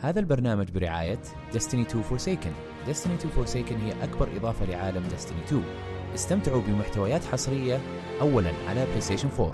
هذا البرنامج برعاية Destiny 2 Forsaken Destiny 2 Forsaken هي أكبر إضافة لعالم Destiny 2 استمتعوا بمحتويات حصرية أولا على PlayStation 4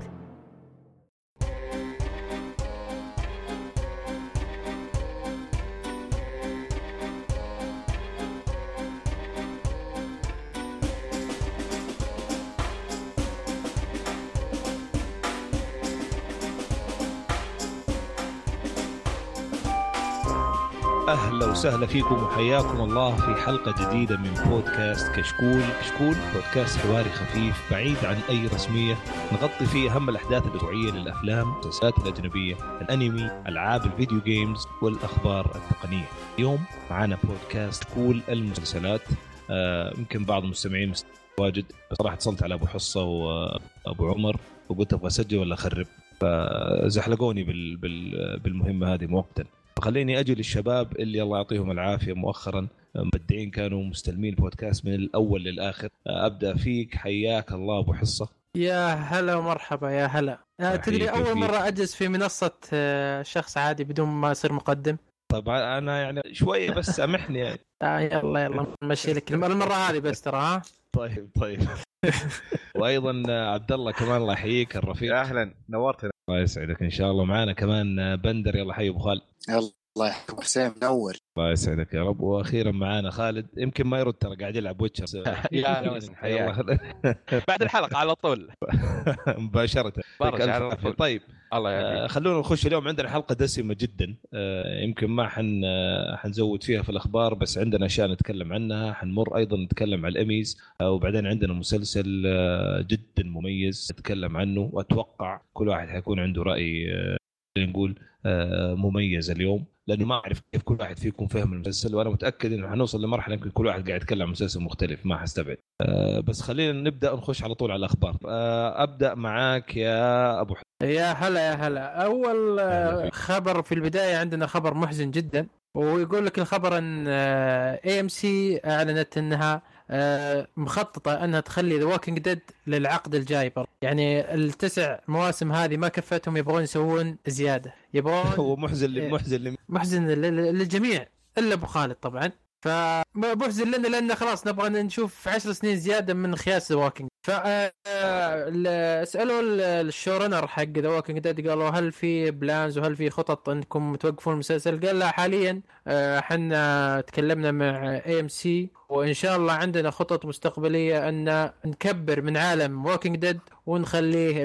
اهلا وسهلا فيكم وحياكم الله في حلقه جديده من بودكاست كشكول، كشكول بودكاست حواري خفيف بعيد عن اي رسميه، نغطي فيه اهم الاحداث الاسبوعيه للافلام، المسلسلات الاجنبيه، الانمي، العاب الفيديو جيمز والاخبار التقنيه. اليوم معنا بودكاست كول المسلسلات آه، يمكن بعض المستمعين مست- واجد بس صراحه اتصلت على ابو حصه وابو آه، عمر وقلت ابغى اسجل ولا اخرب فزحلقوني بال... بال... بالمهمه هذه مؤقتا فخليني اجي للشباب اللي الله يعطيهم العافيه مؤخرا مبدعين كانوا مستلمين البودكاست من الاول للاخر ابدا فيك حياك الله ابو حصه يا هلا ومرحبا يا هلا آه، يا تدري حبيبي اول فيك. مره اجلس في منصه آه، شخص عادي بدون ما اصير مقدم طبعا انا يعني شويه بس سامحني يعني آه يلا يلا نمشي لك الم- المره هذه بس ترى ها طيب طيب وايضا عبد الله كمان الله يحييك الرفيق اهلا نورتنا الله يسعدك ان شاء الله معنا كمان بندر يلا حي ابو خالد الله يحفظك حسين منور الله يسعدك يا رب واخيرا معانا خالد يمكن ما يرد ترى قاعد يلعب ويتشر يا أهلا وسهلا. حياك بعد الحلقه على طول مباشره برج يعطيك ألف على عافية. طول طيب الله آه، يعافيك خلونا نخش اليوم عندنا حلقه دسمه جدا آه، يمكن ما حن آه، حنزود فيها في الاخبار بس عندنا اشياء نتكلم عنها حنمر ايضا نتكلم على الاميز آه، وبعدين عندنا مسلسل آه، جدا مميز نتكلم عنه واتوقع كل واحد حيكون عنده راي آه، خلينا نقول آه، مميز اليوم لانه ما اعرف كيف كل واحد فيكم فهم المسلسل وانا متاكد انه حنوصل لمرحله يمكن كل واحد قاعد يتكلم عن مسلسل مختلف ما حستبعد آه، بس خلينا نبدا ونخش على طول على الاخبار آه، ابدا معاك يا ابو يا هلا يا هلا اول هلا آه، خبر في البدايه عندنا خبر محزن جدا ويقول لك الخبر آه، ان اي ام سي اعلنت انها آه، مخططه انها تخلي ذا ووكينج ديد للعقد الجاي برضه يعني التسع مواسم هذه ما كفتهم يبغون يسوون زياده يبغون هو محزن إيه. لم محزن لم محزن لل- لل- للجميع الا ابو خالد طبعا فمحزن لنا لان خلاص نبغى نشوف عشر سنين زياده من خياس ذا ووكينج ف آه، ال- سالوا ال- الشو رنر حق ذا ووكينج ديد قالوا هل في بلانز وهل في خطط انكم توقفون المسلسل؟ قال لا حاليا آه، احنا تكلمنا مع اي ام سي وان شاء الله عندنا خطط مستقبليه ان نكبر من عالم ووكينج ديد ونخليه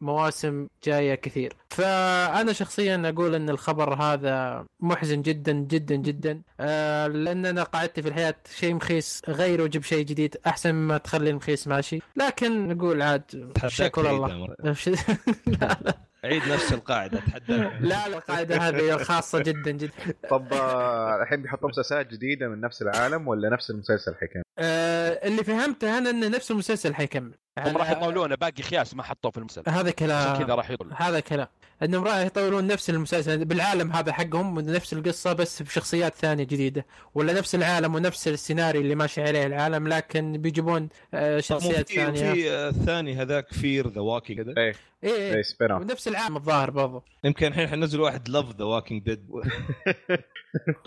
المواسم جايه كثير فانا شخصيا اقول ان الخبر هذا محزن جدا جدا جدا آه لان انا قعدت في الحياه شيء مخيس غير وجب شيء جديد احسن ما تخلي المخيس ماشي لكن نقول عاد شكر الله لا لا عيد نفس القاعده اتحداك لا القاعده هذه خاصه جدا جدا طب آه، الحين بيحطوا مسلسلات جديده من نفس العالم ولا نفس المسلسل حكم آه اللي فهمته انا ان نفس المسلسل حيكمل هم على- راح يطولونه باقي خياس ما حطوه في المسلسل هذا عشان كذا كلام راح يطول هذا كلام انهم راح يطولون نفس المسلسل بالعالم هذا حقهم نفس القصه بس بشخصيات ثانيه جديده ولا نفس العالم ونفس السيناريو اللي ماشي عليه العالم لكن بيجيبون آه، شخصيات في ثانيه في آه، الثاني هذاك فير ذا واكينج كذا ايه اي زي اي سبين اوف ونفس العالم الظاهر برضو يمكن الحين حنزل واحد لاف ذا واكينج ديد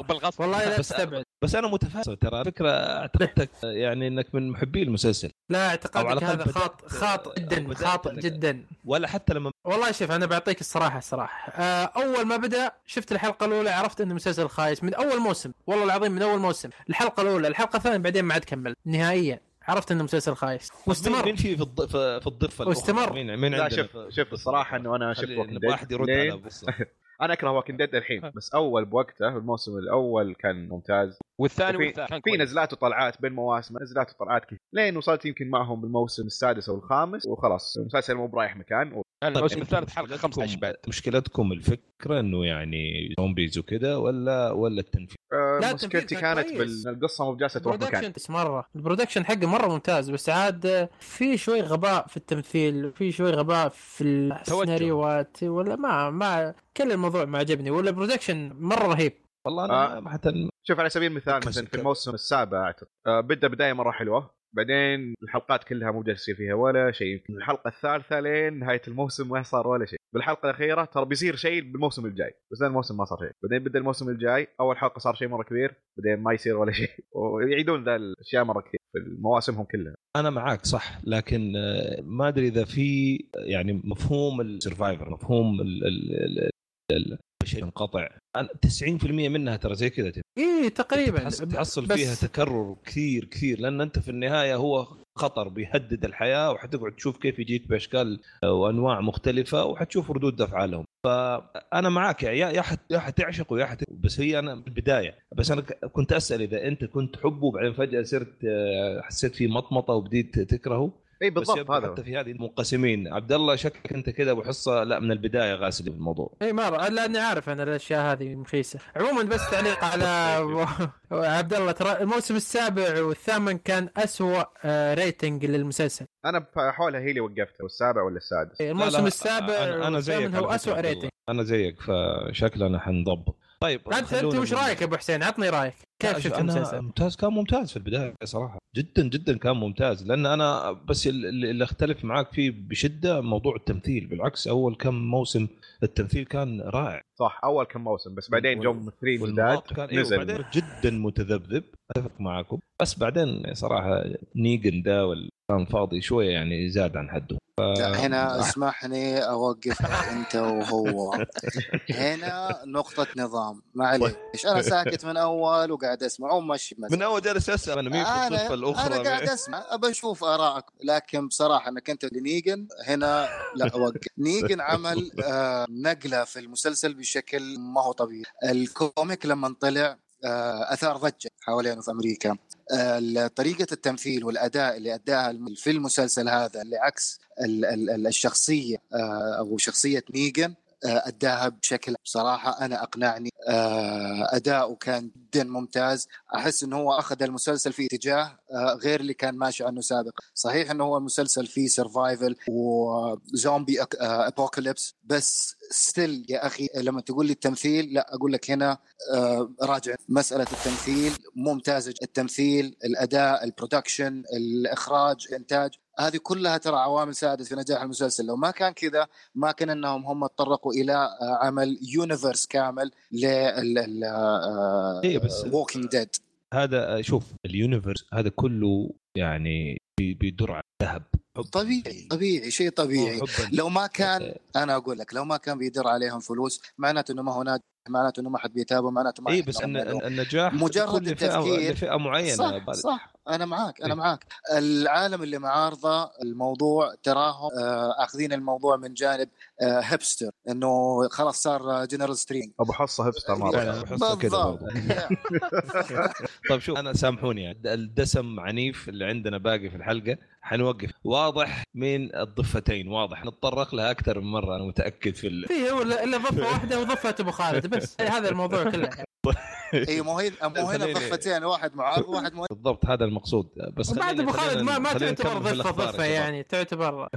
بالغصب والله لا بس- تستبعد بس انا متفائل ترى على فكره اعتقدتك آه، يعني انك من محبي المسلسل لا أو على اعتقادك الأقل هذا خاط بدأت- خاطئ جدا بدأت خاطئ إنك- جدا ولا حتى لما والله شوف انا بعطيك الصراحه الصراحه آه، اول ما بدا شفت الحلقه الاولى عرفت انه مسلسل خايس من اول موسم والله العظيم من اول موسم الحلقه الاولى الحلقه الثانيه بعدين ما عاد كمل نهائيا عرفت انه مسلسل خايس طيب، مين- واستمر مين في في الض- في- في الضفه الأخرى؟ واستمر. مين مين لا عندنا شوف في- شوف الصراحه انه انا شفت خلي- ووكينج نبغى واحد يرد على ديد بص انا اكره ووكينج ديد الحين بس اول بوقته الموسم الاول كان ممتاز والثاني وفي- والثالث كان في كويس. نزلات وطلعات بين مواسم نزلات وطلعات كثير لين وصلت يمكن معهم بالموسم السادس او الخامس وخلاص المسلسل مو برايح مكان كان الموسم طيب، الثالث أنتم حلقه مشكلتكم- 15 بعد مشكلتكم الفكره انه يعني زومبيز وكذا ولا ولا التنفيذ آه، لا، مشكلتي التنفيذ كان كانت كويس. بالقصه مو بجالسه تروح مكان البرودكشن مره البرودكشن حقه مره ممتاز بس عاد آه، في شوي غباء في التمثيل في شوي غباء في السيناريوهات ولا ما ما كل الموضوع ما عجبني ولا البرودكشن مره رهيب والله انا آه. ما- حتى شوف على سبيل المثال مثلا في الموسم السابع اعتقد آه، بدا بدايه مره حلوه بعدين الحلقات كلها مو جالس يصير فيها ولا شيء من الحلقه الثالثه لين نهايه الموسم ما صار ولا شيء بالحلقه الاخيره ترى بيصير شيء بالموسم الجاي بس لأن الموسم ما صار شيء بعدين بدا الموسم الجاي اول حلقه صار شيء مره كبير بعدين ما يصير ولا شيء ويعيدون ذا الاشياء مره كثير في مواسمهم كلها انا معاك صح لكن آه، ما ادري اذا في آه، يعني مفهوم السرفايفر مفهوم ال- ال- ال- ال- البشري انقطع أنا- 90% منها ترى زي كذا اي تقريبا تحصل, تحصل إيه، بس- فيها تكرر كثير كثير لان انت في النهايه هو خطر بيهدد الحياه وحتقعد تشوف كيف يجيك باشكال وانواع مختلفه وحتشوف ردود افعالهم فانا معاك يا يا حت- يا حتعشق ويا حت بس هي انا بالبدايه بس انا ك- كنت اسال اذا انت كنت تحبه وبعدين فجاه صرت آه، حسيت فيه مطمطه وبديت تكرهه اي بس بالضبط يبدو هذا حتى في هذه منقسمين عبد الله شكلك انت كذا ابو حصه لا من البدايه غاسل في الموضوع اي مره لاني عارف انا الاشياء هذه مخيسه عموما بس تعليق على طيب. عبد الله ترى الموسم السابع والثامن كان أسوأ آه، ريتنج للمسلسل انا حولها هي اللي وقفتها والسابع ولا السادس إيه، لا، الموسم لا، السابع انا, أنا زيك والثامن هو على فكرة أسوأ عبد الله. ريتنج انا زيك فشكلنا حنضبط طيب انت انت خلونا وش من- رايك يا ابو حسين عطني رايك كيف لا، شفت أنا المسلسل؟ ممتاز كان ممتاز في البدايه صراحه جدا جدا كان ممتاز لان انا بس ال- ال- اللي اختلف معاك فيه بشده موضوع التمثيل بالعكس اول كم موسم التمثيل كان رائع صح اول كم موسم بس بعدين وال- جو ممثلين جداد والمناطق كان ايوه نزل بعدين جدا متذبذب اتفق معاكم بس بعدين صراحه نيجن دا وال- كان فاضي شويه يعني زاد عن حده لا، هنا اسمحني اوقفك انت وهو هنا نقطة نظام معليش انا ساكت من اول وقاعد اسمع ومشي من اول جالس اسال انا مين في الصدفه الاخرى انا قاعد اسمع ابى اشوف ارائك لكن بصراحه انك انت لنيجن هنا لا اوقف نيجن عمل آه نقله في المسلسل بشكل ما هو طبيعي الكوميك لما طلع آه اثار ضجه حوالينه في امريكا آه، طريقة التمثيل والأداء اللي أداها الم- في المسلسل هذا اللي عكس ال- ال- ال- الشخصية آه، أو شخصية نيجن آه، أداها بشكل بصراحة أنا أقنعني آه، أداؤه كان جدا ممتاز احس انه هو اخذ المسلسل في اتجاه آه، غير اللي كان ماشي عنه سابقا صحيح انه هو المسلسل فيه سرفايفل وزومبي ابوكاليبس آه، بس ستيل يا اخي لما تقول لي التمثيل لا اقول لك هنا آه، راجع مساله التمثيل ممتازه التمثيل الاداء البرودكشن الاخراج الانتاج هذه كلها ترى عوامل ساعدت في نجاح المسلسل لو ما كان كذا ما كان انهم هم تطرقوا الى آه، عمل يونيفرس كامل لل آه، إيه، بس- ووكينج ديد هذا شوف اليونيفرس هذا كله يعني بي- بيدور على الذهب إيه. طبيعي طبيعي آه. شيء طبيعي لو ما كان انا اقول لك لو ما كان بيدر عليهم فلوس معناته انه ما هو ناجح معناته انه ما حد بيتابعه معناته ما اي حد إيه، بس يعمل ان لهم. إن- النجاح لكل مجرد فئة- التفكير. لفئه معينه صح بعد- صح انا معاك إيه. انا معاك العالم اللي معارضه الموضوع تراهم آه، اخذين الموضوع من جانب آه، هيبستر انه خلاص صار جنرال سترينج ابو حصه هبستر مره فعلا. بحسها كده بالضبط طيب شوف انا سامحوني يعني الدسم عنيف اللي عندنا باقي في الحلقه حنوقف واضح من الضفتين واضح نتطرق لها اكثر من مره انا متاكد في ال... في هو الا إلا ضفه واحده وضفه ابو خالد بس هذا الموضوع كله اي إيه، مو هي مو هنا خليني- ضفتين واحد معارض وواحد مو بالضبط هذا المقصود بس بعد خلينا- ابو خالد ما ما خلينا تعتبر نكمل في ضفه الأخبار يا ضفه شباب. يعني تعتبر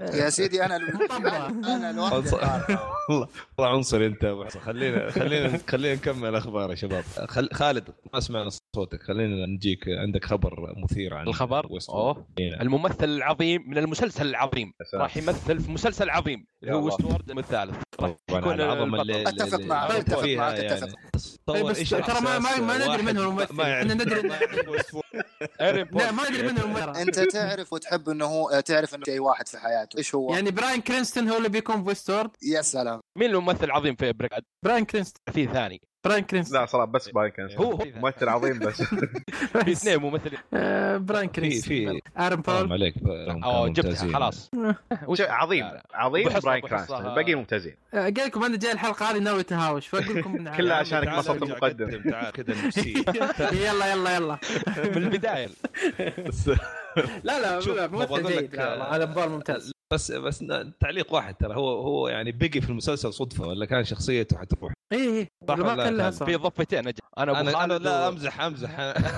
يا سيدي انا طبعاً. انا لوحدي والله والله عنصري انت يا أبو حسن. خلينا خلينا خلينا نكمل اخبار يا شباب خل... خالد ما سمعنا صوتك خلينا نجيك عندك خبر مثير عن الخبر ويست وورلد. اوه إينا. الممثل العظيم من المسلسل العظيم راح يمثل في مسلسل عظيم اللي يا هو الله. وستورد الثالث راح طبعاً يكون على العظمه اللي البطل. أتفق اللي- معك، اللي أتفق فيها معك، يعني. أتفق. إيه، تصور بس إيش ترى ما- ما- ما إحساس ندري من هو واحد الممثل. ما يعرف- إحنا ندري- ما يعرف ويست وورلد. ايرين بورن. لا ما ادري من المرة انت تعرف وتحب انه هو تعرف انه شيء واحد في حياته ايش هو يعني براين كرينستون هو اللي بيكون بوستورد يا سلام مين الممثل العظيم في بريكاد براين كرينستون في ثاني براين كرينستون لا صراحه بس باين كان هو هو ممثل عظيم بس في اثنين ممثلين آه، براين في كرينستون في ارن حرام بول عليك هم كانوا او جبتها ممتازين. خلاص شوف، عظيم لا، لا. عظيم أبو حصة- براين أبو حصة- كرانستون الباقيين ممتازين آه، قال لكم انا جاي الحلقه هذه ناوي تهاوش فاقول لكم يعني. كلها يا عشانك عمي تعال ما صرت ارجع مقدم. قدم، تعال كذا نفسي يلا يلا يلا من البدايه لا لا شوف، لا بقول ممثل لك، جيد لا والله، ارن بول ممتاز بس بس ن- تعليق واحد ترى هو هو يعني بقي في المسلسل صدفه ولا كان شخصيته حتروح اي اي صح إيه، ما ولا كان لا؟ لها صح في ضفتين اجل انا ابو انا, أنا خالد لا و- امزح امزح انا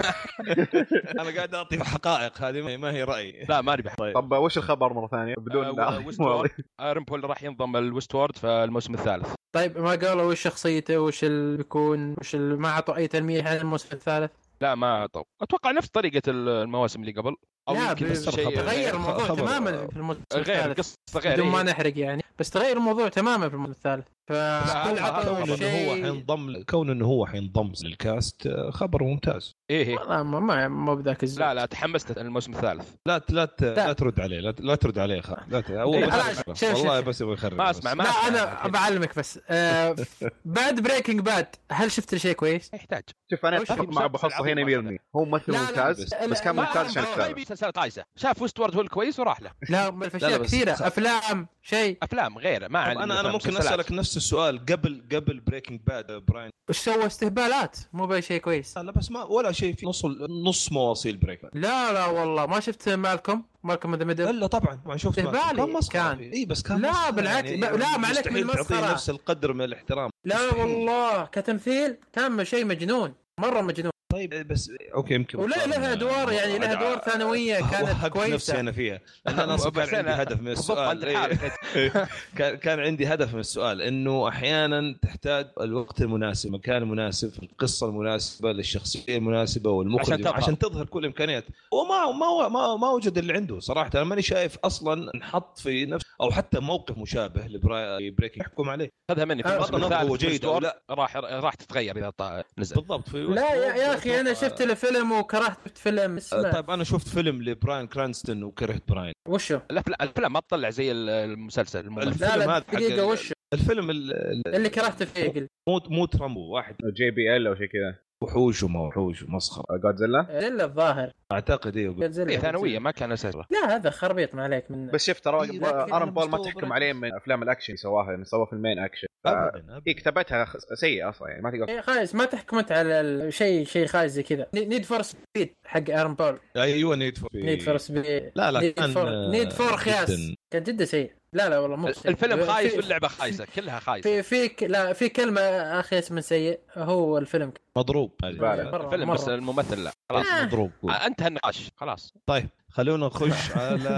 أنا قاعد اعطي حقائق هذه ما هي- ما هي رايي لا ما ربح طيب طب وش الخبر مره ثانيه بدون آه، لا. ويست وورد. ايرن بول راح ينضم الويست وورد في الموسم الثالث طيب ما قالوا وش شخصيته وش اللي بيكون وش اللي ما اعطوا اي تلميح عن الموسم الثالث لا ما طو. اتوقع نفس طريقه المواسم اللي قبل او لا، يمكن ب- نفس شيء- الشيء تغير الموضوع خبر- تماما في الموسم غير الثالث القصه غير بدون ما إيه. نحرق يعني بس تغير الموضوع تماما في الموسم الثالث ف لا، كل هذا عطوا كون خبر انه هو شيء حينضم كون انه هو حينضم للكاست آه، خبر ممتاز ايه إيه. والله ما ما ما بذاك الزود لا لا تحمست الموسم الثالث لا ت- لا ت- لا ترد عليه لا ت- لا ترد عليه خ... لا ت... هو إيه، بس خلاص، يبغى- شوف، شوف، والله شوف. بس يبغى يخرب ما بس. اسمع ما لا أسمع. انا بعلمك بس آه بعد بريكنج باد هل شفت شيء كويس؟ ما يحتاج شوف انا وش اتفق المسلسل مع ابو حصه هنا العظيم 100% هو ممثل لا، لا، ممتاز بس- بس كان لا، ممتاز عشان لا، ما الثالث يبي سلسله طايشه شاف ويست وورد هو الكويس وراح له لا ما في لا، اشياء بس- كثيره خ- افلام شيء افلام غير ما طب عندي انا انا أفلام، ممكن مسلسلات. اسالك نفس السؤال قبل قبل آه، بريكنج باد براين وش سوى استهبالات مو باي شيء كويس لا بس ما ولا شيء في نص ال- نص مواصيل بريك باد لا لا والله ما شفت مالكم مالكم ذا ميدل الا طبعا ما شفت ما- بالي كان مسخره كان. اي إيه، بس كان لا، مسخرة بالعكس، ب- لا، ما عليك مستحيل من تعطيه المسخرة. نفس القدر من الاحترام لا مستحيل. والله كتمثيل كان شيء مجنون مره مجنون طيب بس اوكي يمكن ولا لها ادوار يعني لها ادوار ثانويه كانت وهبت نفسي كويسه انا فيها لان انا أصلاً بس كان عندي أنا هدف من بالضبط عند السؤال إيه. الحالة. كان كان عندي هدف من السؤال انه احيانا تحتاج الوقت المناسب المكان المناسب القصه المناسبه للشخصيه المناسبه والمخرج عشان تظهر. عشان تظهر كل الامكانيات وما ما ما, ما وجد اللي عنده صراحه انا ماني شايف اصلا انحط في نفس او حتى موقف مشابه لبريكنج يحكم عليه خذها مني في أه، الموسم بغض النظر الثالث هو جيد ويست أو وورد لا. راح راح تتغير اذا طا- نزل بالضبط في لا يا, يا اخي انا شفت الفيلم وكرهت شفت فيلم اسمه طيب انا شفت فيلم لبراين كرانستون وكرهت براين وشو؟ الافلام الافلام ما تطلع زي ال- المسلسل الممثل. الفيلم لا لا هذا حق دقيقه ال- وشو؟ الفيلم ال- ال- اللي كرهته فيه قلت مو مو ترامبو واحد آه، جي بي ال او شيء كذا آه، وحوش وما وحوش ومسخره جودزيلا الا الظاهر اعتقد ايوه إيه، Godzilla. ثانويه ما كان اساس لا هذا خربيط ما عليك من بس شوف ترى إيه، لكن ارن بول ما المستوى تحكم بركز. عليه من افلام الاكشن اللي سواها لأنه سواها في المين اكشن ف- ابدا هي ابدا كتابتها خ- سيئه اصلا يعني ما تقدر إيه خايس ما تحكمت على ال- شيء شيء خايس زي كذا نيد فور سبيد حق ارن بول ايوه نيد فور نيد فور سبيد لا لا نيد كان فور نيد فور خياس جداً. كان جدا سيء لا لا والله مو بسيء. الفيلم في- خايس في- واللعبه خايسه كلها خايسه في في ك- لا في كلمه اخيس من سيء هو الفيلم مضروب بالغ. هذا. مرة- الفيلم بس مرة. الممثل لا خلاص آه. مضروب انتهى النقاش خلاص طيب خلونا نخش على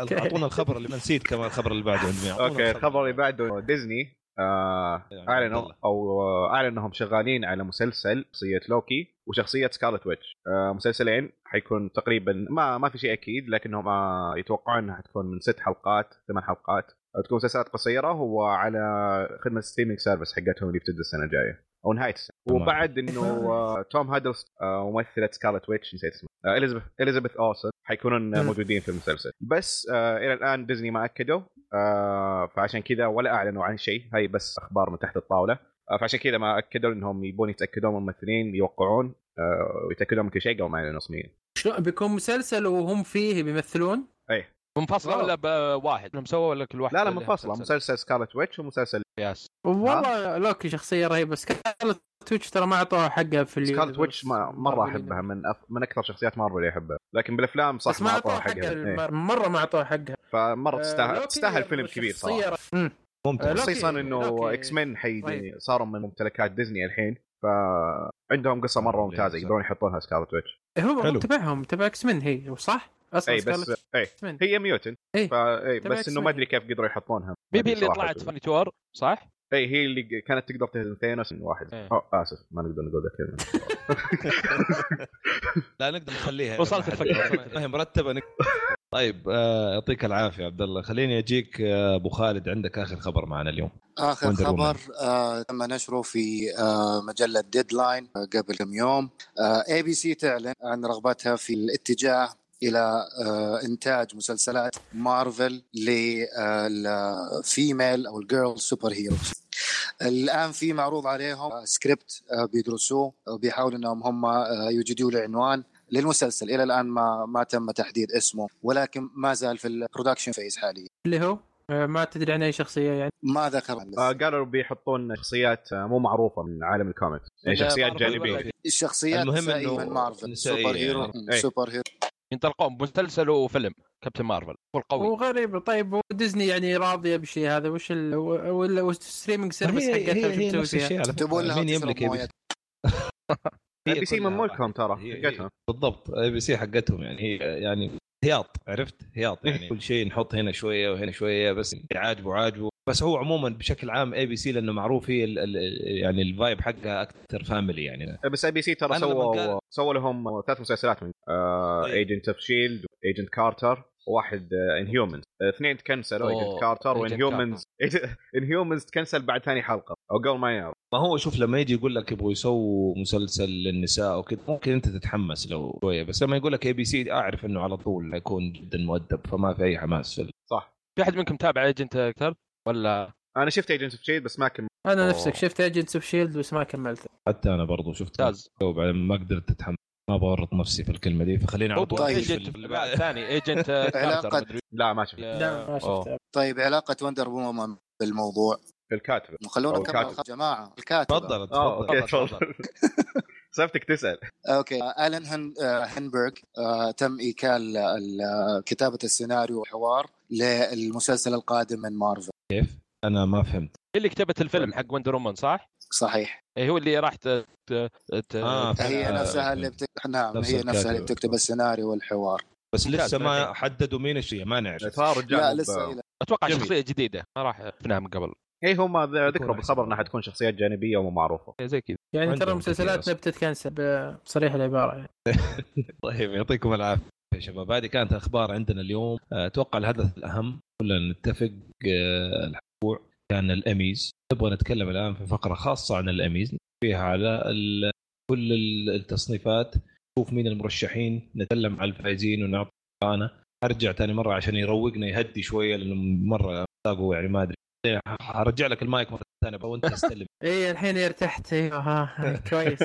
أوكي. اعطونا الخبر اللي نسيت كمان الخبر اللي بعده عندي أعطونا اوكي الخبر اللي بعده ديزني آه يعني اعلنوا يلا. او آه، اعلنوا انهم شغالين على مسلسل شخصيه لوكي وشخصيه سكارلت ويتش آه مسلسلين حيكون تقريبا ما ما في شيء اكيد لكنهم آه يتوقعون انها حتكون من ست حلقات ثمان حلقات آه، تكون مسلسلات قصيره وعلى خدمه ستريمينج سيرفيس حقتهم اللي بتبدا السنه الجايه او نهايه السنه تمام. وبعد انه آه توم هادلست آه وممثله سكارلت ويتش نسيت اسمها آه، اليزابيث اليزابيث اوسن حيكونون آه، مم. موجودين في المسلسل بس آه الى الان ديزني ما اكدوا آه، فعشان كذا ولا اعلنوا عن شيء هاي بس اخبار من تحت الطاوله آه، فعشان كذا ما اكدوا انهم يبون يتاكدون من الممثلين يوقعون آه، ويتاكدون من كل شيء قبل ما يعلنوا رسميا شلون بيكون مسلسل وهم فيه بيمثلون منفصله واو. ولا بواحد كلهم سوا ولا كل واحد إيه. لا لا منفصله مسلسل سكارلت ويتش ومسلسل ياس والله لوكي شخصيه رهيبه بس كانت تويتش ترى ما اعطوها حقها في اليوتيوب. سكارلت ويتش ما- مره احبها من أف- من اكثر شخصيات مارفل اللي احبها لكن بالافلام صح بس ما اعطوها حقها إيه. المر- مره ما اعطوها حقها فمره آه، تستاهل لوكي تستاهل فيلم كبير شخصية صراحه ر- مم. ممتاز لوكي- خصيصا انه لوكي- اكس مين حي طيب. صاروا من ممتلكات ديزني الحين فعندهم قصه مره ليه، ممتازه صح. يقدرون يحطونها سكارلت ويتش إيه، هو حلو. مو تبعهم تبع اكس من هي صح؟ اصلا اي إيه، بس سكارلت اي X-Men. هي ميوتن إيه. فا إيه تبع بس انه X-Men. ما ادري كيف قدروا يحطونها بيبي اللي صراحة. إيه، طلعت فاني تور صح؟ اي هي اللي كانت تقدر تهزم ثانوس من واحد إيه. أو اسف ما نقدر نقول ذا الكلمه لا نقدر نخليها ما وصلت الفكره هي مرتبه نقدر. طيب آه، يعطيك العافيه عبد الله خليني اجيك آه، ابو خالد عندك اخر خبر معنا اليوم اخر Wonder خبر آه تم نشره في آه مجله ديدلاين آه قبل كم يوم آه، اي بي سي تعلن عن رغبتها في الاتجاه الى آه انتاج مسلسلات آه، مارفل للفيميل او الجيرل سوبر هيروز الان في معروض عليهم آه، سكريبت آه، بيدرسوه وبيحاولوا انهم هم آه، يوجدوا له عنوان للمسلسل الى الان ما ما تم تحديد اسمه ولكن ما زال في البرودكشن فيز حاليا اللي هو آه، ما تدري عن اي شخصيه يعني ما ذكر عن آه، الاسم. قالوا بيحطون شخصيات آه، مو معروفه من عالم الكوميكس يعني لا، شخصيات مارفل جانبيه ولا- الشخصيات المهم النسائية إنه من مارفل نسائية سوبر هيرو يعني. إيه. سوبر هيرو ينطلقون مسلسل وفيلم كابتن مارفل هو القوي وغريب طيب وديزني يعني راضيه بالشيء هذا وش ال... ولا والستريمنج سيرفيس حقتها وش بتسوي فيها؟ على تبون لها مين يملك تشرب موية. يبي- هي بي سي كلها من ملكهم ترى هي- هي- حقتهم بالضبط اي بي سي حقتهم يعني هي يعني هياط عرفت هياط يعني إيه. كل شيء نحط هنا شويه وهنا شويه بس عاجبه عاجبه بس هو عموما بشكل عام اي بي سي لانه معروف هي ال ال يعني الفايب حقها اكثر فاميلي يعني بس اي بي سي ترى أنا لما قال- سووا سووا لهم ثلاث مسلسلات من آه، طيب. ايجنت اوف شيلد ايجنت كارتر واحد انهيومنز اثنين تكنسلوا أوه، ايجنت كارتر Agent وانهيومنز انهيومنز تكنسل بعد ثاني حلقه او قبل ما يعرف ما هو شوف لما يجي يقول لك يبغوا يسووا مسلسل للنساء وكذا ممكن انت تتحمس لو شويه بس لما يقول لك اي بي سي اعرف انه على طول حيكون جدا مؤدب فما في اي حماس في ال- صح في احد منكم تابع ايجنت اكثر ولا انا شفت ايجنت اوف شيلد E بس ما كملت انا أوه. نفسك شفت ايجنتس اوف شيلد E بس ما كملت حتى انا برضو شفت ممتاز وبعدين ما قدرت اتحمل ما ابغى اورط نفسي في الكلمه دي فخلينا على طول طيب. نعم. في ايجنت ال- الثاني ايجنت علاقة- كارتر لا ما شفت لا ما شفتها طيب علاقه وندر وومن بالموضوع الكاتبه خلونا أو نكمل الكاتب. يا جماعه الكاتب تفضل اه تفضل اوكي تفضل، تفضل سبتك تسال اوكي آه، الن هن... آه، هنبرغ آه، تم ايكال ال- آه، كتابه السيناريو والحوار للمسلسل القادم من مارفل كيف؟ انا ما فهمت اللي كتبت الفيلم حق وندر وومن صح؟ صحيح إيه هو اللي راح ت... ت... ت... آه، هي آه، نفسها اللي بت... نعم نفس هي نفسها اللي الكاتب. بتكتب السيناريو والحوار بس ممتاز، لسه ما ما حددوا مين الشيء ما نعرف ترى الرجال لا مو ب- لسه آه. إلى... اتوقع جميل. شخصيه جديده ما راح شفناها من قبل اي إيه، هم ذكروا يكون بالخبر أحسن. انها حتكون شخصيات جانبيه ومو معروفه إيه زي كذا يعني عندهم ترى كثير مسلسلاتنا أصلاً. بتتكنسل ب- بصريح العباره يعني طيب يعطيكم العافيه يا شباب هذه كانت اخبار عندنا اليوم آه، اتوقع الهدف الاهم كلنا نتفق آه، الاسبوع كان الاميز نبغى نتكلم الان في فقره خاصه عن الاميز فيها على ال- كل ال- التصنيفات نشوف مين المرشحين نتكلم على الفائزين ونعطي انا ارجع ثاني مره عشان يروقنا يهدي شويه لانه مره تلاقوا يعني ما ادري هرجع لك المايك مره ثانيه بقى وانت تستلم اي إيه، الحين ارتحت ايوه ها كويس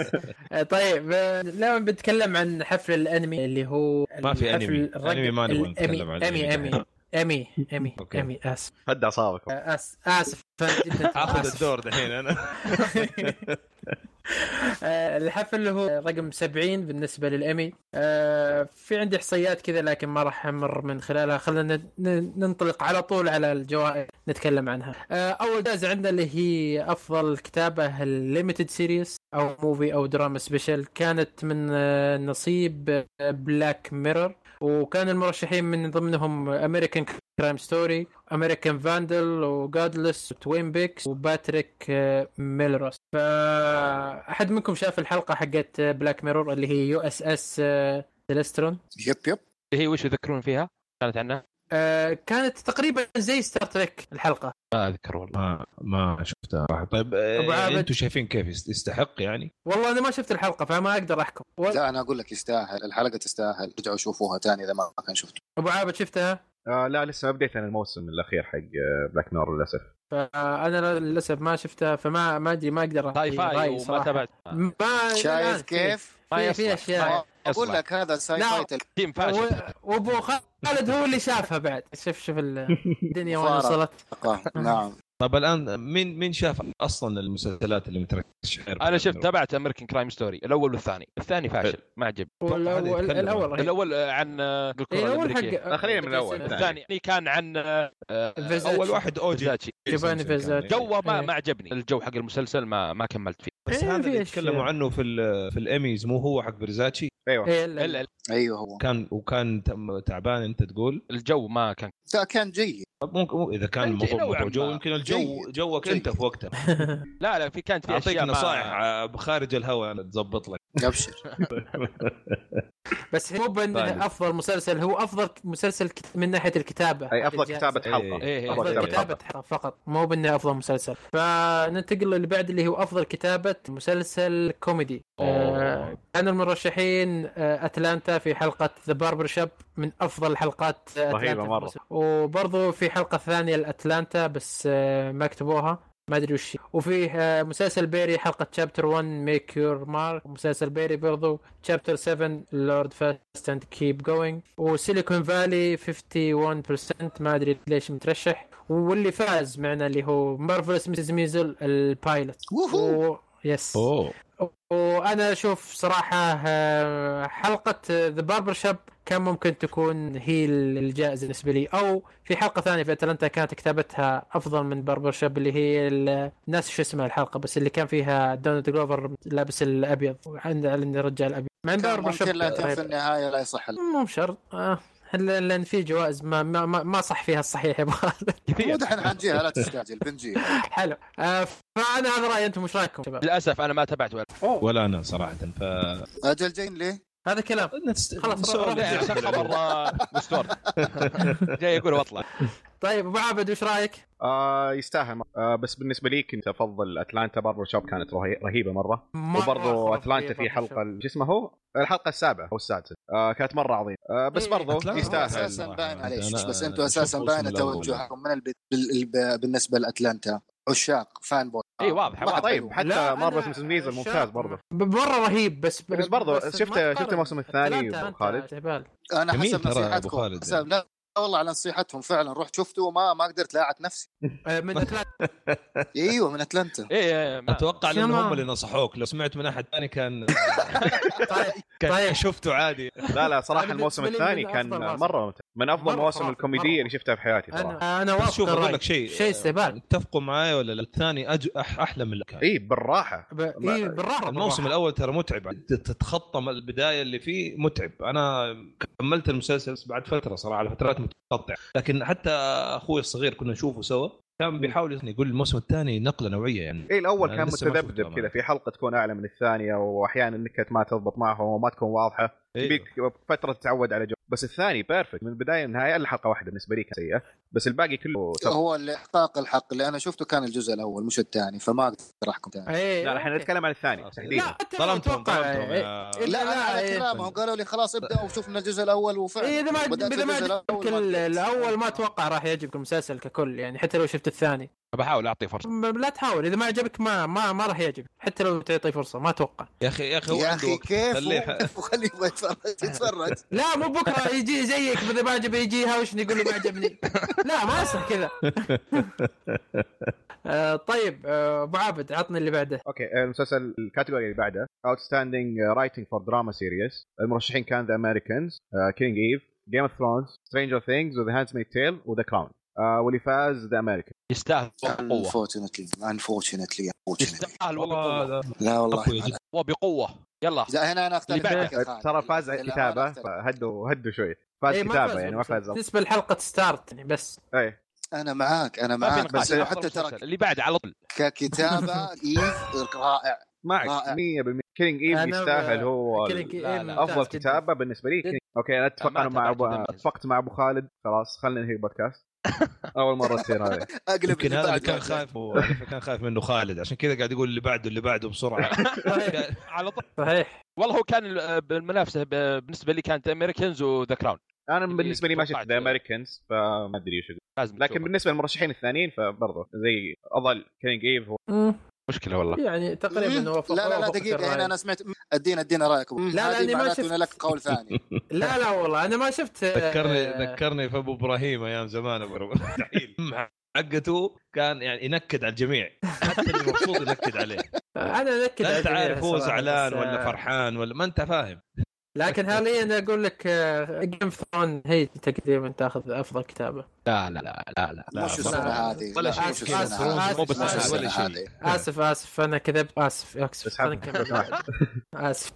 آه، طيب آه، لما بنتكلم عن حفل الانمي اللي هو ما في الحفل أنمي. الرق- أنمي ما نبغى الأمي- نتكلم عن امي الأنمي. امي امي امي أوكي. امي اسف هد اعصابك آه، آس- اسف فأنا جدا اخذ آسف. الدور دحين انا آه، الحفل هو رقم 70 بالنسبه للامي آه، في عندي احصائيات كذا لكن ما راح امر من خلالها خلينا ن- ن- ننطلق على طول على الجوائز نتكلم عنها آه، اول جائزه عندنا اللي هي افضل كتابه الليمتد سيريس او موفي او دراما سبيشل كانت من آه، نصيب بلاك ميرور وكان المرشحين من ضمنهم امريكان كرايم ستوري امريكان فاندل وجادلس وتوين بيكس وباتريك آه، ميلروس فاحد منكم شاف الحلقه حقت بلاك ميرور اللي هي يو اس اس سيلسترون يب يب اللي إيه، هي وش يذكرون فيها؟ كانت عنها؟ كانت تقريبا زي ستار تريك الحلقه ما اذكر والله ما ما شفتها صراحة. طيب أبو عابد. انتم شايفين كيف يست- يستحق يعني والله انا ما شفت الحلقه فما اقدر احكم و- لا انا اقول لك يستاهل الحلقه تستاهل ارجعوا شوفوها تاني اذا ما كان شفتوا ابو عابد شفتها آه لا لسه ما بديت انا الموسم الاخير حق آه، بلاك نور للاسف فانا للاسف ما شفتها فما ما ادري ما اقدر أعطي ساي فاي رأي وما صراحة. تابعت ما الآن شايف في- كيف؟ ما في- في يصلح. اشياء ما اقول يصلح. لك هذا ساي لا. فايت تيم و- فاشل وابو خالد هو اللي شافها بعد شوف شوف ال- الدنيا وين مفارقة. وصلت الحلقه نعم طب الان مين مين شاف اصلا المسلسلات اللي مترشحه انا شفت تابعت امريكان كرايم ستوري الاول والثاني الثاني فاشل ما عجبني والاول يتكلم. الاول رهيب. الاول آه، عن آه، طيب. إيه، الكره الاول الامريكيه حق خلينا من الأول. الثاني يعني كان عن آه، آه، فيزاتشي. اول واحد يعني اوجي فيزاتشي. جيفاني فيزاتشي. جوه ما إيه. ما عجبني الجو حق المسلسل ما ما كملت فيه بس إيه، هذا في اللي أشياء. تكلموا عنه في ال- في الاميز مو هو حق برزاتشي ايوه إيه، لا، لا. الا ايوه هو كان وكان تم- تعبان انت تقول الجو ما كان لا، كان جيد طب ممكن مو- اذا كان جيد الموضوع نوعاً موضوع جو ما. يمكن الجو جيد. جوك جيد. انت في وقتها لا لا في كانت في اعطيك اشياء ما- نصائح آه، خارج الهواء انا تظبط لك ابشر بس مو بانه طيب. افضل مسلسل هو افضل مسلسل كت- من ناحيه الكتابه اي افضل الجائزة. كتابه حلقه إيه. إيه، أفضل افضل كتابة كتابه حلقة فقط مو بانه افضل مسلسل فننتقل اللي بعد اللي هو افضل كتابه مسلسل كوميدي آه، كان المرشحين آه، اتلانتا في حلقه ذا باربر شاب من افضل حلقات آه، رهيبة أتلانتا في مرة. الموسم. وبرضو في حلقه ثانيه لاتلانتا بس آه، ما كتبوها ما ادري وش هي. وفي آه، مسلسل بيري حلقه شابتر 1 ميك يور مارك ومسلسل بيري برضو شابتر 7 لورد فاست اند كيب جوينج وسيليكون فالي 51% ما ادري ليش مترشح واللي فاز معنا اللي هو مارفلس ميسز ميزل البايلوت ووهو و... يس اوه وانا اشوف صراحه آه، حلقه ذا باربر شاب كان ممكن تكون هي الجائزه بالنسبه لي او في حلقه ثانيه في اتلانتا كانت كتابتها افضل من باربر شاب اللي هي ال- ناس شو اسمها الحلقه بس اللي كان فيها دونالد جلوفر لابس الابيض وعند عند الرجال الابيض مع إن كان باربر شاب ممكن لكن في طيب. النهايه لا يصح ال- مو بشرط آه. لأن لأن في جوائز ما ما, ما ما صح فيها الصحيح يا أبو خالد. مو كثير دحين حنجيها لا تستعجل بنجيها حلو آه، فانا هذا رايي انتم وش رايكم شباب؟ للاسف انا ما تابعت ولا ولا انا صراحه ف اجل جايين ليه؟ هذا كلام خلاص، روح سؤال جاي. يعني شغله مره مستور جاي يقول واطلع طيب ابو عابد وش رايك؟ آه يستاهل آه بس بالنسبه لي كنت افضل اتلانتا باربر شوب كانت رهي- رهيبه مره مرة وبرضه خرافية اتلانتا في برضو حلقه شباب. شو اسمه هو؟ الحلقه السابعه او السادسه آه كانت مره عظيمه آه بس إيه، برضه أتلانتا. يستاهل اساسا راح. باين معليش أنا- بس أنا انتم اساسا أشوف باين الموسم الأول. توجهكم من الب... بال... الب... بالنسبه لاتلانتا عشاق فان بوي اي إيه، واضح ما واضح طيب أيوه. لا، حتى أنا مارفل سيزون ممتاز شاف- برضه ب- مره رهيب بس بس برضو ما شفت- تقارن. شفت الموسم الثاني أتلانتا أبو أنت خالد؟ جبال انا جميل حسب ترى أبو نصيحتكم خالد يعني. حسب لا والله على نصيحتهم فعلا رحت شفته ما ما قدرت لاعت نفسي آه، من اتلانتا ايوه من اتلانتا إيه، اي اي إيه، ما- اتوقع لان شمال. هم اللي نصحوك لو سمعت من احد ثاني كان طيب، كان طيب. شفته عادي لا لا أنا صراحه الموسم بالنسبة لي الثاني من كان أفضل مواسم. مره ممتاز من افضل مرة المواسم خرافي، الكوميديه مرة. اللي شفتها في حياتي صراحه انا انا بس واثق شوف من اقول رأيك. لك شيء شيء استهبال اتفقوا معاي ولا لا الثاني أج... أح... احلى من الأول. اي بالراحه ب- إيه، بالراحه الموسم بالراحة. الاول ترى متعب ت- تتخطى من البدايه اللي فيه متعب انا كملت المسلسل بعد فتره صراحه على فترات متقطعه لكن حتى اخوي الصغير كنا نشوفه سوا كان بيحاول يقول الموسم الثاني نقله نوعيه يعني اي الاول أنا كان لسه ما شفتها متذبذب ما. كذا في حلقه تكون اعلى من الثانيه واحيانا النكت ما تضبط معهم وما تكون واضحه إيه. يبيك فتره تتعود على جو بس الثاني بيرفكت من البدايه للنهايه الا حلقه واحده بالنسبه لي كانت سيئه بس الباقي كله سبب. هو اللي احقاق الحق اللي انا شفته كان الجزء الاول مش الثاني فما اقدر احكم ثاني إيه، لا احنا أوكي. نتكلم عن الثاني خلاص. تحديدا لا، أنت ظلمتهم أتوقع، ظلمتهم إيه. يا- إيه. لا انا على إيه. كلامهم قالوا لي خلاص ابداوا وشفنا الجزء الاول وفعلا إيه، اذا ما بدأت اذا ما الجزء عجبك الأول ال- ما قدرت. الاول ما اتوقع راح يعجبك المسلسل ككل يعني حتى لو شفت الثاني بحاول اعطيه فرصه م- لا تحاول اذا ما عجبك ما ما ما راح يعجبك حتى لو تعطيه فرصه ما اتوقع يا اخي يا اخي هو يا عنده اخي وقت. كيف خليه- وخليه يبغى يتفرج يتفرج لا مو بكره يجي زيك اذا ما عجبه يجي يهاوشني يقول لي ما عجبني لا ما يصح كذا آه، طيب آه، ابو عابد عطني اللي بعده اوكي المسلسل الكاتيجوري اللي بعده uh, اوتستاندينج رايتنج فور دراما سيريز المرشحين كان uh, ذا امريكانز كينج ايف جيم اوف ثرونز سترينجر ثينجز وذا هاندز ميد تيل وذا كراون Uh, واللي فاز ذا امريكان يستاهل بقوه unfortunately unfortunately unfortunately يستاهل والله والله هذا لا أبو والله يجيب. وبقوه يلا لا هنا انا اختلف اللي معك يا خالد. ترى فاز للأمانة كتابه أختلف. فهدوا هدوا شوي فاز إيه، ما كتابه فاز يعني ما فاز بالنسبه لحلقه ستارت يعني بس ايه انا معاك طيب، انا ما في معاك نقاش بس إيه، أفضل حتى مسلسل. ترى اللي بعد على طول ككتابه ايف رائع معك 100% رائع. كينج ايف أنا ب- يستاهل هو ال- كيلينج لا، إيف لا. إيه، ممتاز افضل جداً. كتابه بالنسبه لي جد. كينج اوكي انا اتفق ما انا مع تابعت ابو دمج. اتفقت مع ابو خالد خلاص خلينا ننهي البودكاست اول مره تصير هذه اقلب يمكن هذا اللي الجبال كان دلوقتي. خايف هو كان خايف منه خالد عشان كذا قاعد يقول اللي بعده اللي بعده بسرعه صحيح طيب. على طول صحيح والله هو كان ال- بالمنافسه ب- بالنسبه لي كانت امريكانز وذا كراون انا بالنسبه لي ما شفت توقعت. ذا امريكانز فما ادري وش اقول لازم لكن بالنسبه للمرشحين الثانيين فبرضه زي اظل كينج ايف هو مم. مشكله والله يعني تقريبا هو مم. فوق لا يعني لا لا وافقت دقيقه الرأي. هنا انا سمعت مم. ادينا ادينا رايك لا لا، لا لأني انا ما ما شفت. لك قول ثاني لا لا والله انا ما شفت آه، ذكرني ذكرني في ابو ابراهيم ايام زمان ابو ابراهيم مستحيل حقته كان يعني ينكد على الجميع حتى اللي مبسوط ينكد عليه آه، انا انكد لا على انت الجميع عارف هو صراحة، زعلان بس، آه، ولا فرحان ولا ما انت فاهم لكن حاليا اقول لك آه، جيم اوف ثرون هي تقريبا تاخذ افضل كتابه لا لا لا لا لا لا، مش برضه. السنه هذه ولا لا، شيء. مش Game السنة of Thrones هذه. مو مش بالسنة السنة ولا هذه. نعم. اسف اسف انا كذبت اسف اسف اسحب. خلينا نكمل اسف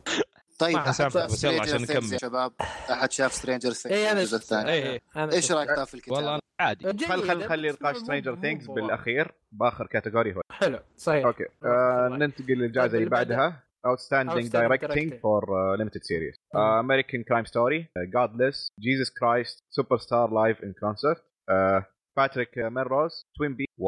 طيب ما أحد حسامحك، شاف بس يلا Stranger عشان Things نكمل. يا شباب احد شاف سترينجر ثينجز اي انا الجزء الثاني إيه، إيه. أنا ايش شفت. رايك طيب في والله الكتاب؟ عادي جيد، خل خل خلي بس نقاش مو- سترينجر مو- ثينجز مو- بالاخير باخر كاتيجوري هو حلو صحيح اوكي آه ننتقل للجائزه طيب، اللي اللي بعدها Outstanding Outstanding Directing. Directing Mm. for uh, Limited Series uh, American Crime Story uh, Godless Jesus Christ Superstar Live in Concert uh, Patrick Melrose Twin Peaks و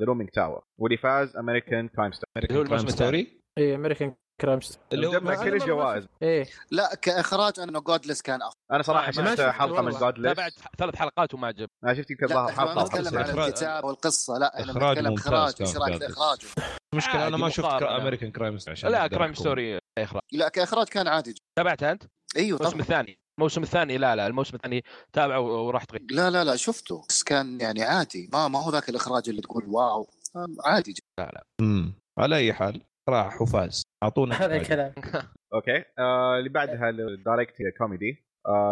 The Looming Tower واللي فاز American Crime Story اللي هو الموسم الثاني اي امريكان كرايم اللي هو جمع كل إيه، أنا ما- الجوائز ايه لا كاخراج انه جودلس كان افضل انا صراحه ما- ما شفت شفت حلقه من آه، والله. Godless تابعت ثلاث حلقات وما عجب انا شفت يمكن لا ظهر احنا حلقه ما او نتكلم حلقتين. عن إخراج- الكتاب والقصه لا احنا إخراج نتكلم ممتاز اخراج كان ايش رايك Godless. في اخراجه؟ المشكله انا ما عادي، شفت مقارنة. امريكان كرايم عشان لا أقدر كرايم أحكم. ستوري اخراج لا كاخراج كان عادي جدا. تابعتها انت ايوه الموسم طبعا الثاني الموسم الثاني لا لا الموسم الثاني تابعه وراح تغير لا لا لا شفته بس كان يعني عادي ما ما هو ذاك الاخراج اللي تقول واو عادي جدا امم على اي حال راح وفاز اعطونا نعم، هذا حاجة. الكلام اوكي آه، اللي بعدها الدايركت كوميدي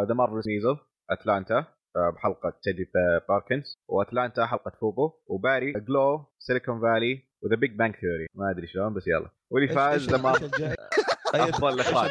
ذا مارفلز ميزل اتلانتا آه، بحلقه تيدي با- باركنز واتلانتا حلقه فوبو وباري جلو سيليكون فالي وذا بيج بانك ثيوري ما ادري شلون بس يلا واللي إيش- فاز إيش- ذا مارفلز إيش الجائزة؟ افضل اخراج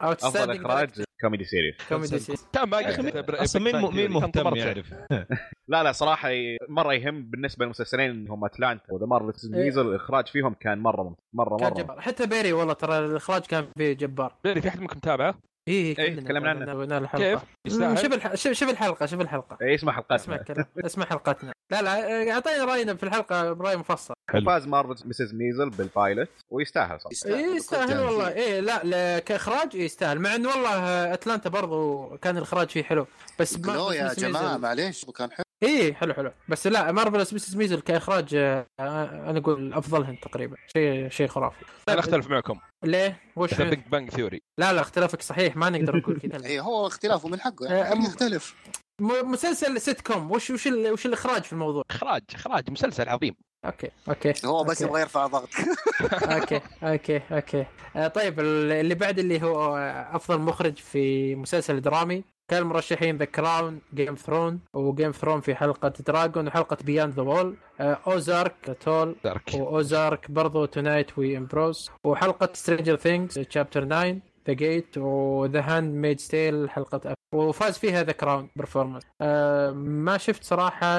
افضل Outstanding اخراج كوميدي سيريس كوميدي سي- تم ما يا أخي، قلت برا- اصلا مين بيج مين بانج ثيوري، كان مهتم يعني؟ طبرت. يعرف لا لا صراحه ي- مره يهم بالنسبه للمسلسلين اللي هم اتلانتا وذا مارفلز إيه. ديزل الاخراج فيهم كان مره ممتاز مره كان مره جبار حتى بيري والله ترى الاخراج كان فيه جبار بيري في احد منكم تابعه؟ اي إيه، تكلمنا عنه. سوينا له كيف؟ حلقه يستاهل؟ شوف الح- شوف شوف الحلقه شوف الحلقه إيه، اسمع حلقات اسمع كلام اسمع حلقتنا لا لا اعطينا راينا في الحلقه راي مفصل حلو. فاز مارفلز مسز ميزل بالبايلوت ويستاهل صراحه إيه، يستاهل كان والله فيه. اي لا لا كاخراج يستاهل مع انه والله آه، اتلانتا برضو كان الاخراج فيه حلو بس جلو يا جماعه معليش كان حلو اي حلو حلو بس لا مارفلس ميسز ميزل كاخراج آه، آه، انا اقول افضلهم تقريبا شيء شيء خرافي انا اختلف معكم ليه؟ وش ذا بيج بانج ثيوري لا لا اختلافك صحيح ما نقدر نقول كذا اي إيه، هو اختلافه من حقه آه، يعني أم- يختلف م- مسلسل سيت كوم وش وش ال- وش الاخراج في الموضوع؟ اخراج اخراج مسلسل عظيم اوكي اوكي هو بس أوكي. يبغى يرفع ضغط اوكي اوكي اوكي آه، طيب ال- اللي بعد اللي هو آه، افضل مخرج في مسلسل درامي كان المرشحين ذا كراون جيم ثرون وجيم ثرون في حلقه دراجون وحلقه بياند ذا وول اوزارك آه، تول دارك واوزارك برضو تونايت وي امبروز وحلقه سترينجر ثينجز تشابتر 9 ذا جيت وذا هاند ميد ستيل حلقه أف... وفاز فيها ذا كراون برفورمانس أه ما شفت صراحه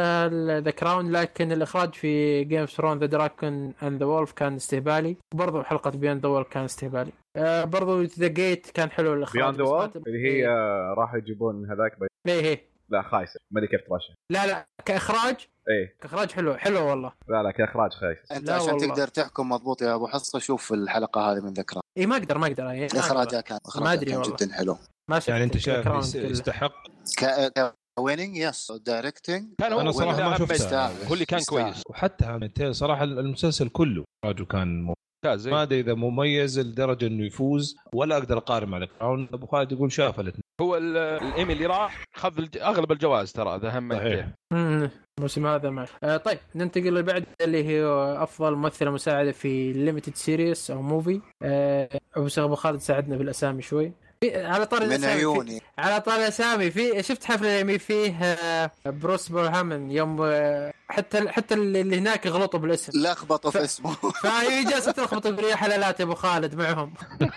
ذا كراون لكن الاخراج في جيم اوف ثرون ذا دراكون اند ذا وولف كان استهبالي وبرضو حلقه بيان ذا وولف كان استهبالي أه برضو ذا جيت كان حلو الاخراج بيوند ذا بس ما وول تب- اللي هي آه، راح يجيبون هذاك بي- ايه إيه. لا خايسه ما ادري كيف ترشح لا لا كاخراج ايه كاخراج حلو حلو والله لا لا كاخراج خايس انت لا عشان والله. تقدر تحكم مضبوط يا ابو حصه شوف الحلقه هذه من ذكرى اي ما اقدر ما اقدر إيه، ما أقدر. اخراجها كان ما اخراجها أدري كان والله. جدا حلو ما شفت يعني انت The شايف Crown يس- كله. يستحق uh, كوينينج يس دايركتنج كان هو أنا صراحة ما شفته. هو اللي كان كويس وحتى عن- صراحه المسلسل كله اخراجه كان مو- ممتاز ما إيه. ادري اذا مميز لدرجه انه يفوز ولا اقدر اقارن مع الكراون ابو خالد يقول شاف الاثنين هو ال- الايمي اللي راح خذ الج- اغلب الجوائز ترى ذا هم صحيح امم الموسم هذا ما آه طيب ننتقل اللي بعد اللي هي افضل ممثله مساعده في ليمتد سيريس او موفي آه ابو سعد- ابو خالد ساعدنا بالاسامي شوي في- على طار من الاسامي في- عيوني على طار الاسامي في شفت حفله الانمي فيه آه بروس برهامن يوم آه حتى حتى اللي هناك غلطوا بالاسم لخبطه ف- في اسمه فهي جالسه تلخبط برياح حلالات يا ابو خالد معهم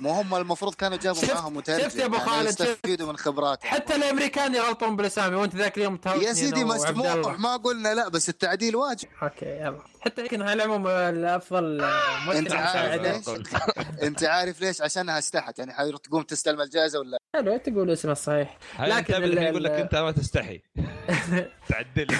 مو هم المفروض كانوا جابوا شفت- معاهم مترجم شفت يا أبو يعني خالد، شفت. يستفيدوا من خبراته حتى الامريكان يغلطون بالاسامي وانت ذاك اليوم تهاوشني يا سيدي أنا وعبد مسموح الله. ما قلنا لا بس التعديل واجب اوكي يلا حتى يمكن على العموم آه، الافضل آه، ممثله انت عارف مساعده ليش؟ انت عارف ليش؟ عشانها استحت يعني حيروح تقوم تستلم الجائزه ولا حلو تقول اسمه الصحيح لكن لكن ال- يقول لك ال- انت ما تستحي تعدل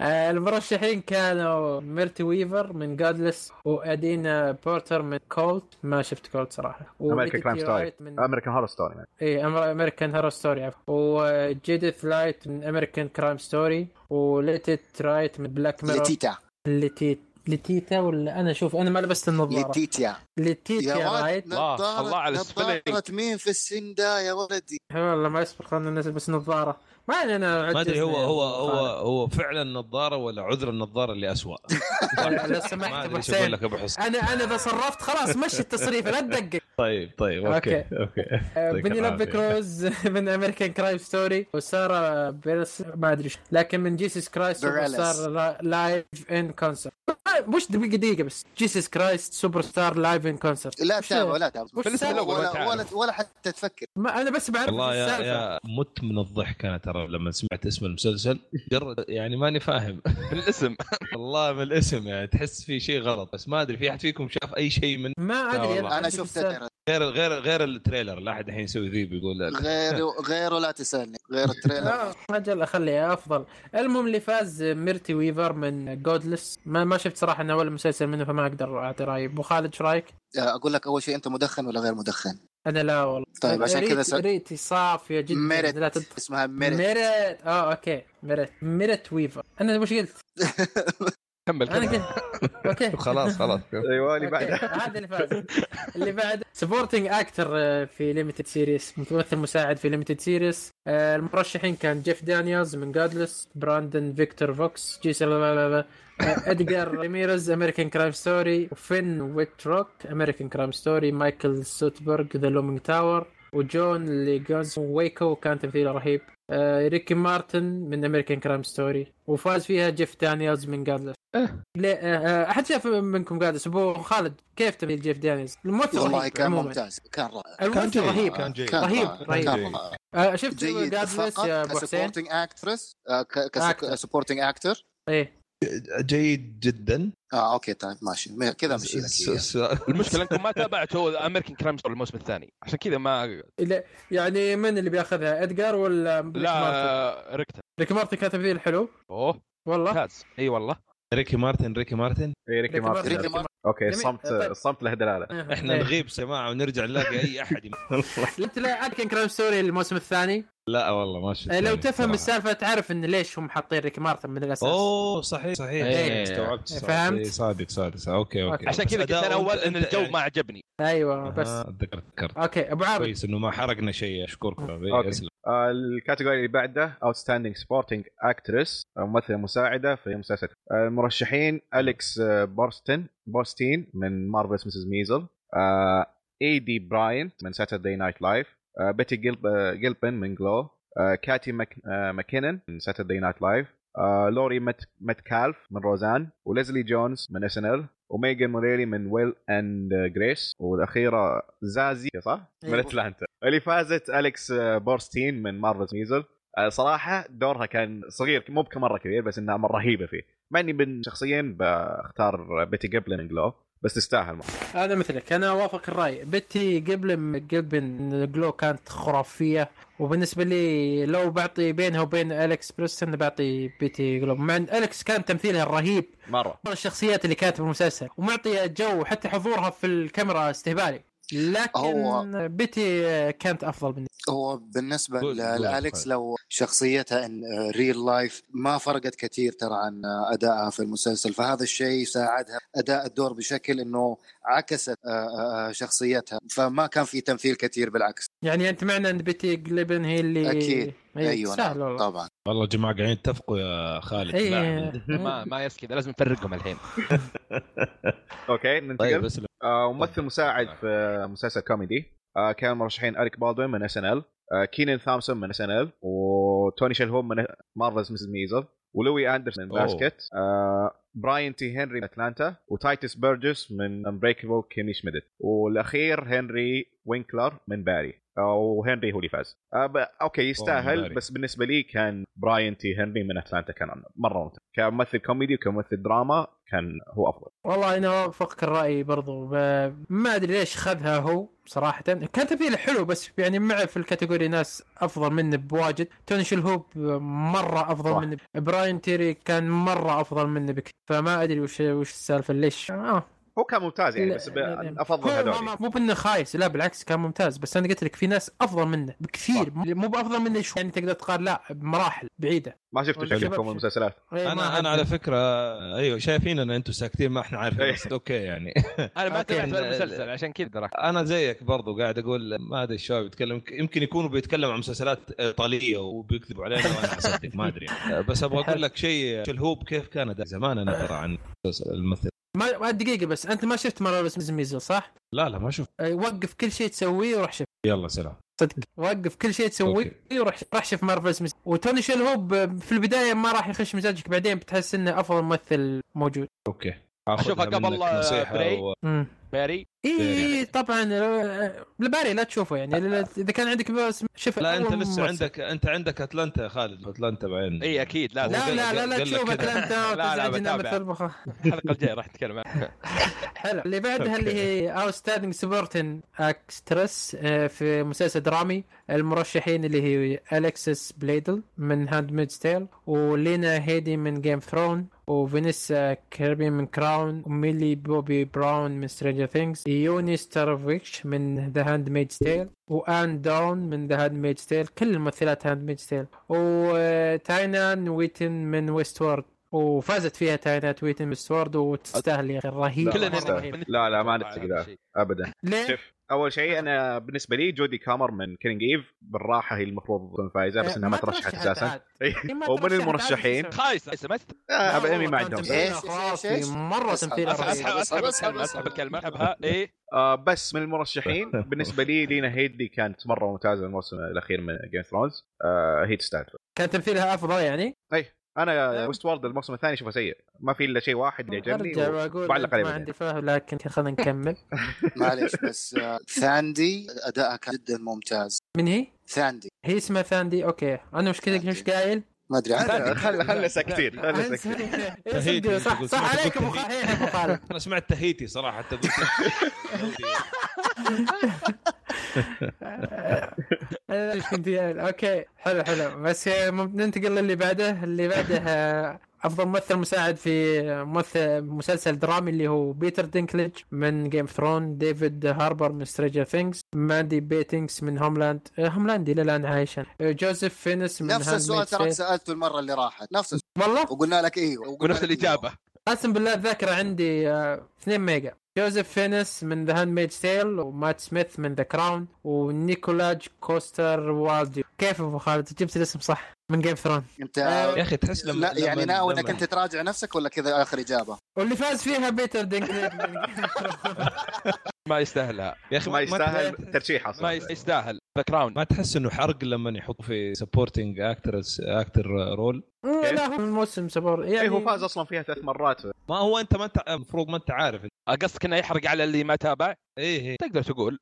آه، المرشحين كانوا ميرتي ويفر من جادلس وادينا بورتر من كولت ما شفت كولت صراحه American Crime وإيديتي Story. رايت من إيه، امريكان هورر ستوري اي امريكان هيرو ستوري وجيديث لايت آه، من امريكان كرايم ستوري وليتيت رايت من بلاك ميرور لتيتا لتيت لتيتا ولا انا شوف انا ما لبست النظاره لتيتا لتيتا يا رايت ولد الله، نظارة- الله على السبيلينج. نظارة مين في السن ده يا ولدي والله ما يسبق خلنا نلبس نظاره ما علينا، انا ما ادري هو عجزني. هو هو هو فعلا نظاره ولا عذر النظاره اللي اسوء لو سمحت ما ادري أبو ايش حسين. اقول لك ابو حسين انا انا اذا صرفت خلاص مشي التصريف لا تدقق طيب طيب اوكي اوكي يعطيك بنيلوب العافية. كروز من امريكان كرايم ستوري وساره بيرس ما ادري شو. لكن من جيسس كرايست سوبر بيريلس. ستار لايف ان كونسرت مش دقيقه دقيقه بس جيسس كرايست سوبر ستار لايف ان كونسرت لا تابع ولا تابع وش بالنسبة سوى؟ الأول ما ولا, تعرف. ولا ولا حتى تفكر ما انا بس بعرف والله يا السالفه يا مت من الضحك انا ترى لما سمعت اسم المسلسل مجرد يعني ماني فاهم بالاسم والله من الاسم يعني تحس في شيء غلط بس ما ادري في احد فيكم شاف اي شيء من ما لا ادري والله. انا عندي شفت السالفة. ترى. غير غير غير التريلر لا احد الحين يسوي ذيب يقول لا غير غيره لا تسالني غير التريلر لا اجل اخليها افضل المهم اللي فاز ميرتي ويفر من جودلس ما, ما شفت صراحه انا ولا مسلسل منه فما اقدر اعطي رايي ابو خالد ايش رايك؟ اقول لك اول شيء انت مدخن ولا غير مدخن انا لا والله طيب عشان ريت- كذا س... ريتي صافيه جدا لا ميرت تد... اسمها ميرت ميرت اه اوكي ميرت ميرت ويفر انا وش قلت؟ كمل انا كمل قلت اوكي خلاص خلاص ايوه اللي أوكي، بعده هذا اللي فاز اللي بعد سبورتنج اكتر في ليمتد سيريس ممثل مساعد في ليمتد سيريس المرشحين كان جيف دانيالز من جادلس براندن فيكتور فوكس جيسل لا لا لا ادجار ريميرز امريكان كرايم ستوري وفين ويتروك امريكان كرايم ستوري مايكل سوتبرغ ذا لومينج تاور وجون ليجاز ويكو كان تمثيله رهيب آه ريكي مارتن من امريكان كرايم ستوري وفاز فيها جيف دانيالز من جادلس إيه. ليه آه آه، احد شاف منكم جادلس ابو خالد كيف تمثيل جيف دانيالز الممثل والله رهيب كان عموماً. ممتاز كان رائع الممثل جيد. رهيب كان جيد. رهيب، رهيب. كان رائع. آه شفت جيد جادلس فقط يا ابو حسين كسبورتنج اكترس Actor. كسبورتنج اكتر ايه جيد جدا اه اوكي طيب ماشي م- كذا مشي لك س- إياه. س- المشكله انكم ما تابعتوا امريكان كرايم ستوري الموسم الثاني عشان كذا ما يعني من اللي بياخذها ادجار ولا ريك مارتن؟ لا ركت ريك مارتن كان تمثيل حلو اوه والله ممتاز اي والله ريكي مارتن ريكي مارتن اي ريكي ريكي مارتن ريكي مارتن. مارتن اوكي جميل. الصمت طيب. الصمت له دلاله احنا إيه. نغيب سماعه ونرجع نلاقي اي احد يم- لا تلاقي كان كرايم ستوري الموسم الثاني لا والله ما شفت آه، لو يعني تفهم صراحة. السالفه تعرف ان ليش هم حاطين ريك مارتن من الاساس اوه صحيح صحيح إيه. استوعبت إيه، استوعبت. فهمت؟ إيه، صادق صادق صادق. اوكي اوكي عشان كذا بس قلت انا أداؤه اول أنت- ان أنت الجو يعني- ما عجبني ايوه بس آه، اتذكرت ذكرت اوكي ابو عابد كويس انه ما حرقنا شيء إيه، اشكركم أوكي. آه، الكاتيجوري اللي بعده اوتستاندينج سبورتنج اكترس ممثله مساعده آه، في مسلسل آه، المرشحين اليكس آه، بورستن بورستين من مارفلز مسز ميزل آه، اي دي براينت من ساتردي نايت لايف بيتي جيلب- آه، جيلبن من جلو آه، كاتي ماك... آه، ماكينن من ساتردي نايت لايف آه، لوري مت... متكالف من روزان وليزلي جونز من اس ان ال وميغان موريلي من ويل اند جريس والاخيره زازي صح؟ من أيوة. اتلانتا اللي فازت اليكس آه، بورستين من مارفلز ميزل آه، صراحه دورها كان صغير مو مره كبير بس انها مره رهيبه فيه مع اني من شخصيا بختار بيتي جيبلن من جلو بس تستاهل انا مثلك انا اوافق الراي بتي قبل جلبن جلو كانت خرافيه وبالنسبه لي لو بعطي بينها وبين اليكس بريستن بعطي بيتي جلو مع ان اليكس كان تمثيلها الرهيب مره من الشخصيات اللي كانت بالمسلسل ومعطيه جو وحتى حضورها في الكاميرا استهبالي لكن هو- بيتي كانت افضل بالنسبه هو بالنسبه Good, good, لالكس fine. لو شخصيتها ان ريل لايف ما فرقت كثير ترى عن ادائها في المسلسل فهذا الشيء ساعدها اداء الدور بشكل انه عكست آه، آه، آه، شخصيتها فما كان في تمثيل كثير بالعكس يعني انت معنى ان بيتي جليبن هي اللي أكيد. ايوه ايوه سهل نعم، والله طبعا والله الجماعه قاعدين يتفقوا يا خالد إيه. لا. ما ما يس كذا لازم نفرقهم الحين اوكي ننتقل طيب اسلم آه، ممثل مساعد في آه، مسلسل كوميدي آه، كان مرشحين اريك بالدوين من اس ان ال كينن آه، ثامسون من اس ان ال وتوني شلهوم من مارفلز مسز ميزل ولوي اندرسون من أوه. باسكت آه، براين تي هنري من اتلانتا وتايتس بيرجس من امبريكبل كيمي شميدت والاخير هنري وينكلر من باري آه، وهنري هو اللي فاز آه، ب- اوكي من يستاهل باري. بس بالنسبه لي كان براين تي هنري من اتلانتا كان مره ممتاز كممثل كوميدي وكممثل دراما كان هو افضل والله انا اوافقك الراي برضو ب... ما ادري ليش خذها هو صراحه كان تمثيله حلو بس يعني معه في الكاتيجوري ناس افضل منه بواجد توني شلهوب مره افضل صح. منه براين تيري كان مره افضل منه بك فما ادري وش وش السالفه ليش اه هو كان ممتاز يعني لا- بس ب- لا- لا. افضل هو ما- ما- هذول مو بانه خايس لا بالعكس كان ممتاز بس انا قلت لك في ناس افضل منه بكثير مو بافضل منه شوي يعني تقدر تقال لا بمراحل بعيده ما شفتوا والشباب شكلكم شو- المسلسلات إيه، ما انا أحب- انا على فكره ايوه شايفين ان انتم ساكتين ما احنا عارفين إيه. بس اوكي يعني انا ما أوكي. تابعت ولا المسلسل عشان كذا دراك انا زيك برضو قاعد اقول ما ادري الشباب يتكلم يمكن يكونوا بيتكلموا عن مسلسلات ايطاليه وبيكذبوا علينا وانا اصدق ما ادري يعني. بس ابغى اقول لك شيء شلهوب كيف كان أداء زمان انا ترى عن مسلسل- الممثل ما ما- دقيقه بس انت ما شفت مارفل ميزل صح؟ لا لا ما شوف إيه، وقف كل شيء تسويه وروح شوف يلا سلام صدق وقف كل شيء تسويه وروح راح شوف مارفل ميزل وتوني شيل هوب في البدايه ما راح يخش مزاجك بعدين بتحس انه افضل ممثل موجود اوكي أشوفها قبل منك نصيحة بري. و- امم باري إيه. اي طبعا آه، باري لا تشوفه يعني لا- اذا كان عندك بس شوف لا انت أول ممثل. لسه عندك انت عندك اتلانتا يا خالد اتلانتا بعدين اي اكيد لازم لا لا لا لا قال لك تشوف كده. اتلانتا لا، لا، وتزعجنا بتابع. مثل بخ... الحلقه الجايه راح نتكلم عنها حلو اللي بعدها اللي هي اوتستاندينج سبورتن اكسترس آه، في مسلسل درامي المرشحين اللي هي الكسس بليدل من هاند ميد ستيل ولينا هيدي من جيم ثرون وفينيسا كيربي من كراون وميلي بوبي براون من سترينجر ثينجز يوني ستارفيتش من ذا هاند ميد ستيل وان داون من ذا هاند ميد ستيل كل الممثلات هاند ميد ستيل وتاينا نويتن من ويست وورد وفازت فيها تاينا نويتن من ويست وورد وتستاهل يا اخي رهيب لا، كلنا مرة ما رهيب. نتفق لا، لا، ما على هذا نتفق، لا. الشيء. ابدا ليه؟ شوف اول شيء انا بالنسبه لي جودي كامر من كينج ايف بالراحه هي المفروض تكون فايزه بس انها إيه، ما ترشحت اساسا إيه، إيه، ما ومن ترشحت عاد، المرشحين إيش خايسه خايسه ما تست- آه، والله أبي ما كان عندهم تمثيل إيش، إيش، خرافي، إيش؟ مره أسحب، تمثيل أسحب، اسحب رهيب. اسحب اسحب بس- الكلمه بس- اسحب بس- الكلمه اسحبها ايه آه بس من المرشحين بالنسبه لي لينا هيدلي كانت مره ممتازه الموسم الاخير من جيم ثرونز آه هي تستاهل كان تمثيلها افضل يعني انا ويست وورد الموسم الثاني اشوفه سيء ما في الا شيء واحد اللي يعجبني ارجع واقول وبعلق أنت عليه ما بعدين. عندي فهم لكن خلينا نكمل معليش بس آه، ثاندي ادائها كان جدا ممتاز من هي؟ ثاندي هي اسمها ثاندي اوكي انا مشكلتك مش قايل ما ادري خل- عنها خل خل ساكتين خل ساكتين إيه، صدق، صح صح عليك ابو خالد إيه، ابو خالد انا سمعت تهيتي صراحه حتى قلت آه. أنا ايش كنت قايل اوكي حلو حلو بس آه، مم- ننتقل للي بعده اللي بعده آه، افضل ممثل مساعد في ممثل مسلسل درامي اللي هو بيتر دينكليج من جيم ثرون ديفيد هاربر من ستريجر ثينكس ماندي بيتينكس من هوملاند آه، هوملاند الى الان عايشه آه، جوزيف فينس من نفس Handmaid's السؤال تراك Tale. سالته المره اللي راحت نفس السؤال والله وقلنا لك ايوه وقلنا ونفس لك إيوه. الاجابه قسم بالله الذاكرة عندي آه، 2 ميجا جوزيف فينس من ذا هاند ميد سيل ومات سميث من ذا كراون ونيكولاج كوستر والدي كيف ابو خالد جبت الاسم صح من جيم ثرون انت يا اخي تحس لما آه، لا يعني لما- ناوي لما- انك انت تراجع نفسك ولا كذا اخر اجابه؟ واللي فاز فيها بيتر دينكليج من Game of Thrones. ما يستاهلها يا اخي ما يستاهل تحس- ترشيح اصلا ما يستاهل ذا كراون ما تحس انه حرق لما يحطوا في سبورتنج اكتر اكتر رول مم، لا هو الموسم سبور يعني إيه، هو فاز اصلا فيها ثلاث مرات ما هو انت ما انت المفروض ما انت عارف قصدك انه يحرق على اللي ما تابع ايه ايه تقدر تقول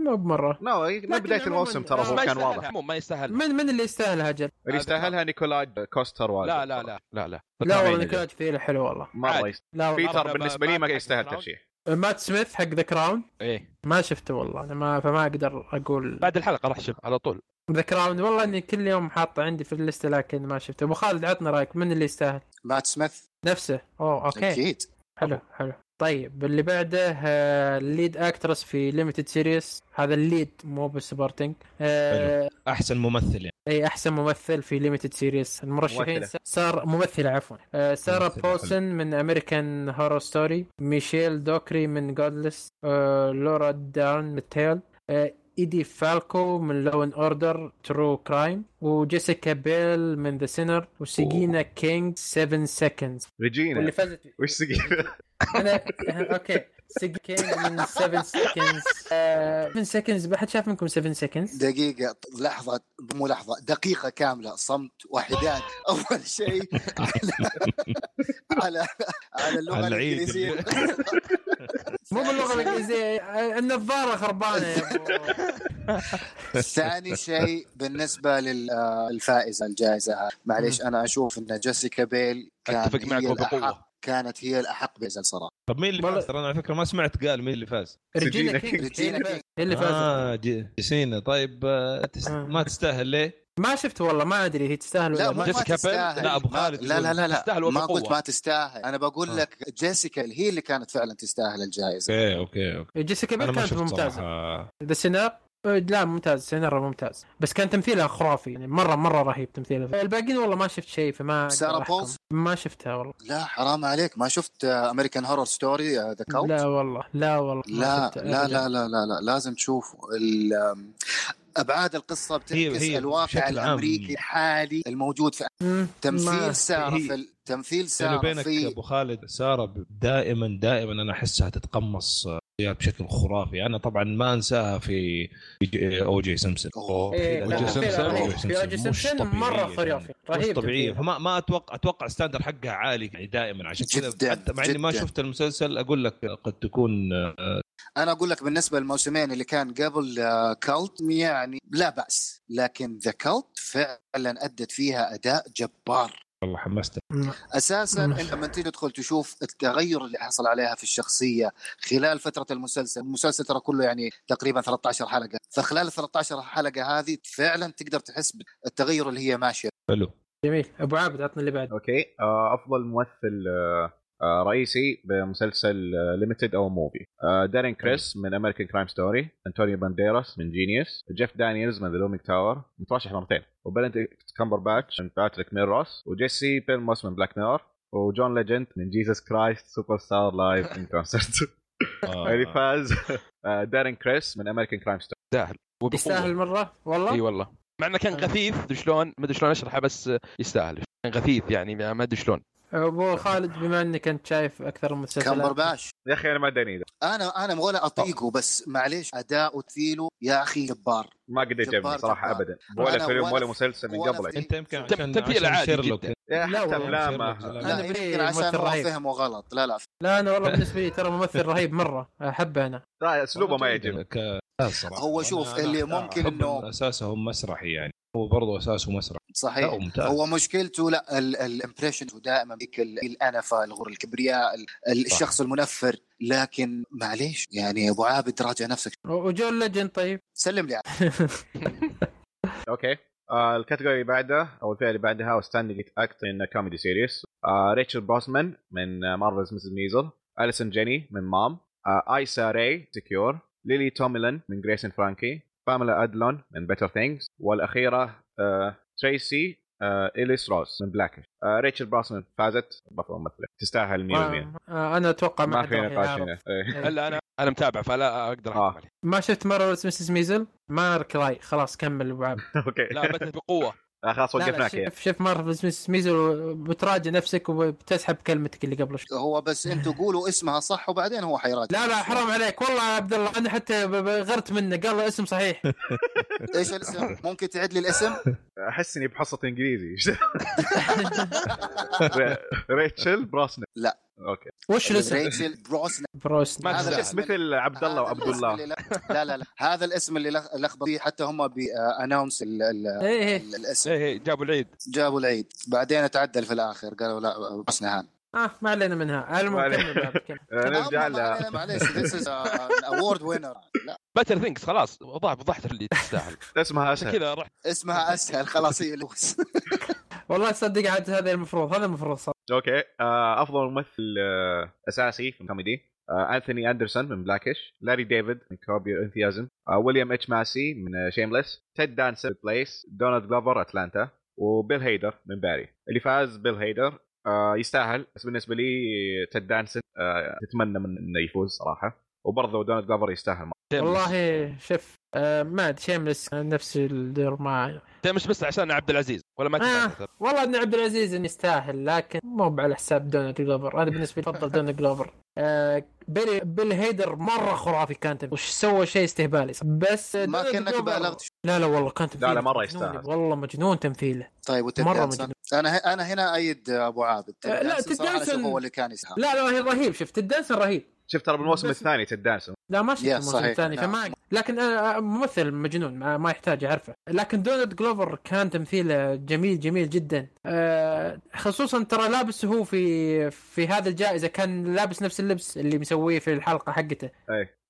مو بمرة لا من بدايه عموماً- الموسم ترى هو ما كان يستاهلها. واضح عموماً ما يستاهل من من اللي يستاهلها اجل؟ اللي يستاهلها نيكولاج كوستر والد لا لا لا لا يعني لا لا والله عيني نيكولاج فيها حلو والله مره عادي. يستاهل لا والله. بيتر ما- بالنسبه لي ما- ما ما- يستاهل ما- ترشيح مات سميث حق ذا كراون ايه ما شفته والله انا ما فما اقدر اقول بعد الحلقه راح شوف على طول ذا كراون والله اني كل يوم حاطه عندي في الليسته لكن ما شفته ابو خالد عطنا رايك من اللي يستاهل مات سميث نفسه اوه اوكي اكيد حلو حلو طيب اللي بعده آه، الليد اكترس في ليمتد سيريس هذا الليد مو بسبورتنج آه، احسن ممثل يعني اي احسن ممثل في ليمتد سيريس المرشحين ممثلة. س- سار ممثله عفوا آه، سارة ممثلة، بولسون من امريكان هورر ستوري ميشيل دوكري من جودلس لورا دارن من تيل آه، ايدي فالكو من لو ان اوردر ترو كرايم وجيسيكا بيل من ذا سينر وسيجينا كينج 7 سكندز واللي ريجينا فازت وش سقيفه انا اوكي سيجينا كينج من 7 سكندز 7 سكندز احد شاف منكم 7 سكندز؟ دقيقة لحظة مو لحظة دقيقة كاملة صمت وحداد أول شيء على على اللغة على العيد. الإنجليزية مو باللغه الانجليزيه آه، النظاره خربانه يا ابو ثاني شيء بالنسبة للفائزة الجائزة هذه معليش أنا أشوف أن جيسيكا بيل كانت اتفق معك هي الأحق وبقوه كانت هي الأحق بيزل صراحة طب مين اللي والله- فاز ترى انا على فكره ما سمعت قال مين اللي فاز ريجينا ريجينا كينج ريجينا كينج. هي اللي فازت اه جي- جسينا طيب آه، تس- آه. ما تستاهل ليه؟ ما شفت والله ما ادري هي تستاهل ولا لا ما ما, جيسيكا ما بيل؟ تستاهل لا، أبو ما- خالد لا لا لا لا تستاهل ما وبقوة. قلت ما تستاهل أنا آه. بقول لك جيسيكا هي اللي كانت فعلا تستاهل الجائزة اوكي اوكي اوكي جيسيكا انا بيل ما كانت شفت ممتازه صراحه ذا سينار آه، لا ممتاز سيناريو ممتاز بس كان تمثيلها خرافي يعني مره مره رهيب تمثيلها الباقيين والله ما شفت شيء فما أقدر سارة أحكم. بولز؟ ما شفتها والله لا حرام عليك ما شفت آه، أمريكان هورر ستوري ذا كاوت لا والله لا والله ما آه، لا شفتها لا أبداً. لا لا لا لا لازم تشوف ال- أم، ابعاد القصه بتعكس هي الواقع بشكل عام. الامريكي الحالي الموجود في مم، ما- تمثيل ساره هي- في ال- تمثيل بيني ساره وبينك في ابو خالد ساره ب- دائما دائما انا احسها تتقمص آه، بشكل خرافي انا طبعا ما انساها في او جي سمسم أوه. إيه، لا، أوجي أوجي تمثيلها سمسم، رهيب. أوجي أوه. سمسم في اوجي مش سمسم طبيعية يعني. مره خرافي مش رهيب طبيعيه تمثيلها. فما ما اتوقع اتوقع ستاندر حقها عالي يعني دائما عشان كذا جداً، حتى مع اني ما جداً. شفت المسلسل اقول لك قد تكون انا اقول لك بالنسبه للموسمين اللي كان قبل آه، كالت يعني لا باس لكن ذا كالت فعلا ادت فيها اداء جبار والله حمست مم. اساسا مم. انت لما تيجي تدخل تشوف التغير اللي حصل عليها في الشخصيه خلال فتره المسلسل، المسلسل ترى كله يعني تقريبا 13 حلقه، فخلال ال 13 حلقه هذه فعلا تقدر تحس بالتغير اللي هي ماشيه. حلو جميل ابو عابد عطنا اللي بعد اوكي آه، افضل ممثل آه، آه، رئيسي بمسلسل آه، ليمتد او موفي دارين كريس آه، من امريكان كرايم ستوري انتونيو بانديراس من جينيوس جيف دانييلز من ذا لومينج تاور مترشح مرتين وبنديكت كامبر باتش من باتريك ميروس وجيسي بيلموس من بلاك ميرور وجون ليجند من جيسس كرايست سوبر ستار لايف ان كونسرت آه. اللي فاز آه، دارين كريس من امريكان كرايم ستوري يستاهل وبقوة. يستاهل آه. مره والله اي والله مع انه كان غثيث مدري شلون ما ادري شلون اشرحه بس يستاهل كان غثيث يعني ما ادري شلون ابو خالد بما انك انت شايف اكثر من مسلسل كمبر باش يا اخي انا ما اداني ذا انا انا ولا اطيقه بس معليش اداء وتمثيله يا اخي جبار ما قد يعجبني جبار، صراحه جبار. ابدا وأنا- ولا فيلم ولا وأنا- مسلسل من وأنا قبل في- يعني. انت يمكن تم- عشان تمثيل عشان عادي شيرلوك جداً. يا لا حتى والله، افلامه أنا لا بريء يمكن عشان إيه، ممثل هو رهيب. فهمه غلط لا لا لا انا والله بالنسبه لي ترى ممثل رهيب مره احبه انا لا اسلوبه طيب، ما طيب. يعجبني هو شوف، اللي ممكن إنه- اساسهم مسرحي يعني هو برضه اساسه مسرح صحيح لا ممتاز هو مشكلته لا الامبريشن دائما ذيك ال- الانفه الغر الكبرياء ال- ال- صح. الشخص المنفر لكن معليش يعني يا ابو عابد راجع نفسك وجون ليجن طيب سلم لي اوكي آه الكاتيجوري اللي بعدها او الفئه اللي بعدها اوستاندينج اكت ان كوميدي سيريس آه ريتشل بوسمان من مارفلز مسز ميزل اليسون جيني من مام آه ايسا راي سكيور ليلي توميلن من جريسن فرانكي باملا ادلون من بيتر ثينجز والاخيره آه تريسي آه اليس روز من بلاكش آه ريتشل بوسمان فازت بطل ممثله تستاهل 100% ما, آه، انا اتوقع ما, ما حد في راح نقاش يعارض. هنا إيه. إيه. هلا انا انا متابع فلا اقدر آه. احكم عليه ما شفت مارفل مسز ميزل ما كراي خلاص كمل ابو عبد اوكي لا بث بقوه آه، خلاص لا، لا، وقفناك يعني. شوف شوف مارفل مسز ميزل وبتراجع نفسك وبتسحب كلمتك اللي قبل شوي هو بس انتوا قولوا اسمها صح وبعدين هو حيراجع لا لا حرام عليك والله يا عبد الله انا حتى ب- ب- غرت منه قال له اسم صحيح ايش الاسم ممكن تعد لي الاسم احس اني بحصه انجليزي ريتشل براسنر لا. اوكي وش الاسم؟ ريتشل بروسن بروس ما هذا تزعل. الاسم اللي- مثل عبد الله هذا وعبد الاسم الله اللي لخ- لا لا لا هذا الاسم اللي لخ- لخبط فيه حتى هم آه، باناونس ايه ايه الاسم ايه إيه، جابوا العيد جابوا العيد بعدين اتعدل في الاخر قالوا لا بروسن هان اه ما علينا منها ما المهم علينا. كمل بعد، كمل. آه، نرجع أما- ما ل علينا، معليش this is an award winner لا بتر ثينكس خلاص وضع وضحت اللي تستاهل اسمها عشان اسهل كذا رحت اسمها اسهل خلاص هي لوس والله تصدق عاد هذا المفروض هذا المفروض صار اوكي آه، افضل ممثل آه، اساسي في الكوميدي آه، انثوني اندرسون من بلاكش لاري ديفيد من آه، كوب انثيازم ويليام اتش ماسي من آه، شيمليس تيد دانسر بليس دونالد جلوفر اتلانتا وبيل هيدر من باري اللي فاز بيل هيدر آه، يستاهل بس بالنسبه لي تيد دانسن آه، اتمنى من انه يفوز صراحه وبرضه دونالد جلوفر يستاهل مرة. والله شف آه ما ادري شيملس نفس الدور ما تيمس بس عشان عبد العزيز ولا ما آه. تبعت والله ابن عبد العزيز إن يستاهل لكن مو على حساب دونالد جلوفر انا بالنسبه لي افضل دونالد جلوفر آه بيل, بيل هيدر مره خرافي كان تمثيل. وش سوى شيء استهبالي بس ما دونالد كانك جلوفر- بالغت لا لا والله كان تمثيله لا، مرة مجنون. يستاهل. والله مجنون تمثيله طيب وتيد مرة دانسون؟ انا ه- انا هنا ايد ابو عابد تيد لا، دانسون تيد صراحة أنا دانسون- أشوفه هو اللي كان يسهر لا لا هي رهيب شفت الدنسر رهيب شفت ترى بالموسم بس- الثاني تيد دانسون لا ما شفت يا الموسم صحيح. الثاني نعم. فما لكن أنا ممثل مجنون ما, ما يحتاج اعرفه لكن دونالد جلوفر كان تمثيله جميل جميل جدا آه، خصوصا ترى لابس هو في في هذه الجائزه كان لابس نفس اللبس اللي مسويه في الحلقه حقته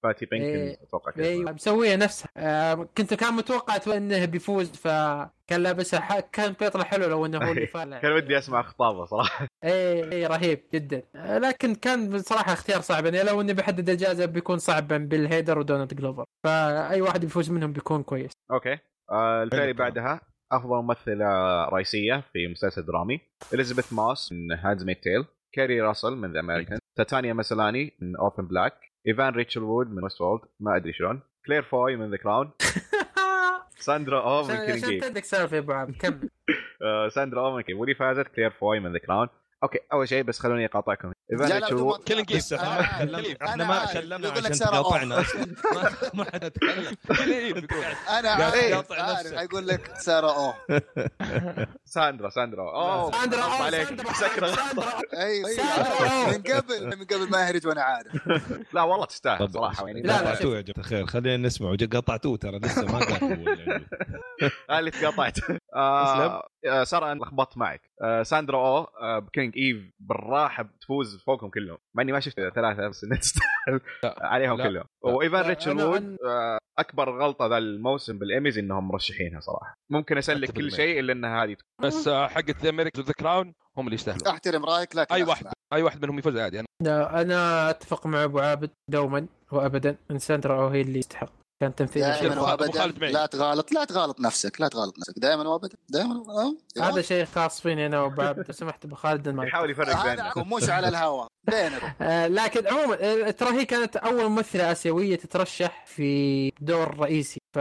فاتي بينكن إيه. اتوقع كذا ايوه مسويه نفسها آه، كنت كان متوقع أتوقع انه بيفوز فكان لابسها ح... كان بيطلع حلو لو انه هو اللي فاز كان ودي اسمع خطابه صراحه اي اي إيه، رهيب جدا آه، لكن كان بصراحه اختيار صعب يعني لو اني بحدد الجائزه بيكون صعب بين بيل هيدر ودونالد جلوفر فاي واحد بيفوز منهم بيكون كويس اوكي آه الفئه اللي حلو الكلام. بعدها افضل ممثله رئيسيه في مسلسل درامي اليزابيث ماس من هاندز ميد تيل كاري راسل من ذا امريكان تاتانيا مسلاني من اوبن بلاك ايفان ريتشل وود من ويست وولد ما ادري شلون كلير فوي من ذا كراون ساندرا او Oh من عشان كيلينج عشان إيف. تدك سالفه يا ابو عبد كمل آه، ساندرا او من كيلينج واللي فازت كلير فوي من ذا كراون اوكي اول شيء بس خلوني اقاطعكم لا، ايفان لا، ريتشل بدون ما وود تقاطع. كيلينج إيف. أنا إحنا عارف. تكلمنا. آه، أنا احنا ما عارف. تكلمنا يقول لك عشان سارة أوه. تقاطعنا ما ما حد تكلم إيه، انا قاعد عارف تقاطع عارف نفسك. اقول لك ساره اوه ساندرا ساندرا اوه ساندرا غصب أوه، عليك ساندرا سكر ساندرا غصب. أوه. ايوه أيوة. سارة أوه. من قبل من قبل ما اهرج وانا عارف لا والله تستاهل صراحه يعني لا، لا، قطعتوه يا جماعه الخير خلينا نسمع قطعتوه ترى لسه ما قاطعوه يعني. آه، اللي تقاطعت تسلم. آه آه، سارة انا لخبطت معك آه ساندرا او آه بكينج ايف بالراحه بتفوز فوقهم كلهم مع اني ما شفت ثلاثه بس انها تستاهل عليهم لا. كلهم وايفان لا، ريتشل أنا- وود آه اكبر غلطه ذا الموسم بالايميز انهم مرشحينها صراحه ممكن اسلك أتفق كل معك. شيء الا ان هذه تكون. بس آه، حقت امريكا ذا كراون هم اللي يستاهلون احترم رايك لكن اي أسمع. واحد اي واحد منهم يفوز عادي انا لا، انا اتفق مع ابو عابد دوما وابدا ان ساندرا أو هي اللي تستحق كان تمثيل شوف، دائما أبو وابدا خالد معي. لا تغالط لا تغالط نفسك لا تغالط نفسك دائما وابدا دائما وابدا هذا شيء خاص فيني انا وبعد لو سمحت ابو خالد ما يحاول يفرق بيننا هذا مش على الهواء بينكم آه، لكن عموما آه، ترى هي كانت اول ممثله اسيويه تترشح في دور رئيسي ف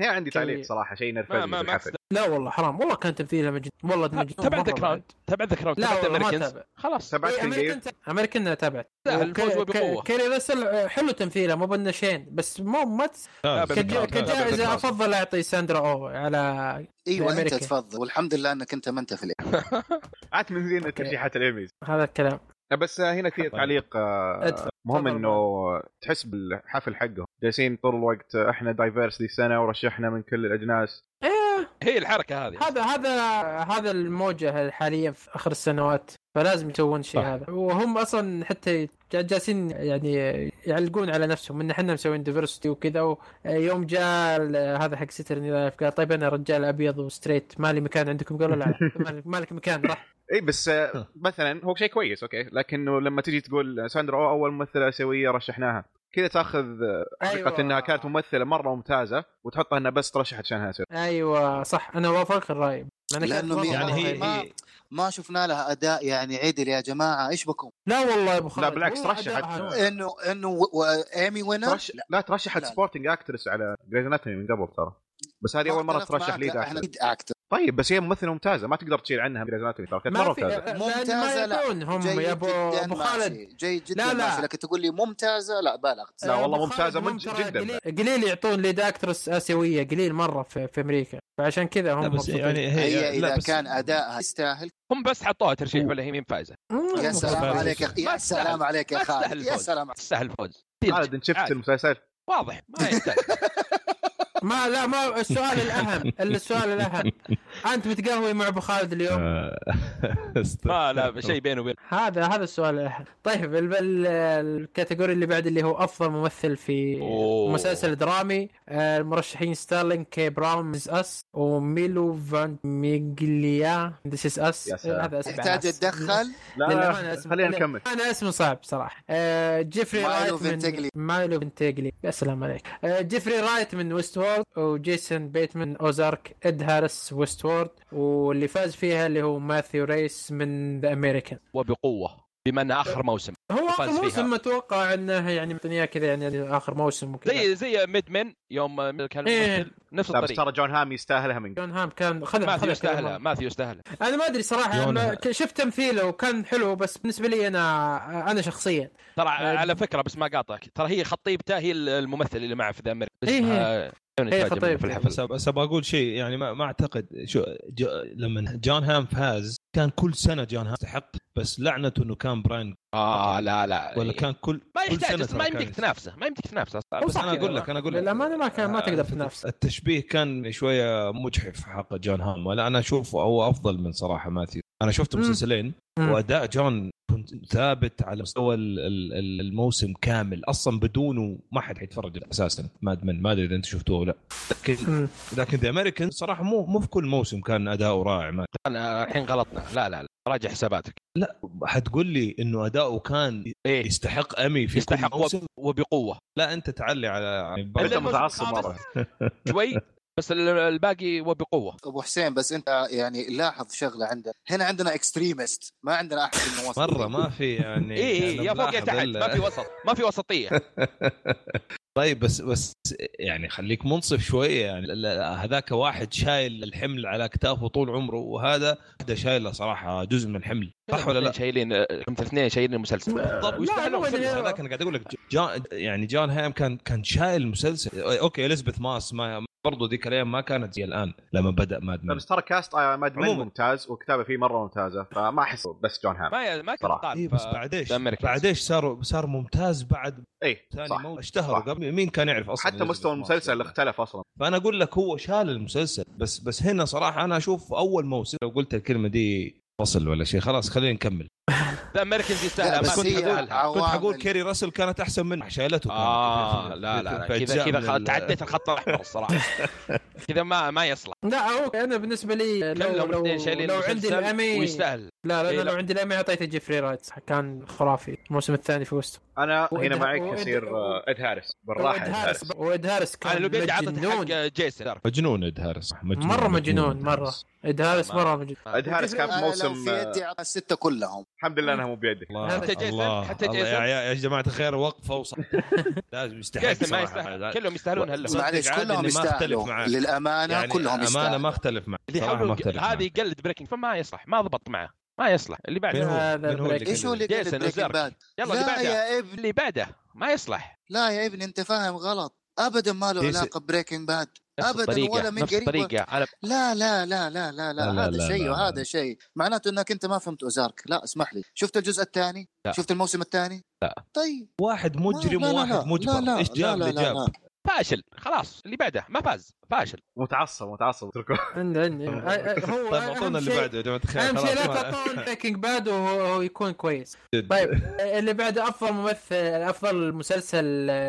هي عندي كي- تعليق صراحه شيء ما نرفزني ما ما بالحفل أقصد- لا والله حرام والله كان تمثيلها مجنون والله مجنون تبع مرة ذا كراون بعد. تبع ذا كراون لا تبع ذا والله ما امريكانز تابع خلاص تبعت إيه، كيف؟ امريكان امريكان انا تابعت لا، الفوز وك- وبقوة. ك- كيري راسل آه، حلو تمثيله مو بنشين بس مو ما تس- آه، لا، بالكرام، كج- بالكرام، لا، بالكرام. كجائزه افضل اعطي ساندرا او على ايوه انت أمريكا. تفضل والحمد لله انك انت ما انت في الإعلام. عاد من ذي ترشيحات الايميز هذا الكلام بس آه، هنا في تعليق آه، أدفع. مهم تفضل. انه تحس بالحفل حقهم جالسين طول الوقت آه، احنا دايفيرس دي السنه ورشحنا من كل الاجناس ايه هي الحركه هذه هذا هذا هذا الموجه حاليا في اخر السنوات فلازم يسوون شيء صح. هذا وهم اصلا حتى جا- جالسين يعني يعلقون على نفسهم ان احنا مسويين ديفرستي وكذا و- يوم جاء ال- هذا حق سيترني لايف قال طيب انا رجال ابيض وستريت مالي مكان عندكم قالوا لا مالك- مالك مكان راح اي بس آه، مثلا هو شيء كويس اوكي لكنه لما تجي تقول ساندرا أو اول ممثله اسيويه رشحناها كذا تاخذ آه، حقيقه أيوة. انها كانت ممثله مره ممتازه وتحطها انها بس ترشحت عشانها اسيويه ايوه صح انا وافقك الراي مع إنها كانت لأنه مرة مين- يعني مرة هي غريبة. هي ما شفنا لها اداء يعني عدل يا جماعه ايش بكم لا والله يا ابو خالد بالعكس والله رشحت. أداء هذا. انه انه و- وايمي وينر ترش... لا ترشحت لا. سبورتنج اكترس على جريز اناتومي من قبل ترى بس هذه اول مره ترشح لي احنا اكيد اكتر طيب بس هي ممثله ممتازه ما تقدر تشيل عنها جريز اناتومي ترى كانت مره ما في آه، ممتازه لأن ممتازة، ما لا. يكون هم جيد يا ابو جدا ابو ماشي. خالد جيد جدا لا، لا لا. لا. ماشي لكن تقول لي ممتازه لا بالغت لا، والله أبو ممتازة خالد ممت- ترى جداً. قليل, قليل يعطون ليد اكترس اسيويه قليل مره في, في امريكا فعشان كذا هم لا، بس مبسوطين. يعني هي لا، اذا بس- كان ادائها يستاهل هم بس حطوها ترشيح ولا هي مين فايزه مم. يا سلام ما عليك يا- ما يا تستاهل. سلام عليك يا ما تستاهل خالد يا الفوز. سلام تستاهل الفوز خالد انت شفت آه، عادي. المسلسل واضح ما يحتاج ما لا ما السؤال الاهم السؤال الاهم انت متقهوي مع ابو خالد اليوم آه، ما لا شيء بينه وبين هذا هذا السؤال الاهم طيب ال- ال- الكاتيجوري اللي بعد اللي هو افضل ممثل في أوه. مسلسل درامي آه، المرشحين ستارلين كي براون ميز اس وميلو فان ميغليا ذيس از اس يا سلام. هذا اسم تحتاج ناس. اتدخل لا للأمانة لا اسم- خلينا لا، نكمل انا اسمه صعب صراحه آه، جيفري مايلو رايت من فينتيغلي. مايلو فينتيغلي يا سلام عليك آه، جيفري رايت من ويست وورد وجيسون بيت من اوزارك اد هارس ويست وورد واللي فاز فيها اللي هو ماثيو ريس من ذا امريكان وبقوه بما انه اخر موسم هو فاز اخر فيها. موسم اتوقع انه يعني الدنيا كذا يعني اخر موسم وكذا زي زي ميد من يوم كان إيه. الممثل نفس لا بس الطريقه ترى جون هام يستاهلها من قبل. جون هام كان خذها ماثيو خذها يستاهلها كذا. ماثيو يستاهلها انا ما ادري صراحه جون أنا هام. ك- شفت تمثيله وكان حلو بس بالنسبه لي انا انا شخصيا ترى آه، على فكره بس ما قاطعك ترى هي خطيبته هي الممثل اللي معه في آه، ذا امريكا إيه، اسمها- شلون إيه، يتفاجأ خطيبته. منه في الحفل بس أب- بس ابغى اقول شيء يعني ما, ما اعتقد شو جو لما جون هام فاز كان كل سنه جون هام يستحق بس لعنته انه كان براين اه لا لا ولا كان كل ما كل يحتاج سنة أصلاً، ما ترى كان يمديك تنافسه ما يمديك تنافسه أصلاً. هو بس صح انا كذا. اقول لك انا اقول لك للامانه ما كان ما آه، تقدر تنافس آه، التشبيه كان شويه مجحف حق جون هام ولا انا اشوفه هو افضل من صراحه ماثيو انا شفت مم. مسلسلين مم. واداء جون كنت ثابت على مستوى ال- ال- ال- الموسم كامل اصلا بدونه ما حد حيتفرج اساسا ماد من ما ادري اذا انت شفتوه ولا لا. لكن مم. لكن ذا امريكان صراحه مو مو في كل موسم كان اداؤه رائع ما انا الحين غلطنا لا لا لا راجع حساباتك حتقول لي انه اداؤه كان ايه يستحق امي في يستحق كل موسم وب- وبقوه لا انت تعلي على انت إلا الموسم متعصب الخامس. مره شوي بس ال- الباقي وبقوه ابو حسين بس انت يعني لاحظ شغله عندنا هنا عندنا اكستريمست ما عندنا احد في المواصفات مره ما في يعني اي اي أنا إيه، يا فوق يا ملاحظ تحت ال- ما في وسط ما في وسطيه طيب بس بس يعني خليك منصف شويه يعني ال- ال- هذاك واحد شايل الحمل على اكتافه طول عمره وهذا واحده شايله صراحه جزء من الحمل صح ولا لا؟ شايلين هم الاثنين شايلين المسلسل بالضبط لا، يعني ويستاهل مو مسلسل إنه- هذاك انا قاعد اقول لك جون يعني جون هام كان كان شايل المسلسل اوكي اليزابيث ماس ما برضه ذيك الايام ما كانت زي الان لما بدا ماد لا، مان بس ترى كاست آه، ماد من عموماً. ممتاز وكتابه فيه مره ممتازه فما احس بس جون هام ما ما كنت صراحة. طالب إيه بس بعديش ذا أمريكانز. بعديش صار صار ممتاز بعد اي ثاني إيه، صح مو اشتهر صح. قبل مين كان يعرف اصلا حتى مستوى Elizabeth Moss المسلسل ولا؟ اختلف اصلا فانا اقول لك هو شال المسلسل بس بس هنا صراحه انا اشوف اول موسم لو قلت الكلمه دي فصل ولا شيء خلاص خلينا نكمل ذا امريكانز لا، يستاهل بس ما كنت حقول- هي تقول عوامل. كنت حقول كيري راسل كانت احسن منه شايلته اه لا لا لا كذا كذا خلاص تعديت الخط الاحمر الصراحه كذا ما ما يصلح لا هو انا بالنسبه لي لو كلهم لو, اثنين شايلين لو عندي المسلسل الامي ويستاهل لا لا إيه، أنا لا. لو عندي الامي اعطيته جيفري رايت كان خرافي الموسم الثاني في وسط انا وإد- هنا معك وإد- يصير آه، اد هارس بالراحه وإد اد هارس هارس ب- وإد هارس انا كان لو قد عطت حق مجنون جيسن تعرف. مجنون اد هارس مجنون مرة مجنون، إد مرة. هارس. إد هارس ما- مره مجنون آه. اد هارس كان في أنا لو موسم في آه، يدي أعطى الستة كلهم الحمد لله انها مو بيدك الله حتى جيسن- الله. حتى الله. يا- جيسن. يا يا جماعه الخير وقف وصل لازم يستحق جيسن ما صراحة. يستاهل كلهم يستاهلون هلا صدق معلش عادل كلهم إني ما أختلف يستاهلوا معاك. للأمانة يعني كلهم امانه ما يستاهلوا اختلف معك اللي صراحة ما حاولوا اختلف هذه يقلد بريكنج فما يصلح ما ضبط معه ما يصلح اللي معك. من بعده هو؟ هذا من هو البريك. اللي ايش هو اللي جيسون قلت بريكنج الزرق. باد؟ يلا اللي لا بعده يا ابني اللي بعده ما يصلح لا يا ابني انت فاهم غلط ابدا ما له جيسون- علاقه بريكنج باد نفس أبداً الطريقة ولا من نفس قريب ولا- الطريقة أنا لا لا لا لا لا، لا، لا لا لا، هذا شيء لا. وهذا شيء معناته انك انت ما فهمت اوزارك لا اسمح لي شفت الجزء الثاني لا. شفت الموسم الثاني لا طيب واحد ما- مجرم لا، لا، لا، وواحد لا، لا، مجبر ايش جاب لا، لا، اللي لا، جاب لا. فاشل خلاص اللي بعده ما فاز فاشل متعصب متعصب اتركوه عندي عندي هو طيب اعطونا أهم اللي شيء- بعده يا جماعه الخير اهم شيء لا خلاص، ما- تعطون بريكنج باد وهو هو يكون كويس جد. طيب اللي بعده افضل ممثل افضل مسلسل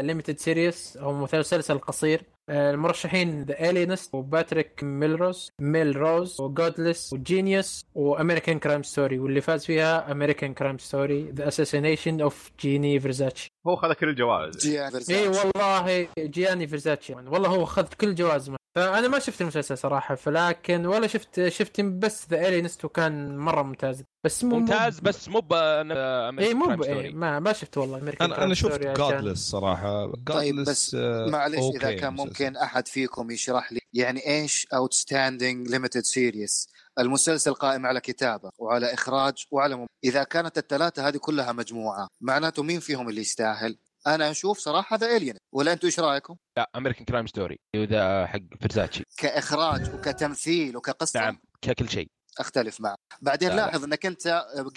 ليمتد سيريس او مسلسل قصير آه، المرشحين ذا الينست وباتريك ميلروز ميلروز وجودلس وجينيوس وامريكان كرايم ستوري واللي فاز فيها امريكان كرايم ستوري ذا اساسينيشن اوف جيني فرزاتشي هو خذ كل الجوائز جي آفرز. اي والله جياني فرزاتشي والله هو اخذ كل جوائز فانا ما شفت المسلسل صراحه فلكن ولا شفت شفت بس ذا الينست وكان مره ممتاز بس مو- مو- ممتاز بس مو ب اي مو ب- إيه، ستوري ما ما شفت والله امريكان انا انا شفت جادلس صراحه طيب، Godless، بس آه، معلش اذا أوكي كان المسلسل. ممكن احد فيكم يشرح لي يعني ايش اوتستاندينج ليمتد سيريس المسلسل قائم على كتابه وعلى اخراج وعلى مم... اذا كانت الثلاثه هذه كلها مجموعه معناته مين فيهم اللي يستاهل انا اشوف صراحه ذا الين ولا انتم ايش رايكم لا امريكان كرايم ستوري وذا حق فرزاتشي كاخراج وكتمثيل وكقصه نعم ككل شيء اختلف معك بعدين لا، لا. لاحظ انك انت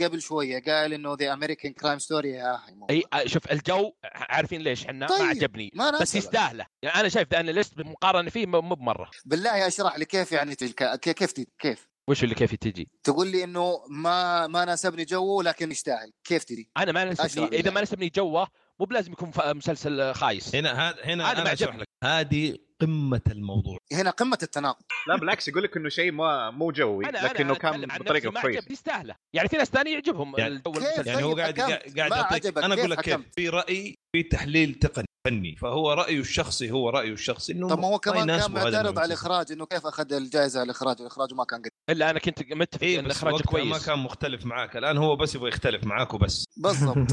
قبل شويه قايل انه ذا امريكان كرايم ستوري يا اخي مو- اي آه، شوف الجو عارفين ليش احنا ما طيب، عجبني ما بس ناسبك. يستاهله يعني انا شايف ذا ليست بالمقارنه فيه مو مو بمره بالله اشرح لي كيف يعني تلك... كيف كيف- كيف وش اللي كيف تجي تقول لي انه ما ما ناسبني جوه لكن يستاهل كيف تدري انا ما أشرح نسبني بالله. اذا ما نسبني جوه مو بلازم يكون ف- مسلسل خايس آه، هنا هذا هنا هذا ما انا اشرح عجبني. لك هذه قمه الموضوع هنا قمه التناقض لا بالعكس يقول لك انه شيء ما مو جوي أنا- أنا- لكنه أنا كان أتكلم عن بطريقه نفسي، ما كويسه عجبني، يستاهله يعني في ناس ثانيه يعجبهم يعني- الجو كيف؟ المسلسل. يعني هو طيب، قاعد حكمت. قاعد ما يعطيك عجبك، انا كيف اقول لك كيف حكمت؟ في راي في تحليل تقني فني فهو رايه الشخصي هو رايه الشخصي انه طب ما هو ما كمان يناسبه كان هذا معترض على المسلسل. الاخراج انه كيف اخذ الجائزه على الاخراج الاخراج ما كان قد الا انا كنت متفق ايه ان بس الاخراج وقتها ما كويس كان مختلف معاك الان هو بس يبغى يختلف معاك وبس بالضبط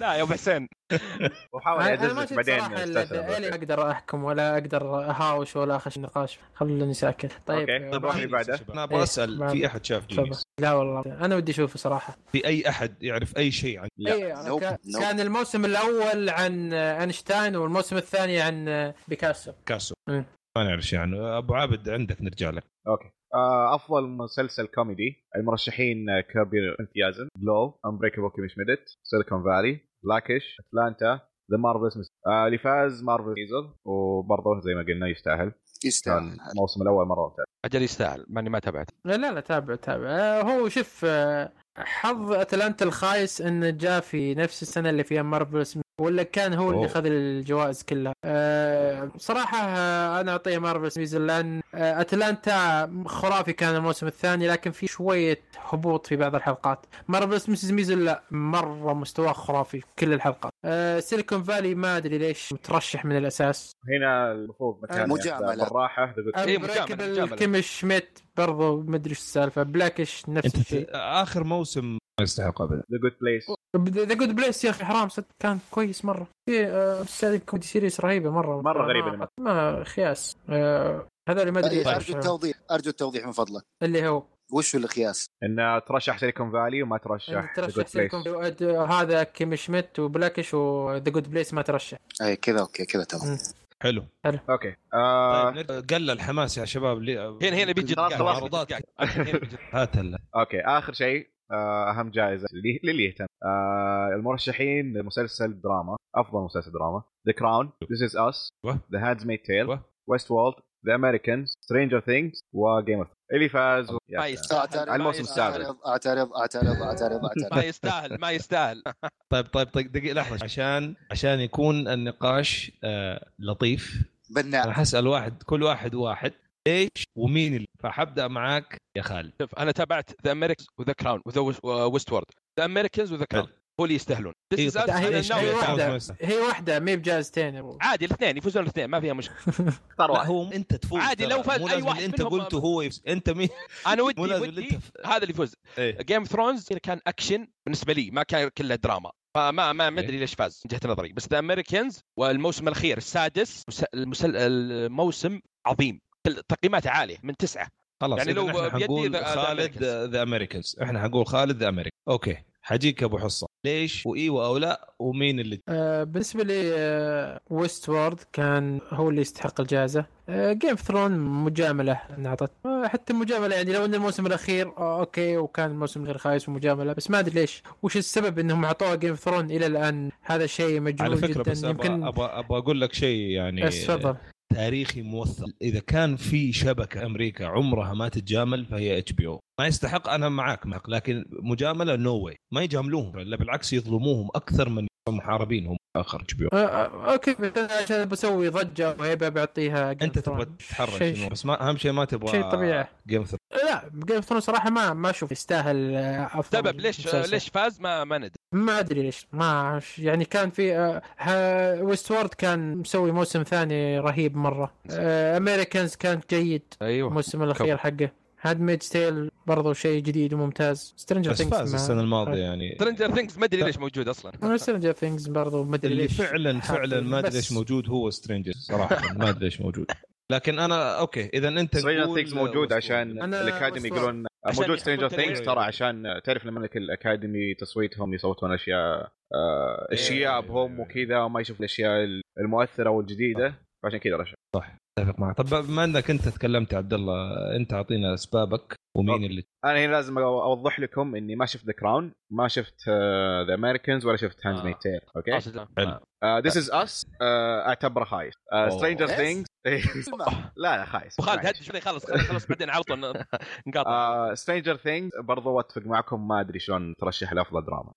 لا يا ابو حسين وحاول انا يعدل ما لك شفت بعدين يعني، صراحه إلا استاذ ذا أبو الين عبيد. اقدر احكم ولا اقدر اهاوش ولا اخش نقاش خلوني ساكت طيب أوكي. طيب، آه، واحد. اللي بعده. انا ابغى اسال بعد. في احد شاف تفضل. جونيس لا والله انا ودي اشوفه صراحه في اي احد يعرف اي شيء عن لا. إيه، نوب، كا- نوب. كان الموسم الاول عن آه، اينشتاين والموسم الثاني عن آه، بيكاسو كاسو إيه. ما نعرف شيء عنه ابو عابد عندك نرجع لك اوكي آه، افضل مسلسل كوميدي المرشحين آه، كيربي انثيازم جلو امبريكابل كيميش ميدت سيليكون فالي بلاكش اتلانتا ذا مارفلز آه، اللي فاز مارفل سيزون وبرضه زي ما قلنا يستاهل كان يستاهل الموسم الاول مره ممتاز اجل يستاهل ماني ما تابعت لا لا لا تابع تابع آه، هو شوف آه، حظ اتلانتا الخايس انه جاء في نفس السنه اللي فيها مارفل سميث، ولا كان هو أوه. اللي اخذ الجوائز كلها أه بصراحه آه، انا اعطيه مارفل سميث لان آه، اتلانتا خرافي كان الموسم الثاني لكن في شويه هبوط في بعض الحلقات مارفل سميث ميزل لا مره مستواه خرافي في كل الحلقات أه سيليكون فالي ما ادري ليش مترشح من الاساس هنا المفروض مكان مجاملة. يأخذ بالراحه The آه. Good- إيه، مجاملة، Unbreakable مجاملة. كيم شميت برضو ما ادري ايش السالفه بلاكش نفس انت الشيء اخر موسم ما يستحق ابدا The Good Place ذا جود بليس يا اخي حرام صدق كان كويس مره في آه، مسلسل كوميدي سيريس رهيبه مره مرة ما- غريبة لما- آه، ما خياس آه، هذا اللي ما ادري إيش ارجو التوضيح ارجو التوضيح من فضلك اللي هو وش هو القياس؟ انه ترشح سيليكون فالي وما ترشح The ترشح Good Place سيلكم هذا كيم شميت وبلاكش وذا جود بليس ما ترشح اي كذا اوكي كذا تمام حلو اوكي آه، طيب نرجع- قل الحماس يا شباب لي- هنا هنا بيجي خلاص، دقاق، خلاص. عروضات. هنا بيجي- هات ال- اوكي اخر شيء آه، اهم جائزه للي للي يهتم آه، المرشحين لمسلسل دراما افضل مسلسل دراما ذا كراون ذيس از اس أيوة. ذا هاندز ميد تيل أيوة. ويست وولد ذا امريكانز سترينجر ثينجز وجيم اوف اللي فاز و... يا ما سلام. يستاهل اعترض على الموسم السابع. اعترض اعترض اعترض اعترض ما اعترض يستاهل ما يستاهل طيب طيب طيب دقيقه لحظه عشان عشان يكون النقاش آه لطيف انا بناء حاسال واحد كل واحد واحد ايش ومين اللي فحبدا معاك يا خالد شوف انا تابعت ذا امريكانز وذا كراون وذا ويست وورد ذا امريكانز وذا كراون هو اللي يستاهلون This إيه، is us. طب أنا معليش، ناوي أي أيوة، واحدة. أتابع. تعال بس. هي واحده ما هي بجائزتين يا أبو. عادي الاثنين يفوزون الاثنين ما فيها مشكله اختار لا واحد هو انت تفوز عادي، ترى، لو فاز مو أي لازم واحد اللي انت منهم- قلته هو يفوز. انت مين انا ودي مو لازم اللي ودي انت هذا اللي يفوز إيه. جيم ثرونز كان اكشن بالنسبه لي ما كان كله دراما فما ما ما ادري ليش فاز من جهه نظري بس ذا امريكانز والموسم الاخير السادس مس- المسل... الموسم عظيم كل- تقييماته عاليه من تسعه خلاص يعني يعني لو لو احنا بيدي حنقول The- The خالد ذا امريكانز احنا حنقول خالد ذا امريكان اوكي حجيك ابو حصه ليش وايوه او لا ومين اللي آه، بالنسبه لي آه، ويست وورد كان هو اللي يستحق الجائزه آه، جيم اوف ثرون مجامله انعطت آه، حتى المجامله يعني لو ان الموسم الاخير آه، اوكي وكان الموسم غير خايس ومجامله بس ما ادري ليش وش السبب انهم اعطوها جيم اوف ثرون الى الان هذا شيء على مجهول فكره جدا بس ابغى يمكن ابغى ابغى اقول لك شيء يعني بس تفضل تاريخي موثق اذا كان في شبكه امريكا عمرها ما تتجامل فهي اتش بي او ما يستحق انا معاك معك لكن مجامله نو no way. ما يجاملوهم بل بالعكس يظلموهم اكثر من محاربين هم اخر اتش بي او آه، آه، اوكي بس أنا عشان بسوي ضجه وهيبه بعطيها Game انت of تبغى Thrones. تتحرش شيء- إنه- بس ما اهم شيء ما تبغى شيء طبيعي. جيم لا جيم اوف ثرون صراحه ما ما اشوف يستاهل آه، افضل طيب، سبب ليش مسلسل. ليش فاز ما ما ندري ما ادري ليش ما أعرف. يعني كان في ويست وورد كان مسوي موسم ثاني رهيب مره امريكانز كان جيد أيوه. ايوه الموسم الاخير حقه هاد ميد ستيل برضو شيء جديد وممتاز سترينجر بس فاز السنه ثينجز الماضيه يعني سترينجر ثينجز ما ادري ليش موجود اصلا سترينجر ثينجز آه، برضو ما ادري اللي ليش فعلا حاطين. فعلا ما ادري بس ليش موجود هو سترينجر صراحه ما ادري ليش موجود لكن انا اوكي اذا انت سترينجر قول- ثينجز موجود عشان أنا الاكاديمي وصلت. يقولون عشان موجود يحبون سترينجر ثينجز تنويع. ترى عشان تعرف لما لك الاكاديمي تصويتهم يصوتون اشياء إيه. آه، شيابهم وكذا وما يشوف الاشياء المؤثره والجديده فعشان كذا رشح اتفق معك طب بما انك انت تكلمت يا عبد الله انت اعطينا اسبابك ومين أوكي. اللي انا هنا لازم اوضح لكم اني ما شفت ذا كراون ما شفت ذا امريكانز ولا شفت هاندز آه. ميد تيل اوكي أصلاً. حلو. ذيس از اس اعتبره آه، خايس أوه. سترينجر Yes. ثينجز ما- لا لا خايس وخالد طيب. هدي شوي خلص خلص خلص بعدين على طول نقاطع سترينجر ثينجز برضو اتفق معكم ما ادري شلون ترشح لافضل دراما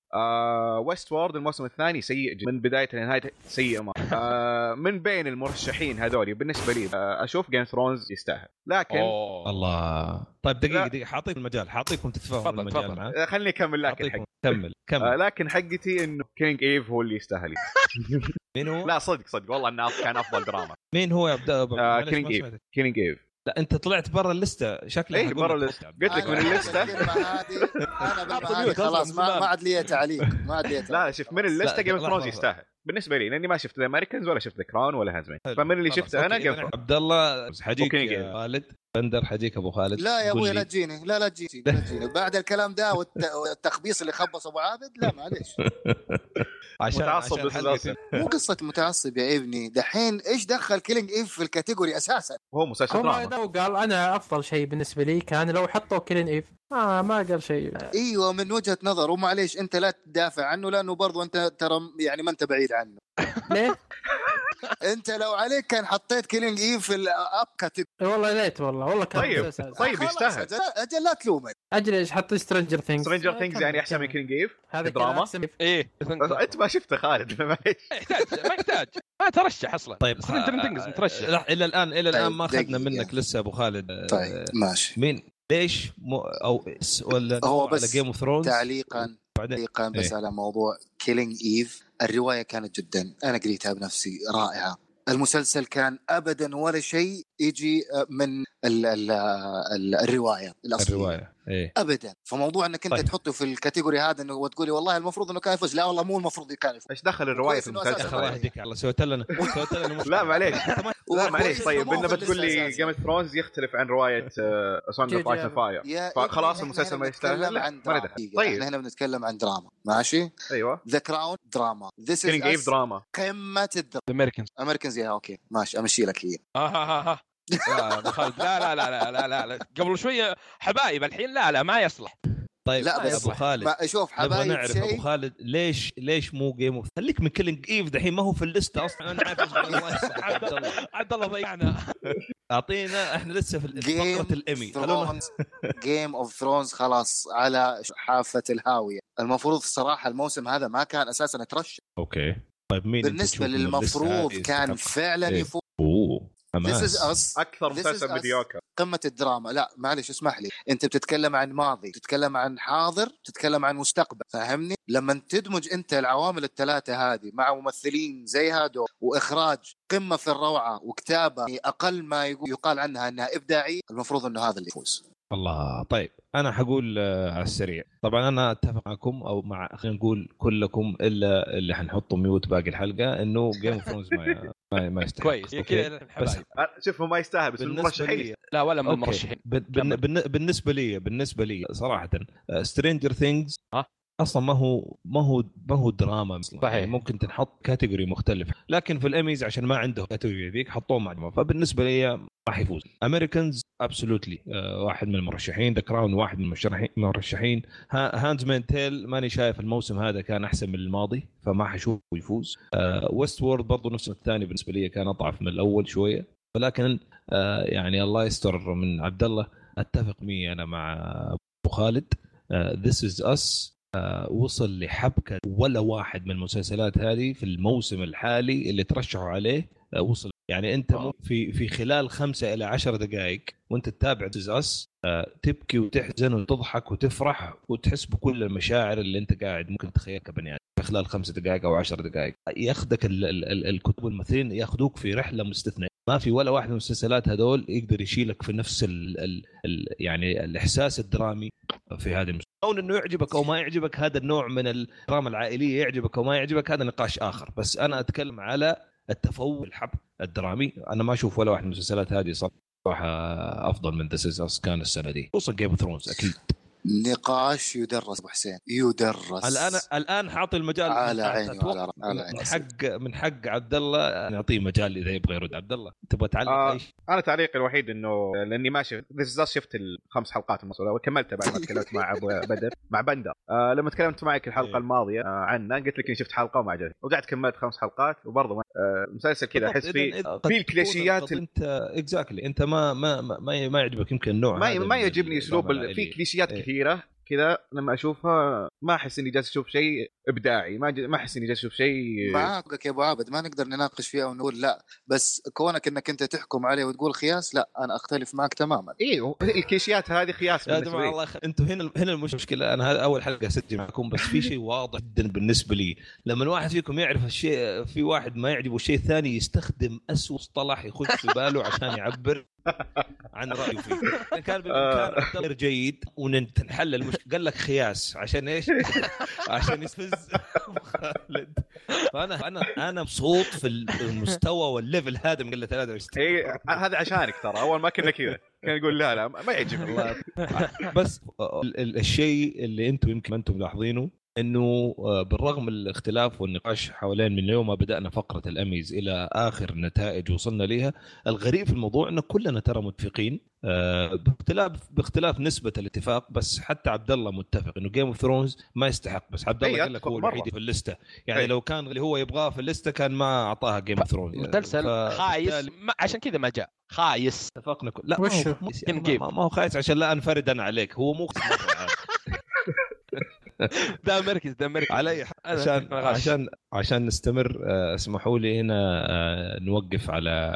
ويست وورد الموسم الثاني سيء جدا من بدايته لنهايته سيء ما آه، من بين المرشحين هذول بالنسبه لي آه، اشوف جيم ثرونز يستاهل لكن أوه. الله طيب دقيقه لا. دقيقه حاعطيكم المجال حاعطيكم تتفاهموا تفضل، المجال تفضل. معاه آه، خليني اكمل لكن حاعطيكم حقي. كمل آه، كمل لكن حقتي انه كينج ايف هو اللي يستاهل مين هو لا صدق صدق والله انه كان افضل دراما مين هو يا عبد الله آه، معلش ما كينج إيف. سمعتك. كينج ايف لا انت طلعت برا الليسته شكلك إيه، حقول برا لك الليستة. عبد الله. قلت لك من أنا الليستة. بالكلمة هذه- انا بالكلمة هذه أصلاً خلاص من ما زمان. ما عاد لي تعليق ما عاد لي تعليق لا شوف من اللسته لا، جيم لحظة، ثرونز لحظة. يستاهل بالنسبه لي لاني ما شفت ذا امريكانز ولا شفت ذا كراون ولا هازمين حلو. فمن اللي خلاص، شفته انا أوكي، جيم إذن ثرونز عبد الله حجيك أوكي، يا King Eve. خالد بندر حجيك ابو خالد لا يا قول ابوي لي. لا تجيني لا لا تجيني لا تجيني بعد الكلام ده والت- والتخبيص اللي خبص ابو عابد لا معليش عشان متعصب عشان بس حلقة متعصب. مو قصه متعصب يا ابني دحين ايش دخل كيلينج ايف في الكاتيجوري اساسا هو Oh مسلسل والله دراما لو قال انا افضل شيء بالنسبه لي كان لو حطوا كلين ايف آه ما قال شيء ايوه من وجهه نظر ومعليش انت لا تدافع عنه لانه برضو انت ترى يعني ما انت بعيد عنه ليه؟ انت لو عليك كان حطيت كيلينج ايف في الاب كاتيجوري والله ليت والله والله كان طيب. مسلسل. طيب، خلاص، يستاهل. أجل, اجل لا تلومني اجل ايش حط سترينجر ثينجز سترينجر ثينجز يعني احسن من كينج ايف آه، هذا دراما؟ دراما ايه انت ما شفته خالد معليش ما يحتاج ما يحتاج ما ترشح اصلا طيب سترينجر ثينجز مترشح لا الى الان الى الان ما طيب، اخذنا دقيقة. منك لسه ابو خالد طيب ماشي مين ليش مو او س- ولا هو نروح بس على جيم اوف ثرونز تعليقا بعدين تعليقا بس إيه. على موضوع كيلينج ايف الروايه كانت جدا انا قريتها بنفسي رائعه المسلسل كان ابدا ولا شيء يجي آه، من ال ال ال الروايه الاصليه الروايه ايه ابدا فموضوع انك انت طيب. طيب. تحطه في الكاتيجوري هذا انه وتقولي والله المفروض انه كان يفوز لا والله مو المفروض كان يفوز ايش دخل الروايه كويس في إنه المسلسل أساساً الله طيب؟ رواية. يهديك الله سويت لنا سويت لنا مشكلة. لا معليش أنت ما- لا هو معليش كويس طيب إنه ما انه هو بتقول لي بالأساس. جيم اوف ثرونز يختلف عن آه، روايه سونج جي اوف جي ايس فاير يا إبني، فخلاص إحنا المسلسل هنا ما يستاهل نتكلم لا عن ما دراما. ندخل دقيقة، طيب احنا هنا بنتكلم عن دراما ماشي ايوه ذا كراون دراما ذيس كينج ايف از دراما قمه الدراما امريكانز امريكانز يا اوكي ماشي امشي لك هي ها ها ها آه. لا أبو خالد، لا لا لا لا لا لا, لا. قبل شويه حبايب الحين لا لا ما يصلح طيب لا، لا بس- ابو خالد ما شوف نبغى حبايب نعرف ابو شيء خالد ليش ليش مو جيم اوف خليك من كيلينج ايف دحين ما هو في الليسته اصلا انا عارف إيش بقول. الله يصلحك، عبد الله عبد الله ضيعنا اعطينا احنا لسه في فقره الامي خلونا جيم اوف ثرونز خلاص على حافه الهاويه المفروض الصراحه الموسم هذا ما كان اساسا يترشح اوكي طيب مين أنت تشوف بالنسبه من الليستة للمفروض هذه كان يستحق؟ فعلا إيه. يفوز اوه This is حماس us اكثر This is مسلسل us. مديوكر قمه الدراما لا معلش اسمح لي انت بتتكلم عن ماضي بتتكلم عن حاضر بتتكلم عن مستقبل فهمني لما تدمج انت العوامل الثلاثه هذه مع ممثلين زي هادو واخراج قمه في الروعه وكتابه اقل ما يقو- يقال عنها انها ابداعيه المفروض انه هذا اللي يفوز الله طيب انا حقول آه، على السريع طبعا انا اتفق معكم او مع خلينا نقول كلكم الا اللي حنحطه ميوت باقي الحلقه انه جيم اوف ثرونز ما ما, ما يستحق كويس أوكي؟ كذا بس الحبايب. أه، شوف هو ما يستاهل بس بالنسبه المرشحين لي لا ولا من أوكي. المرشحين بن- بن- بن- بالنسبه لي بالنسبه لي آه، صراحه سترينجر ثينجز ها؟ اصلا ما هو ما هو ما هو دراما مثلا صحيح. يعني ممكن تنحط كاتيجوري مختلف لكن في الاميز عشان ما عندهم كاتيجوري ذيك حطوه مع فبالنسبه لي ما حيفوز امريكانز ابسولوتلي واحد من المرشحين ذا كراون واحد من المرشحين- المرشحين هاندز مان تيل ماني شايف الموسم هذا كان احسن من الماضي فما حشوفه يفوز ويست وورد برضه نفس الثاني بالنسبه لي كان اضعف من الاول شويه ولكن آه، يعني الله يستر من عبد الله اتفق مي انا مع ابو خالد آه، ذس از اس وصل لحبكه ولا واحد من المسلسلات هذه في الموسم الحالي اللي ترشحوا عليه آه، وصل يعني انت مو- في في خلال خمسة الى عشر دقائق وانت تتابع ذس اس تبكي وتحزن وتضحك وتفرح وتحس بكل المشاعر اللي انت قاعد ممكن تتخيلها كبني ادم في خلال خمسة دقائق او عشر دقائق ياخذك ال- ال- ال- الكتب والممثلين ياخذوك في رحله مستثنائيه ما في ولا واحد من المسلسلات هذول يقدر يشيلك في نفس ال ال ال يعني الاحساس الدرامي في هذه المسلسل كون انه يعجبك او ما يعجبك هذا النوع من الدراما العائليه يعجبك او ما يعجبك هذا نقاش اخر بس انا اتكلم على التفوق الحب الدرامي انا ما اشوف ولا واحد من المسلسلات هذه صراحه افضل من ذس از اس كان السنه دي خصوصا جيم اوف ثرونز اكيد نقاش يدرس ابو حسين يدرس الان الان حاعطي المجال على عيني أتوقع وعلى رأ- على عيني. من حق من حق عبد الله نعطيه مجال اذا يبغى يرد عبد الله تبغى تعلق آه. اي شيء انا تعليقي الوحيد انه لاني ما شفت ذيس از شفت الخمس حلقات من المسلسل وكملتها بعد ما تكلمت مع ابو بدر مع بندر آه لما تكلمت معك إيه. الحلقه الماضيه آه عنه قلت لك اني شفت حلقه وما عجبتني ورجعت كملت خمس حلقات وبرضه ما- آه المسلسل كذا احس فيه في الكليشيات ال- انت اكزاكتلي انت ما ما ما- ما, ما يعجبك يمكن النوع ما هذا ما من يعجبني اسلوب الدراما ال- في العائلية. كليشيات إيه. كثيره كذا لما اشوفها ما احس اني جالس اشوف شيء ابداعي ما ج- ما احس اني جالس اشوف شيء معاك يا ابو عابد ما نقدر نناقش فيها ونقول لا بس كونك انك انت تحكم عليه وتقول خياس لا انا اختلف معك تماما ايوه الكليشيات هذه خياس يا بالنسبه جماعه لي الله يخ... انتم هنا هنا المش- المشكله انا هذا اول حلقه اسجل معكم بس في شيء واضح جدا بالنسبه لي لما الواحد فيكم يعرف الشيء في واحد ما يعجبه الشيء الثاني يستخدم اسوء مصطلح يخش في باله عشان يعبر عن رايه فيه إن كان آه. بالامكان عبد الله غير جيد ونحل المشكله قال لك خياس عشان ايش؟ عشان يستفز أبو خالد فانا انا انا مبسوط في المستوى والليفل هذا من قله 23 إيه، هذا عشانك ترى اول ما كنا كذا كنا نقول لا لا ما يعجبني والله بس آه، ال- ال- الشيء اللي انتم يمكن ما انتم ملاحظينه انه آه، بالرغم من الاختلاف والنقاش حوالين من يوم ما بدانا فقره الاميز الى اخر نتائج وصلنا ليها الغريب في الموضوع انه كلنا ترى متفقين آه، باختلاف باختلاف نسبه الاتفاق بس حتى عبد الله متفق انه جيم اوف ثرونز ما يستحق بس عبد الله إيه، قال لك أتفق هو مرة. الوحيد في الليسته يعني إيه. لو كان اللي هو يبغاه في الليسته كان ما اعطاها جيم اوف ثرونز مسلسل خايس ما عشان كذا ما جاء خايس اتفقنا كل لا وش ما هو هو؟ خايس Game يعني، Game. ما ما هو خايس عشان لا انفرد انا عليك هو مو خايس مرة عاد. ده مركز ده مركز علي أنا- عشان أنا غاش. عشان عشان نستمر آه، اسمحوا لي هنا آه، نوقف على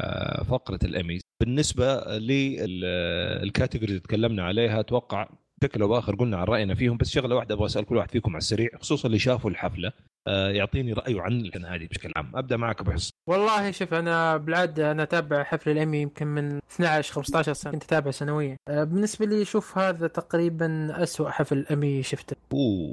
فقره الاميز بالنسبه للكاتيجوري اللي تكلمنا عليها اتوقع بشكل او باخر قلنا عن راينا فيهم بس شغله واحده ابغى اسال كل واحد فيكم على السريع خصوصا اللي شافوا الحفله آه، يعطيني رايه عن الحفلة هذه بشكل عام ابدا معك ابو حسن والله شوف انا بالعاده انا اتابع حفل الامي يمكن من 12 15 سنه كنت اتابع سنويا أه، بالنسبه لي شوف هذا تقريبا أسوأ حفل امي شفته أوه،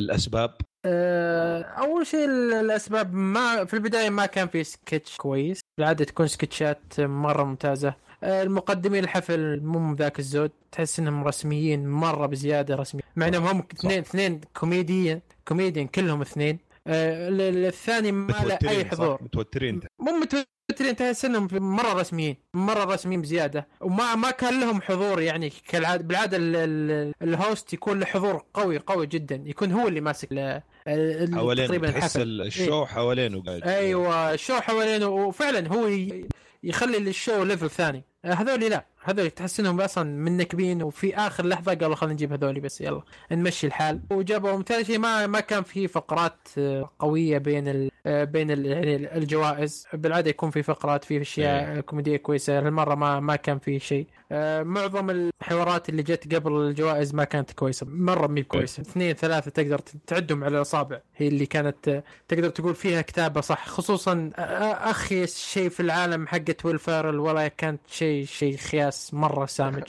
الاسباب أه، اول شيء ال- الاسباب ما في البدايه ما كان في سكتش كويس بالعاده تكون سكتشات مره ممتازه أه، المقدمين الحفل مو من ذاك الزود تحس انهم رسميين مره بزياده رسمي مع انهم هم اثنين اثنين كوميديا كوميديا كلهم اثنين أه، ال- ال- الثاني ما له متوترين اي صح؟ حضور متوترين مو متوترين تحس انهم مره رسميين مره رسميين بزياده وما ما كان لهم حضور يعني كالعاده بالعاده ال- ال- الهوست يكون له حضور قوي قوي جدا يكون هو اللي ماسك ال- ال- حوالين تقريبا تحس الحفل أيوه. أيوة، الشو حوالينه قاعد ايوه الشو حوالينه وفعلا هو ي- يخلي الشو ليفل ثاني آه، هذول لا هذول تحس انهم اصلا منكبين وفي اخر لحظه قالوا خلينا نجيب هذول بس يلا نمشي الحال وجابهم ثاني شيء ما ما كان في فقرات آه، قويه بين ال... آه، بين ال... يعني ال- الجوائز بالعاده يكون في فقرات في آه، اشياء كوميديه كويسه هالمره ما ما كان في شيء آه، معظم الحوارات اللي جت قبل الجوائز ما كانت كويسه مره مي كويسه اثنين ثلاثه تقدر تعدهم على الاصابع هي اللي كانت آه، تقدر تقول فيها كتابه صح خصوصا أ- أ- اخيس شيء في العالم حقت ويل فيرل ولا كانت شيء شيء خياس مره سامج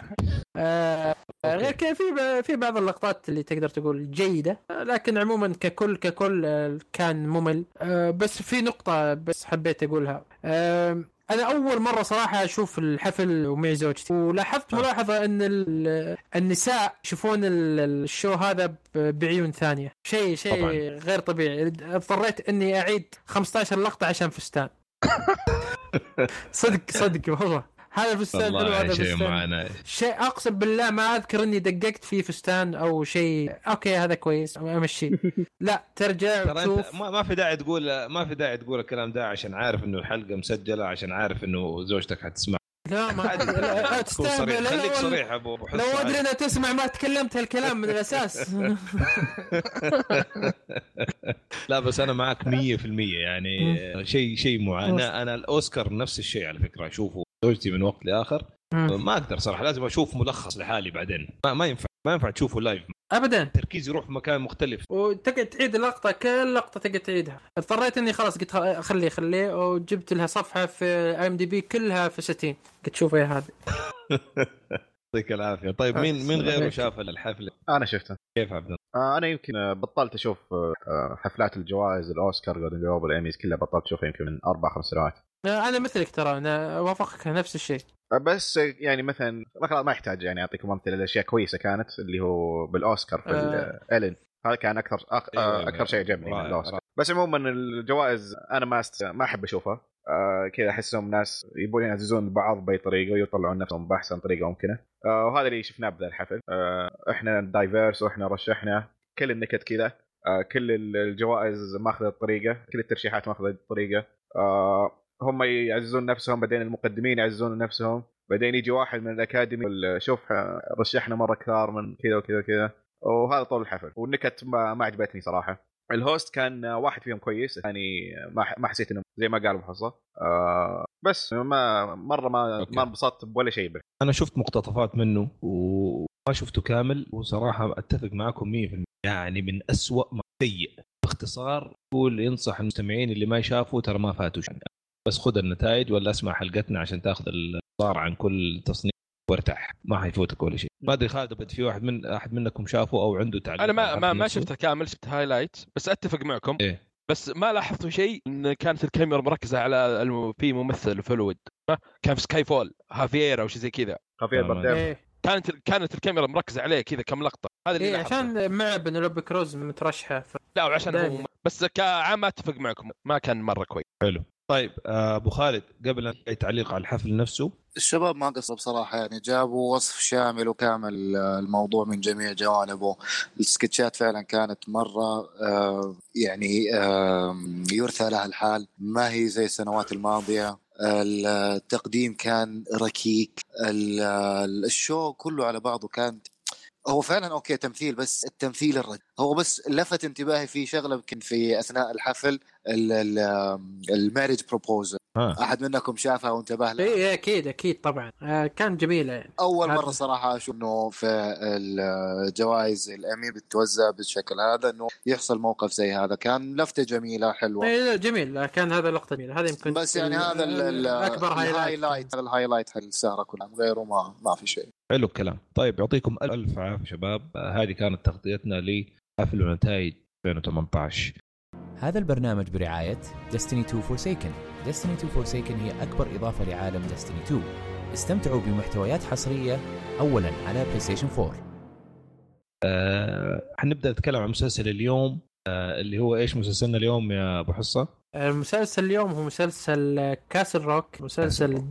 آه، غير كذا في ب- في بعض اللقطات اللي تقدر تقول جيده آه، لكن عموما ككل ككل آه، كان ممل آه، بس في نقطه بس حبيت اقولها آه، انا اول مره صراحه اشوف الحفل ومعي زوجتي آه. ولاحظت ملاحظه ان ال- النساء يشوفون ال- الشو هذا ب- بعيون ثانيه شيء شيء طبعاً. غير طبيعي اضطريت اني اعيد 15 لقطه عشان فستان صدق صدق والله هذا فستان حلو والله هذا شيء فستان معنا شيء اقسم بالله ما اذكر اني دققت في فستان او شيء اوكي هذا كويس امشي لا ترجع ترى انت تشوف ما, ما في داعي تقول ما في داعي تقول الكلام ده عشان عارف انه الحلقه مسجله عشان عارف انه زوجتك حتسمع لا ما عادي، لا، لا، تكون صريح تستهبل خليك لو- صريح ابو أبو حسن لو ادري عادي. انها تسمع ما تكلمت هالكلام من الاساس لا بس انا معك 100% يعني شيء شيء معاناه انا الاوسكار نفس الشيء على فكره اشوفه زوجتي من وقت لاخر ما اقدر صراحه لازم اشوف ملخص لحالي بعدين ما, ما ينفع ما ينفع تشوفه لايف ابدا التركيز يروح في مكان مختلف وتقعد تعيد اللقطه كل لقطه تقعد تعيدها اضطريت اني خلاص قلت خ- خليه خليه وجبت لها صفحه في اي ام دي بي كلها في 60 قلت شوف إيه يا هذا يعطيك العافيه طيب مين مين غيره شاف الحفله انا شفته كيف عبد الله آه، انا يمكن آه، بطلت اشوف آه، آه، حفلات الجوائز الاوسكار جولدن جلوب الايميز كلها بطلت اشوفها يمكن من اربع خمس سنوات انا مثلك ترى انا وافقك نفس الشيء آه، بس آه، يعني مثلا ما خلاص ما يحتاج يعني اعطيكم امثله لاشياء كويسه كانت اللي هو بالاوسكار في آه. ال- الين هذا كان اكثر أق- أيوة، آه، أيوة. اكثر شيء عجبني من رائع، الاوسكار بس عموما الجوائز انا ما است... ما احب اشوفها آه كذا احسهم ناس يبون يعززون بعض باي طريقه ويطلعون نفسهم باحسن طريقه ممكنه آه وهذا اللي شفناه بذا الحفل آه احنا دايفيرس واحنا رشحنا كل النكت كذا آه كل ال- الجوائز ماخذه الطريقه كل الترشيحات ماخذه الطريقه آه هم يعززون نفسهم بعدين المقدمين يعززون نفسهم بعدين يجي واحد من الاكاديمي يقول شوف آه، رشحنا مره كثار من كذا وكذا وكذا وهذا طول الحفل والنكت ما, ما عجبتني صراحه الهوست كان آه، واحد فيهم كويس يعني ما ح- ما حسيت انه زي ما قال ابو حصه آه بس ما مره ما أوكي. ما انبسطت ولا شيء به. انا شفت مقتطفات منه وما شفته كامل وصراحه اتفق معكم 100% يعني من أسوأ ما سيء باختصار قول ينصح المستمعين اللي ما شافوا ترى ما فاتوا شيء بس خذ النتائج ولا اسمع حلقتنا عشان تاخذ الصار عن كل تصنيف وارتاح ما حيفوتك ولا شيء ما ادري خالد أبد في واحد من احد منكم شافه او عنده تعليق انا ما على ما, الحفل ما نفسه؟ شفته كامل شفت هايلايت بس اتفق معكم إيه. بس ما لاحظت شيء ان كانت الكاميرا مركزه على الم... في ممثل فلويد كان في سكاي فول هافير او شيء زي كذا خفيف تمام. برديف ايه كانت ال- كانت الكاميرا مركزه عليه كذا كم لقطه هذا اللي إيه لاحظته. عشان مع بنلوبي كروز مترشحه ف... لا وعشان هو دايماً. بس كعام اتفق معكم ما كان مره كويس طيب آه، ابو خالد قبل أن اي تعليق على الحفل نفسه الشباب ما قصروا بصراحه يعني جابوا وصف شامل وكامل آه، الموضوع من جميع جوانبه السكتشات فعلا كانت مره آه، يعني آه، يرثى لها الحال ما هي زي السنوات الماضيه التقديم كان ركيك ال- ال- الشو كله على بعضه كان هو فعلا اوكي تمثيل بس التمثيل الرجل هو بس لفت انتباهي في شغله يمكن في اثناء الحفل المارج بروبوزل ها. احد منكم شافها وانتبه لها ايه اكيد اكيد طبعا آه، كان جميله يعني اول هذا- مره صراحه اشوف انه في الجوائز الامي بتوزع بالشكل هذا انه يحصل موقف زي هذا كان لفته جميله حلوه إيه لا، جميل كان هذا لقطه جميله هذا يمكن بس يعني هذا ال- ال- اكبر هايلايت الهايلايت الهايلايت حق السهره كلها غيره ما ما في شيء حلو الكلام طيب يعطيكم الف عافيه شباب آه، هذه كانت تغطيتنا لحفل ونتائج 2018 هذا البرنامج برعاية Destiny 2 Forsaken Destiny 2 Forsaken هي أكبر إضافة لعالم Destiny 2 استمتعوا بمحتويات حصرية أولا على PlayStation 4 آه، حنبدا نتكلم عن مسلسل اليوم آه، اللي هو ايش مسلسلنا آه، اليوم يا ابو حصه؟ المسلسل اليوم هو آه، مسلسل كاسل روك مسلسل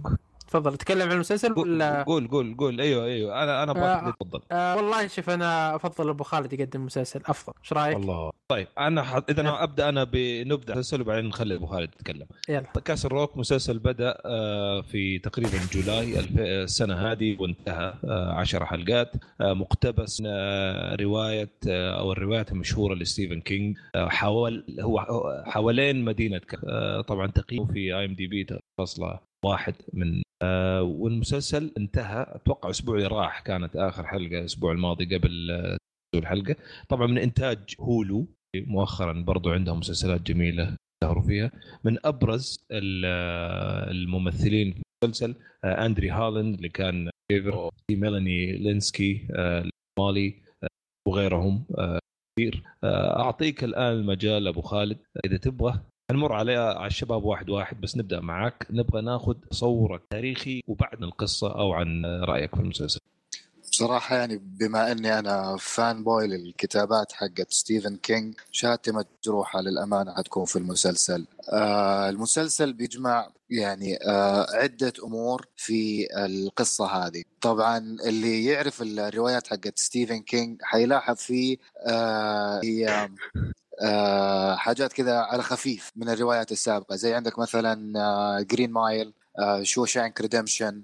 تفضل تكلم عن المسلسل ولا قول قول قول ايوه ايوه انا انا آه. ابغى تفضل آه والله شوف انا افضل ابو خالد يقدم مسلسل افضل ايش رايك؟ الله طيب انا حط... اذا أنا ابدا انا بنبدا مسلسل وبعدين نخلي ابو خالد يتكلم يلا كاس الروك مسلسل بدا آه، في تقريبا جولاي الف- السنه هذه وانتهى آه، عشر حلقات آه، مقتبس من آه، روايه آه، او الروايات المشهوره لستيفن كينج آه، حول هو هو حوالين مدينه كاس. آه، طبعا تقييمه في اي ام دي بي فاصله واحد من آه، والمسلسل انتهى اتوقع اسبوع اللي راح كانت اخر حلقه الاسبوع الماضي قبل آه، نزول الحلقه طبعا من انتاج هولو مؤخرا برضو عندهم مسلسلات جميله ظهروا فيها من ابرز ال- الممثلين في المسلسل آه، اندري هالاند اللي كان كيفر في ميلاني لينسكي آه، مالي آه، وغيرهم آه، كثير آه، اعطيك الان المجال ابو خالد آه، اذا تبغى هنمر على على الشباب واحد واحد بس نبدا معاك نبغى ناخذ صوره تاريخي وبعد القصه او عن آه، رايك في المسلسل بصراحة يعني بما اني انا فان بوي للكتابات حقت ستيفن كينج شاتمة جروحة للامانة حتكون في المسلسل. آه المسلسل بيجمع يعني آه عدة امور في القصة هذه. طبعا اللي يعرف الروايات حقت ستيفن كينج حيلاحظ فيه آه هي آه حاجات كذا على خفيف من الروايات السابقة زي عندك آه، مثلا جرين مايل شو شانك ريدمشن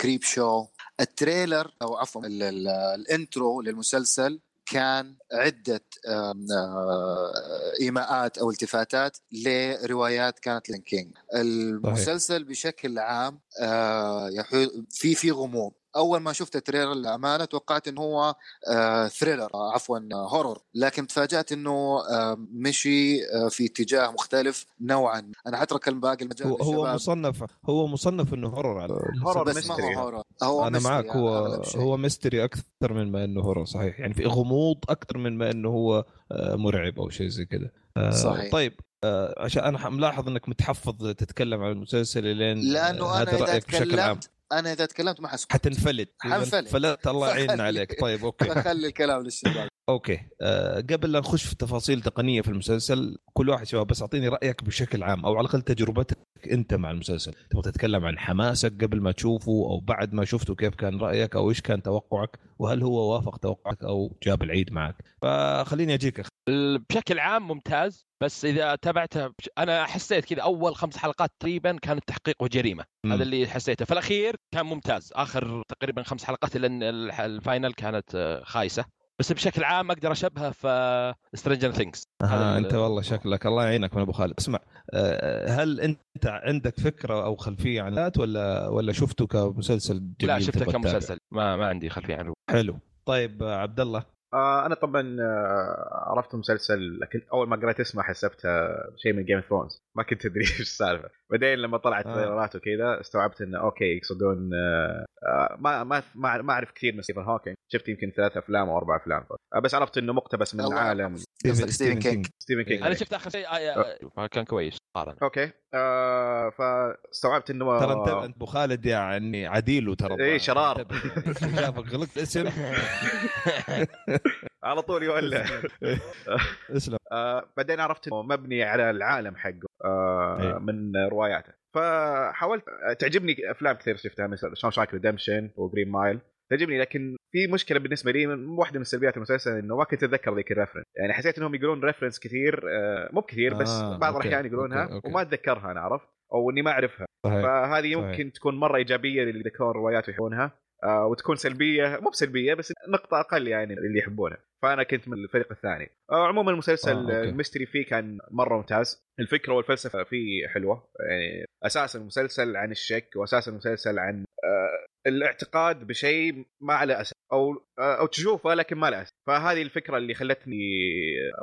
كريب شو آه، التريلر او عفوا ال- ال- الانترو للمسلسل كان عده آم، آه، ايماءات او التفاتات لروايات كانت لين كينج المسلسل بشكل عام آه، يحو- في في غموض اول ما شفت التريلر للامانه توقعت انه هو آه، ثريلر آه، عفوا آه، هورر لكن تفاجات انه آه، مشي آه، في اتجاه مختلف نوعا انا حترك الباقي المجال هو هو للشباب. مصنف هو مصنف انه هورر على هورر بس ما mystery. هو هورر هو انا mystery معك يعني هو أغلب شيء. هو ميستري اكثر من ما انه هورر صحيح يعني في غموض اكثر من ما انه هو آه، مرعب او شيء زي كذا آه، صحيح. طيب آه، عشان انا ح- ملاحظ انك متحفظ تتكلم عن المسلسل لين لانه آه، انا هذا اذا رايك بشكل عام تكلمت انا اذا تكلمت ما حسكت حتنفلت إذا حنفلت. انفلت الله يعيننا فخلي- عليك طيب اوكي فخلي الكلام للشباب اوكي آه، قبل لا نخش في تفاصيل تقنيه في المسلسل كل واحد شباب بس اعطيني رايك بشكل عام او على الاقل تجربتك انت مع المسلسل تبغى تتكلم عن حماسك قبل ما تشوفه او بعد ما شفته كيف كان رايك او ايش كان توقعك وهل هو وافق توقعك او جاب العيد معك فخليني اجيك أخ... ال- بشكل عام ممتاز بس اذا تابعتها بش... انا حسيت كذا اول خمس حلقات تقريبا كانت تحقيق وجريمه مم. هذا اللي حسيته فالاخير كان ممتاز اخر تقريبا خمس حلقات لان الح- الفاينل كانت آه، خايسه بس بشكل عام اقدر اشبهها في سترينجر ثينكس آه انت والله شكلك الله يعينك من ابو خالد اسمع آه، هل انت عندك فكره او خلفيه عن ذات ولا ولا شفته كمسلسل جميل لا شفته تبغى تتابعه؟ كمسلسل ما ما عندي خلفيه عنه حلو طيب آه، عبد الله آه انا طبعا آه عرفت المسلسل لكن اول ما قريت اسمه حسبته شيء من جيم اوف ثرونز ما كنت ادري ايش السالفه بعدين لما طلعت آه. تريلرات وكذا استوعبت انه اوكي يقصدون آه آه، ما ما ما ما اعرف كثير من ستيفن هوكينج شفت يمكن ثلاث افلام او اربع افلام آه، بس عرفت انه مقتبس من الله عالم قصدك ستيفن كينج ستيفن كينج إيه. انا شفت اخر شيء آه، آه، كان كويس قارن اوكي آه فاستوعبت انه ترى انت انت ابو خالد يعني عديل وترى آه. إيه، شرار. انتبه يعني. شافك غلطت اسم على طول يولع اسلم آه بعدين عرفت انه مبني على العالم حقه إيه. آه من رواياته فحاولت تعجبني افلام كثير شفتها مثل شون شاك ريدمشن وجرين مايل تعجبني لكن في مشكله بالنسبه لي من واحده من سلبيات المسلسل انه ما كنت اتذكر ذيك الريفرنس يعني حسيت انهم يقولون ريفرنس كثير آه مو بكثير بس آه، آه بعض أوكي، الاحيان يقولونها أوكي، أوكي. وما اتذكرها انا عرفت او اني ما اعرفها صحيح فهذه صحيح. يمكن تكون مره ايجابيه للي يذكرون الروايات ويحبونها آه، وتكون سلبيه مو بسلبيه بس نقطه اقل يعني اللي يحبونها فانا كنت من الفريق الثاني آه، عموما آه، المسلسل أوكي. آه، الميستري فيه كان مره ممتاز الفكره والفلسفه فيه حلوه يعني اساس المسلسل عن الشك واساس المسلسل عن آه، الاعتقاد بشيء ما على اساس او آه، او تشوفه لكن ما له اساس فهذه الفكره اللي خلتني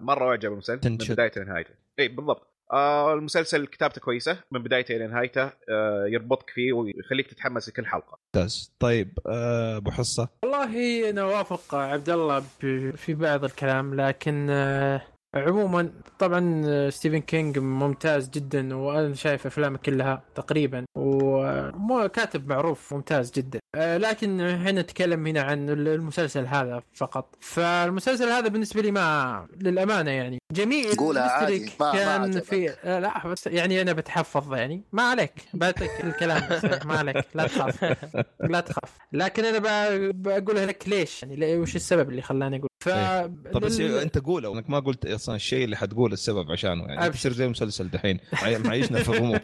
مره اعجب بالمسلسل من تنشد. بدايته لنهايته اي بالضبط آه، المسلسل كتابته كويسه من بدايته الى نهايته آه، يربطك فيه ويخليك تتحمس لكل حلقه ممتاز طيب آه، ابو حصه والله انا اوافق عبد الله ب- في بعض الكلام لكن آه، عموما طبعا ستيفن كينج ممتاز جدا وانا شايف افلامه كلها تقريبا وكاتب معروف ممتاز جدا آه، لكن احنا نتكلم هنا عن المسلسل هذا فقط فالمسلسل هذا بالنسبه لي ما للامانه يعني جميع قولها بالنسبة لي عادي، ما- ما كان عجبك. في آه، لا بس يعني انا بتحفظ يعني ما عليك باتك الكلام بس، ما عليك لا تخاف لا تخاف لكن انا ب- بقولها لك ليش يعني ليه- وش السبب اللي خلاني اقول ف طب بس لل- انت قوله انك ما قلت اصلا الشيء اللي حتقول السبب عشانه يعني أبشر. بتصير زي المسلسل دحين عي- معيشنا في غموض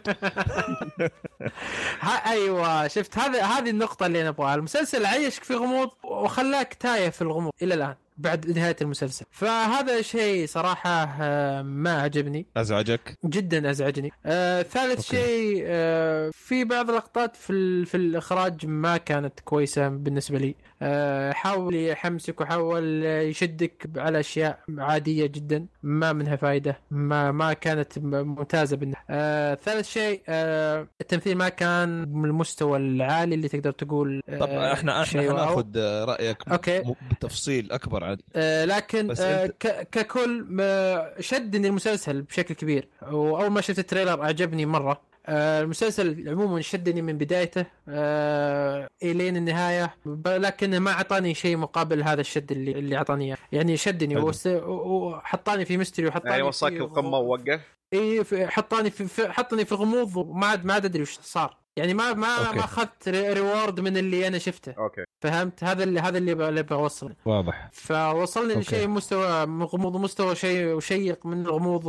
ها ايوه شفت هذا هذه النقطة اللي انا ابغاها، المسلسل عيشك في غموض وخلاك تايه في الغموض الى الان بعد نهاية المسلسل، فهذا شيء صراحة آه، ما عجبني ازعجك جدا ازعجني. آه، ثالث أوكي. شيء آه، في بعض اللقطات في ال- في الاخراج ما كانت كويسة بالنسبة لي. آه، حاول يحمسك وحاول يشدك على اشياء عادية جدا ما منها فائدة، ما ما كانت م- ممتازة بالنسبة آه، ثالث شيء آه، التمثيل ما كان من المستوى العالي اللي تقدر تقول آه، طب احنا احنا شيء واو. حناخذ رايك اوكي م- بتفصيل اكبر عن آه، لكن بس آه، أنت- ك- ككل ما شدني المسلسل بشكل كبير واول ما شفت التريلر اعجبني مره آه، المسلسل عموما شدني من بدايته آه، الين النهايه ب- لكنه ما اعطاني شيء مقابل هذا الشد اللي اللي اعطاني اياه يعني شدني حلو. وس- و- وحطاني في ميستري وحطاني يعني في- وصاك القمه ووقف اي في- حطاني في في- حطني في غموض وما عاد ما عاد ادري وش صار يعني ما ما أوكي. ما اخذت ري- ريورد من اللي انا شفته اوكي فهمت هذا اللي هذا اللي ب- اللي بوصله واضح فوصلني أوكي. لشيء مستوى غموض مستوى شيء شيق من الغموض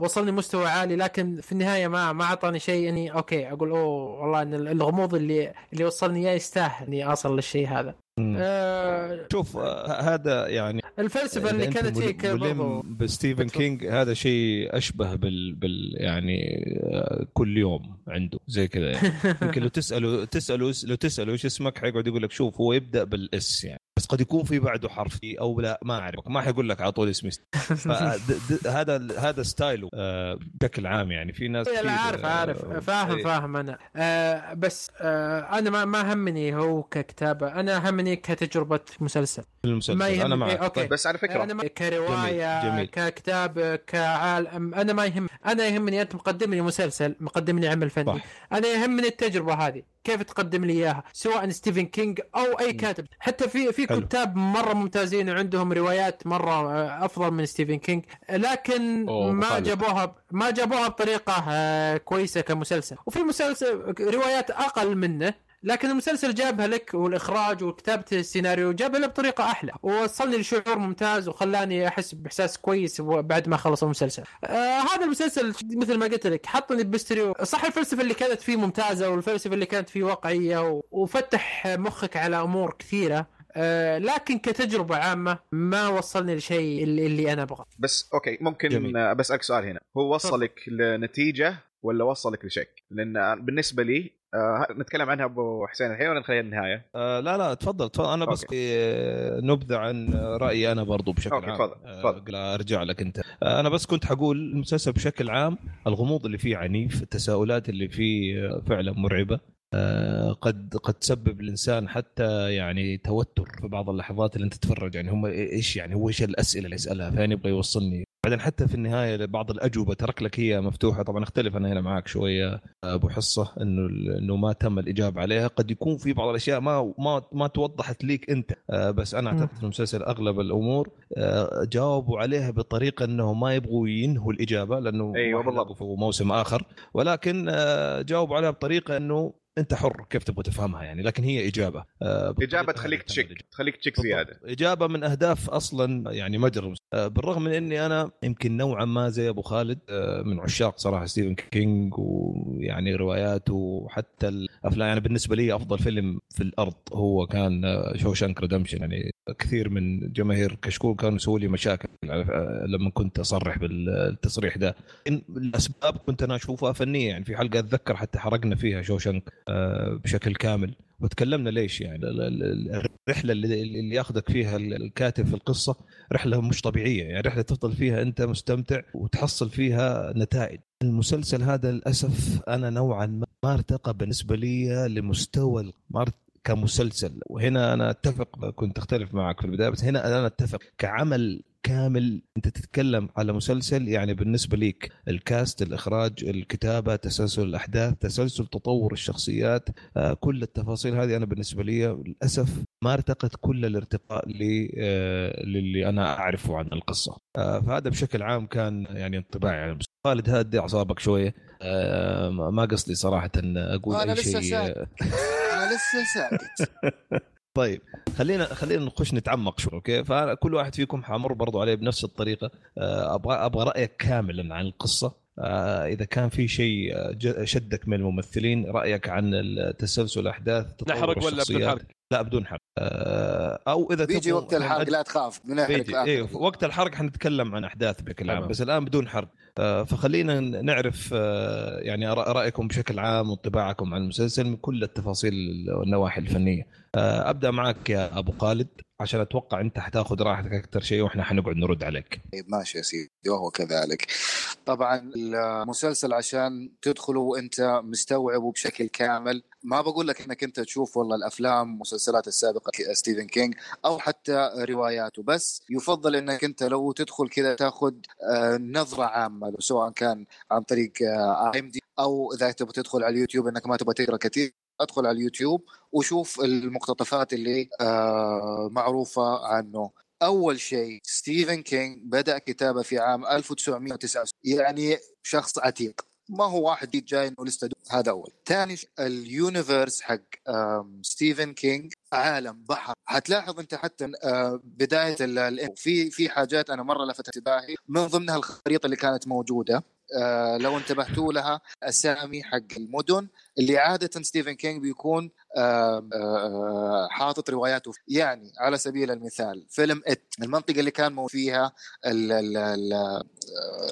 ووصلني مستوى عالي لكن في النهايه ما ما اعطاني شيء اني اوكي اقول اوه والله ان الغموض اللي اللي وصلني اياه يستاهل اني اصل للشيء هذا. مم. آه شوف آه، هذا يعني الفلسفه إذا اللي أنت كانت مل- فيك ملم برضو بستيفن اتفضل. كينج هذا شيء اشبه بال, بال يعني آه، كل يوم عنده زي كذا يعني يمكن لو تساله تساله لو تساله ايش اسمك حيقعد يقول لك شوف هو يبدا بالاس يعني بس قد يكون في بعده حرف إي او لا ما اعرفك ما حيقول لك على طول اسمي فد- د- هذا ال- هذا ستايله آه، بشكل عام يعني في ناس كثير، إيه، لا عارف آه، عارف فاهم إيه. فاهم انا آه بس آه انا ما ما همني هو ككتابه انا همني كتجربه مسلسل في المسلسل ما يهم انا معك إيه، أوكي. طيب، بس على فكره انا ما كروايه جميل، جميل. ككتاب كعالم انا ما يهم انا يهمني انت مقدم لي مسلسل مقدم لي عمل فني صح. انا يهمني التجربه هذه كيف تقدم لي اياها سواء ستيفن كينج او اي كاتب حتى في في حلو. كتاب مره ممتازين وعندهم روايات مره آه، افضل من ستيفن كينج لكن أوه، ما مخالف. جابوها ب- ما جابوها بطريقه آه، كويسه كمسلسل وفي مسلسل روايات اقل منه لكن المسلسل جابها لك والاخراج وكتابه السيناريو جابها لي بطريقه احلى ووصلني لشعور ممتاز وخلاني احس باحساس كويس بعد ما خلص المسلسل آه هذا المسلسل مثل ما قلت لك حطني بمستري صح الفلسفه اللي كانت فيه ممتازه والفلسفه اللي كانت فيه واقعيه و- وفتح مخك على امور كثيره آه لكن كتجربه عامه ما وصلني لشيء اللي, اللي انا ابغاه بس اوكي ممكن جميل. جميل. بسالك سؤال هنا هو وصلك لنتيجه ولا وصلك لشك؟ لان بالنسبه لي آه نتكلم عنها ابو حسين الحين ولا نخليها النهايه؟ آه لا لا تفضل تفضل انا بس آه، نبذه عن رايي انا برضو بشكل أوكي، عام تفضل، آه، تفضل. لا، ارجع لك انت آه، انا بس كنت حقول المسلسل بشكل عام الغموض اللي فيه عنيف التساؤلات اللي فيه آه، فعلا مرعبه آه، قد قد تسبب الانسان حتى يعني توتر في بعض اللحظات اللي انت تتفرج يعني هم ايش يعني هو ايش الاسئله اللي يسالها فين يبغى يوصلني بعدين حتى في النهايه بعض الاجوبه ترك لك هي مفتوحه طبعا اختلف انا هنا معاك آه، شويه ابو حصه انه انه ما تم الاجابه عليها قد يكون في بعض الاشياء ما ما ما توضحت ليك انت آه، بس انا مم. اعتقد في المسلسل اغلب الامور آه، جاوبوا عليها بطريقه انه ما يبغوا ينهوا الاجابه لانه أيوة، ما بالضبط. حيلاقوا في موسم اخر ولكن آه، جاوبوا عليها بطريقه انه انت حر كيف تبغى تفهمها يعني لكن هي اجابه آه، بالطريقة اجابه هذه تخليك تم الإجابة. تشك تخليك تشك زياده بالضبط. اجابه من اهداف اصلا يعني مجرى المس- آه، بالرغم من اني انا يمكن نوعا ما زي ابو خالد آه، من عشاق صراحه ستيفن كينج ويعني رواياته وحتى الافلام يعني بالنسبه لي افضل فيلم في الارض هو كان آه، شوشانك ريدمشن يعني كثير من جماهير كشكول كانوا يسووا لي مشاكل على- آه، لما كنت اصرح بالتصريح ده إن الاسباب كنت انا اشوفها فنيه يعني في حلقه اتذكر حتى حرقنا فيها شوشنك بشكل كامل وتكلمنا ليش يعني ال- ال- الرحله اللي, اللي ياخذك فيها ال- الكاتب في القصه رحله مش طبيعيه يعني رحله تفضل فيها انت مستمتع وتحصل فيها نتائج المسلسل هذا للاسف انا نوعا ما ما ارتقى بالنسبه لي لمستوى ال- ما ارت- كمسلسل وهنا انا اتفق كنت اختلف معك في البدايه بس هنا انا اتفق كعمل كامل انت تتكلم على مسلسل يعني بالنسبه ليك الكاست الاخراج الكتابه تسلسل الاحداث تسلسل تطور الشخصيات آه، كل التفاصيل هذه انا بالنسبه لي للاسف ما ارتقت كل الارتقاء ل- آه، للي انا اعرفه عن القصه آه، فهذا بشكل عام كان يعني انطباعي يعني خالد هدي اعصابك شويه آه، ما ما قصدي صراحه اقول أنا اي لسه شيء آه، ساكت. انا لسه ساكت طيب خلينا خلينا نخش نتعمق شوي اوكي فكل واحد فيكم حامر برضو عليه بنفس الطريقه آه، ابغى ابغى رايك كاملا عن القصه آه، اذا كان في شيء آه، ج- شدك من الممثلين رايك عن ال- تسلسل الاحداث تطور نحرق ولا بدون الشخصيات. حرق؟ لا بدون حرق آه، او اذا بيجي تبغوا- وقت الحرق لا تخاف بنحرق بيجي آخر ايوه شيء. وقت الحرق حنتكلم عن احداث بشكل عام تمام. بس الان بدون حرق آه، فخلينا نعرف آه، يعني آراء- رايكم بشكل عام وانطباعكم عن المسلسل من كل التفاصيل والنواحي الفنيه آه، ابدا معك يا ابو خالد عشان اتوقع انت حتاخذ راحتك اكثر شيء واحنا حنقعد نرد عليك طيب ماشي يا سيدي وهو كذلك طبعا المسلسل عشان تدخله وانت مستوعبه بشكل كامل ما بقول لك انك انت تشوف والله الافلام مسلسلات السابقه ك- ستيفن كينج او حتى رواياته بس يفضل انك انت لو تدخل كذا تاخذ آه، نظره عامه له، سواء كان عن طريق اي ام دي او اذا تبغى تدخل على اليوتيوب انك ما تبغى تقرا كثير ادخل على اليوتيوب وشوف المقتطفات اللي آه، معروفه عنه اول شيء ستيفن كينج بدا كتابه في عام 1909 يعني شخص عتيق ما هو واحد جديد جاي انه لسه دو- هذا اول ثاني شيء، اليونيفرس حق آم، ستيفن كينج عالم بحر حتلاحظ انت حتى آه، بدايه ال- ال- في في حاجات انا مره لفتت انتباهي من ضمنها الخريطه اللي كانت موجوده آه، لو انتبهتوا لها اسامي حق المدن اللي عاده ستيفن كينج بيكون آه، آه، حاطط رواياته يعني على سبيل المثال فيلم ات المنطقه اللي كان موجود فيها ال ال ال آه،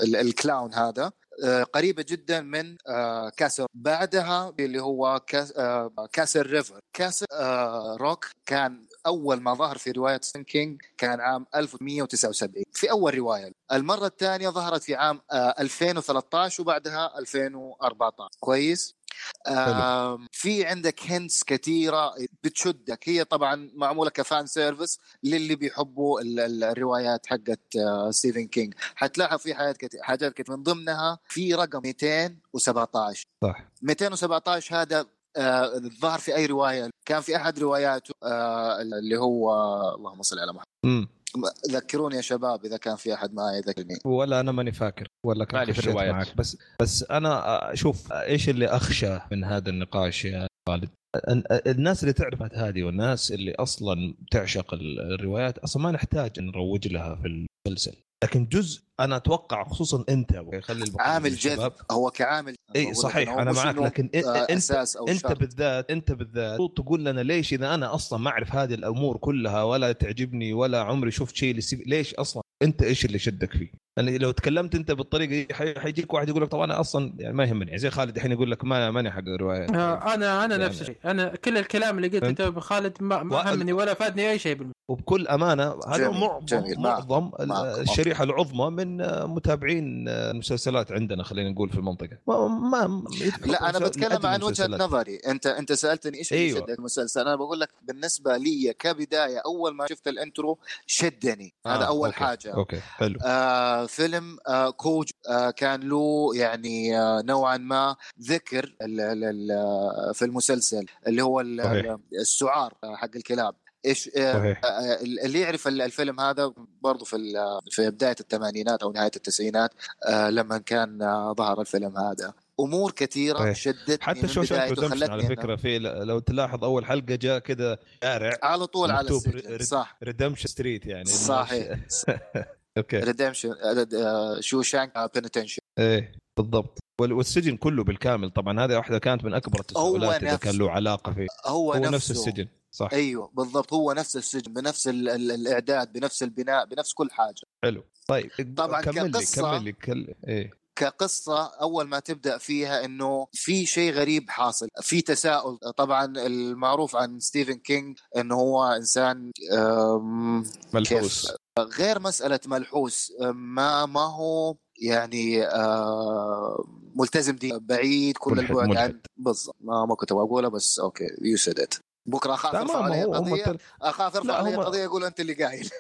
ال الكلاون هذا آه، قريبه جدا من آه، كاسر بعدها اللي هو كاس- آه، كاسر ريفر كاسر آه، روك كان اول ما ظهر في روايه ستيفن كينج كان عام 1179 في اول روايه المره الثانيه ظهرت في عام آه، 2013 وبعدها 2014 كويس آه، في عندك هنتس كثيره بتشدك هي طبعا معموله كفان سيرفيس للي بيحبوا ال- ال- الروايات حقت آه، ستيفن كينج حتلاحظ في حاجات كتير حاجات كتير من ضمنها في رقم 217 صح 217 هذا آه، الظاهر في اي روايه كان في احد رواياته آه، اللي هو اللهم صل على محمد امم ذكروني يا شباب اذا كان في احد معي يذكرني ولا انا ماني فاكر ولا كان مالي في خشيت الروايات. معك بس بس انا اشوف ايش اللي اخشى من هذا النقاش يا خالد أن- الناس اللي تعرفت هذه والناس اللي اصلا تعشق ال- الروايات اصلا ما نحتاج نروج لها في المسلسل لكن جزء انا اتوقع خصوصا انت ويخلي البقية من عامل الشباب- جذب هو كعامل اي صحيح هو انا مش معك إنه، لكن إن- آه، انت اساس او انت شرط. بالذات انت بالذات المفروض تقول لنا ليش اذا انا اصلا ما اعرف هذه الامور كلها ولا تعجبني ولا عمري شفت شيء اللي سي- ليش اصلا انت ايش اللي شدك فيه؟ يعني لو تكلمت انت بالطريقه دي حي- حيجيك واحد يقول لك طب انا اصلا يعني ما يهمني يعني زي خالد الحين يقول لك ما ماني حق الروايه آه، انا انا يعني- نفس الشيء انا كل الكلام اللي قلته فهمت؟ انت خالد ما, و- ما همني ولا فادني اي شيء بالم... وبكل امانه هذا جميل، معظم جميل، معك، معظم ال- معك، معك. الشريحه العظمى من آه، متابعين آه، المسلسلات عندنا خلينا نقول في المنطقه ما, ما لا انا مسلسل- بتكلم لأجل عن وجهه المسلسلات. نظري انت انت سالتني ايش اللي أيوة. شدك المسلسل انا بقول لك بالنسبه لي كبدايه اول ما شفت الانترو شدني هذا آه، اول أوكي، حاجه اوكي حلو آه فيلم آه كوج آه كان له يعني آه نوعا ما ذكر ال ال ال في المسلسل اللي هو ال- صحيح. السعار آه، حق الكلاب ايش آه صحيح آه، اللي يعرف ال- الفيلم هذا برضو في ال- في بدايه الثمانينات او نهايه التسعينات آه، لما كان آه، ظهر الفيلم هذا امور كثيره صحيح. شدتني طيب. حتى يعني من شوشانك بدايته ريدمشن على خلتني فكره في لو تلاحظ اول حلقه جاء كذا شارع على طول على مكتوب السجن رد- صح ريدمشن ستريت يعني صحيح اوكي ريدمشن آه، شوشانك بنتنشن ايه بالضبط وال- والسجن كله بالكامل طبعا هذه واحده كانت من اكبر التساؤلات اذا نفسه. كان له علاقه فيه هو, هو نفسه نفس السجن صح ايوه بالضبط هو نفس السجن بنفس ال ال الاعداد بنفس البناء بنفس كل حاجه حلو طيب طبعاً كمل لي كقصة- كمل لي كل... ايه كقصة أول ما تبدأ فيها أنه في شيء غريب حاصل في تساؤل طبعا المعروف عن ستيفن كينج أنه هو إنسان أم، ملحوس غير مسألة ملحوس أم، ما ما هو يعني آه، ملتزم دي بعيد كل ملحد- البعد ملحد. عن بالضبط ما ما كنت أبغى أقوله بس أوكي يو سيد بكره اخاف لا ارفع ما ما عليه هو هم قضيه ترى- اخاف ارفع لا، عليه هم- قضيه يقول انت اللي قايل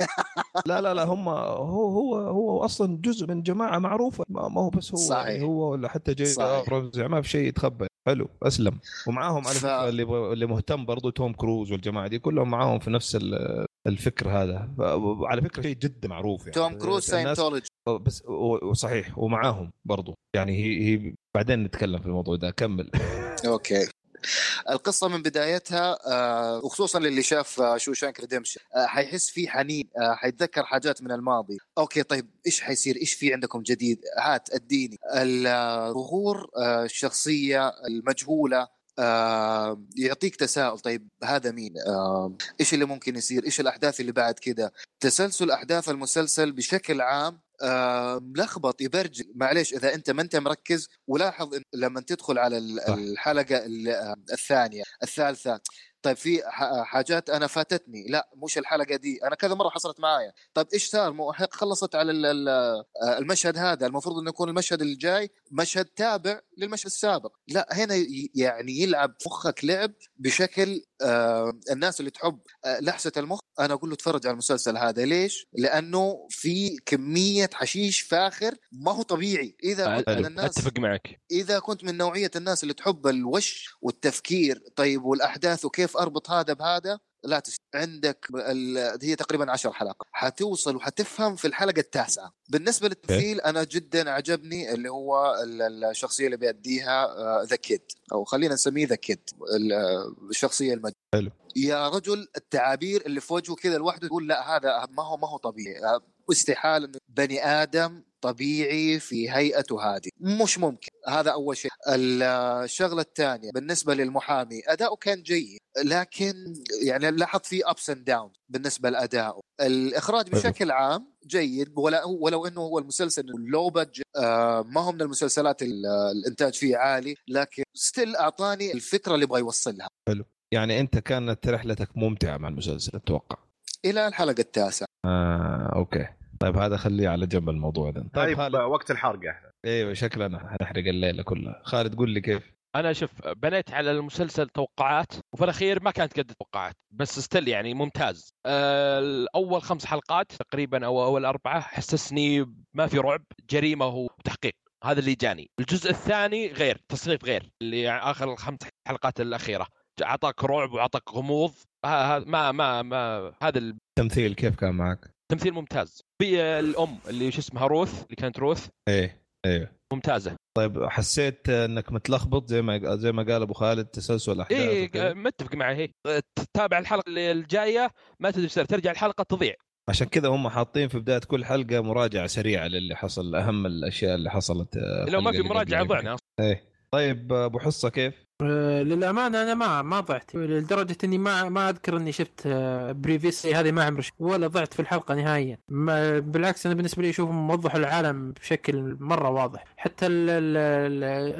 لا لا لا هم هو هو هو اصلا جزء من جماعه معروفه ما, ما هو بس هو صحيح. يعني هو ولا حتى جاي صحيح. ابرامز يعني ما في شيء يتخبى حلو اسلم ومعاهم على ف- فكره اللي يبغى- اللي مهتم برضو توم كروز والجماعه دي كلهم معاهم في نفس ال- الفكر هذا ف- على فكره شيء جدا معروف يعني توم كروز الناس- آه، ساينتولوجي بس و- وصحيح ومعاهم برضو يعني هي هي بعدين نتكلم في الموضوع ده كمل اوكي القصه من بدايتها آه، وخصوصا للي شاف آه، شوشانك ريديمشن آه، حيحس في حنين آه، حيتذكر حاجات من الماضي اوكي طيب ايش حيصير ايش في عندكم جديد هات اديني ال- آه، ظهور آه، الشخصيه المجهوله آه، يعطيك تساؤل طيب هذا مين آه، ايش اللي ممكن يصير ايش الاحداث اللي بعد كده تسلسل احداث المسلسل بشكل عام آه، ملخبط يبرجل معليش اذا انت ما انت مركز ولاحظ إن لما تدخل على ال- صح. الحلقه ال- آه، الثانيه الثالثه طيب في ح- حاجات انا فاتتني لا مش الحلقه دي انا كذا مره حصلت معايا طيب ايش صار مو حق خلصت على ال- ال- آه، المشهد هذا المفروض انه يكون المشهد الجاي مشهد تابع للمشهد السابق لا هنا ي- يعني يلعب مخك لعب بشكل آه، الناس اللي تحب آه، لحسه المخ انا اقول له اتفرج على المسلسل هذا ليش لانه في كميه حشيش فاخر ما هو طبيعي اذا كنت من الناس اتفق معك اذا كنت من نوعيه الناس اللي تحب الوش والتفكير طيب والاحداث وكيف اربط هذا بهذا لا تس... عندك ال... هي تقريبا عشر حلقات حتوصل وحتفهم في الحلقه التاسعه بالنسبه للتمثيل انا جدا عجبني اللي هو ال- ال- الشخصيه اللي بيأديها آه، ذا كيد او خلينا نسميه ذا كيد الشخصيه المجنونه حلو. آه، يا رجل التعابير اللي في وجهه كذا لوحده تقول لا هذا ما هو ما هو طبيعي آه، استحاله إنه بني ادم طبيعي في هيئته هذه مش ممكن هذا اول شيء ال- الشغله الثانيه بالنسبه للمحامي اداؤه كان جيد لكن يعني لاحظت فيه ابس اند داون بالنسبه لادائه الاخراج بشكل عام جيد ولا ولو انه هو المسلسل لو بادجت آه ما هو من المسلسلات ال- الانتاج فيه عالي لكن ستيل اعطاني الفكره اللي يبغى يوصلها يعني انت كانت رحلتك ممتعه مع المسلسل اتوقع الى الحلقه التاسعه آه، اوكي طيب هذا خليه على جنب الموضوع ده طيب طيب خالد وقت الحرقه ايوه شكلنا حنحرق الليله كلها خالد قول لي كيف انا شوف بنيت على المسلسل توقعات وفي الاخير ما كانت قد التوقعات بس ستيل يعني ممتاز آه، اول خمس حلقات تقريبا او اول اربعه حسسني ما في رعب جريمه وتحقيق هذا اللي جاني الجزء الثاني غير تصنيف غير اللي يعني اخر الخمس حلقات الاخيره اعطاك رعب واعطاك غموض ها- ها- ما ما ما هذا ال- التمثيل كيف كان معك تمثيل ممتاز في آه، الام اللي شو اسمها روث اللي كانت روث ايه ايوه ممتازه طيب حسيت انك متلخبط زي ما زي ما قال ابو خالد تسلسل احداث إيه، اي وكذا؟ إيه، آه، متفق معه هي تتابع الحلقه اللي الجايه ما تدري ايش يصير، ترجع الحلقه تضيع عشان كذا هم حاطين في بدايه كل حلقه مراجعه سريعه للي حصل اهم الاشياء اللي حصلت آه، لو الحلقة ما في اللي مراجعه قبلها. ضعنا ايه طيب آه، ابو حصه كيف؟ أه، للامانه انا ما ما ضعت لدرجه اني ما ما اذكر اني شفت أه، بريفيسي هذه ما عمري شفت ولا ضعت في الحلقه نهائيا ما بالعكس انا بالنسبه لي اشوفهم وضحوا العالم بشكل مره واضح حتى ال ال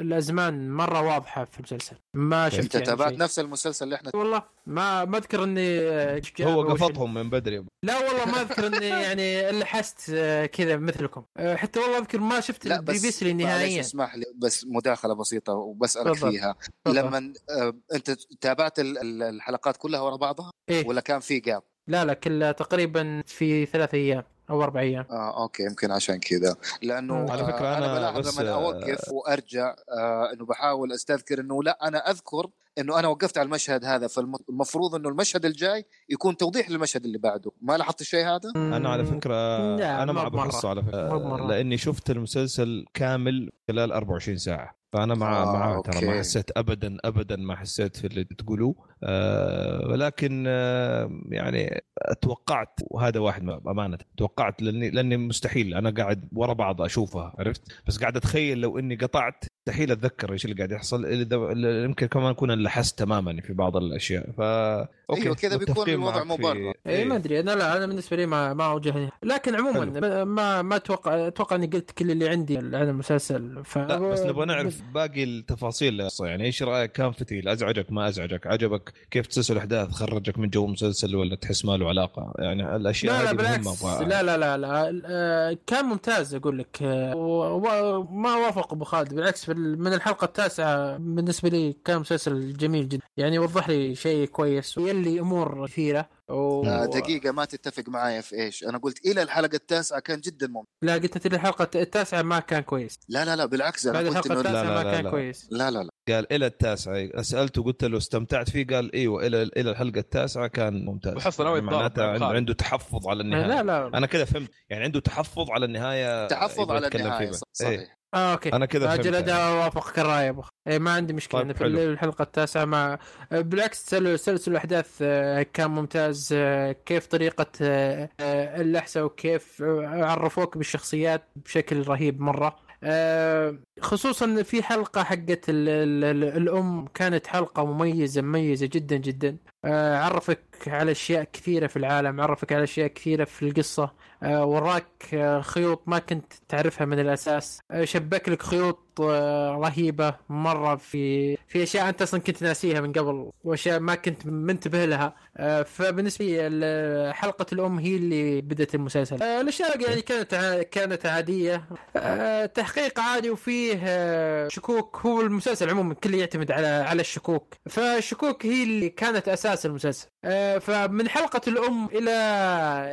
ال الازمان مره واضحه في المسلسل ما شفت انت يعني تابعت شيء. نفس المسلسل اللي احنا والله ما ما اذكر اني أه، شفت هو أول شيء. قفطهم من بدري لا والله ما اذكر اني يعني لحست أه، كذا مثلكم أه، حتى والله اذكر ما شفت لا بس البريفيسي معلش نهائيا اسمح لي بس مداخله بسيطه وبسالك تفضل. فيها تفضل. لما آه، انت تابعت ال- ال- الحلقات كلها ورا بعضها إيه. ولا كان في جاب لا لا كل تقريبا في ثلاث ايام او اربع ايام اه اوكي يمكن عشان كذا لانه مم. على فكرة آه أنا انا بس- بلاحظ لما اوقف وارجع آه انه بحاول استذكر انه لا انا اذكر انه انا وقفت على المشهد هذا فالمفروض انه المشهد الجاي يكون توضيح للمشهد اللي بعده ما لاحظت الشيء هذا انا على فكره لا، انا ما مع ابو بمرة. حصه على فكره ما بمرة. لاني شفت المسلسل كامل خلال 24 ساعه فانا مع آه، مع ترى ما أوكي. حسيت ابدا ابدا ما حسيت في اللي تقولوه آه ولكن آه يعني توقعت وهذا واحد من- امانه توقعت لاني لاني مستحيل انا قاعد ورا بعض اشوفها عرفت بس قاعد اتخيل لو اني قطعت مستحيل اتذكر ايش اللي قاعد يحصل إلا إذا- يمكن كمان كنا لحست تماما في بعض الاشياء ف اوكي أيوة، كذا بيكون متفقين الوضع معك في- إيه، مبرر. اي إيه، ما ادري انا لا انا بالنسبه لي ما ما اوجهني لكن عموما ما ما اتوقع اتوقع اني قلت كل اللي عندي عن المسلسل ف لا بس نبغى نعرف باقي التفاصيل يعني ايش رايك كان في تيل ازعجك ما ازعجك عجبك كيف تسلسل الاحداث خرجك من جو المسلسل ولا تحس ما له علاقه يعني الاشياء لا لا هذه بالعكس مهمه لا لا لا لا آه، كان ممتاز اقول لك آه، و- و- وما وافق ابو خالد بالعكس في ال- من الحلقه التاسعه بالنسبه لي كان مسلسل جميل جدا يعني وضح لي شيء كويس ويلي امور كثيره و... آه، دقيقة ما تتفق معايا في ايش؟ انا قلت الى الحلقة التاسعة كان جدا ممتع. لا قلت انت الحلقه التاسعه ما كان كويس لا لا لا بالعكس بعد انا قلت الحلقه انه لا، التاسعه لا ما لا، كان لا. كويس لا لا قال الى التاسعه سالته قلت له استمتعت فيه قال ايوه الى الى الحلقه التاسعه كان ممتاز وحصل أول يعني ضرب معناته مع عنده, خالد. عنده تحفظ على النهايه لا لا انا كده فهمت يعني عنده تحفظ على النهايه تحفظ يبغى على يتكلم النهاية فيه. صح- إيه. صحيح آه اوكي انا كده فهمت اجل يعني. انا اوافقك الراي يا ابو خالد. إيه ما عندي مشكله طيب، أنا في حلو. الحلقه التاسعه مع بالعكس تسل- تسلسل الاحداث آه، كان ممتاز آه، كيف طريقه آه، آه، الاحساء وكيف آه، عرفوك بالشخصيات بشكل رهيب مره آه، خصوصا في حلقه حقت ال- ال- ال- الام كانت حلقه مميزه مميزه جدا جدا آه، عرفك على اشياء كثيره في العالم عرفك على اشياء كثيره في القصه آه، وراك آه، خيوط ما كنت تعرفها من الاساس آه، شبك لك خيوط آه، رهيبه مره في في اشياء انت اصلا كنت ناسيها من قبل واشياء ما كنت منتبه لها آه، فبالنسبه لي ال- حلقه الام هي اللي بدات المسلسل آه، الاشياء يعني كانت ع- كانت عاديه آه، تحقيق عادي وفيه آه، شكوك هو المسلسل عموما كله يعتمد على على الشكوك فالشكوك هي اللي كانت اساس المسلسل آه، فمن حلقه الام الى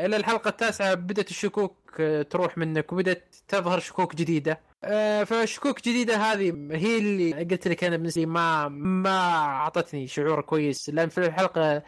الى الحلقه التاسعه بدات الشكوك آه، تروح منك وبدات تظهر شكوك جديده آه، فالشكوك الجديده هذه هي اللي قلت لك انا بالنسبه لي ما ما اعطتني شعور كويس لان في الحلقه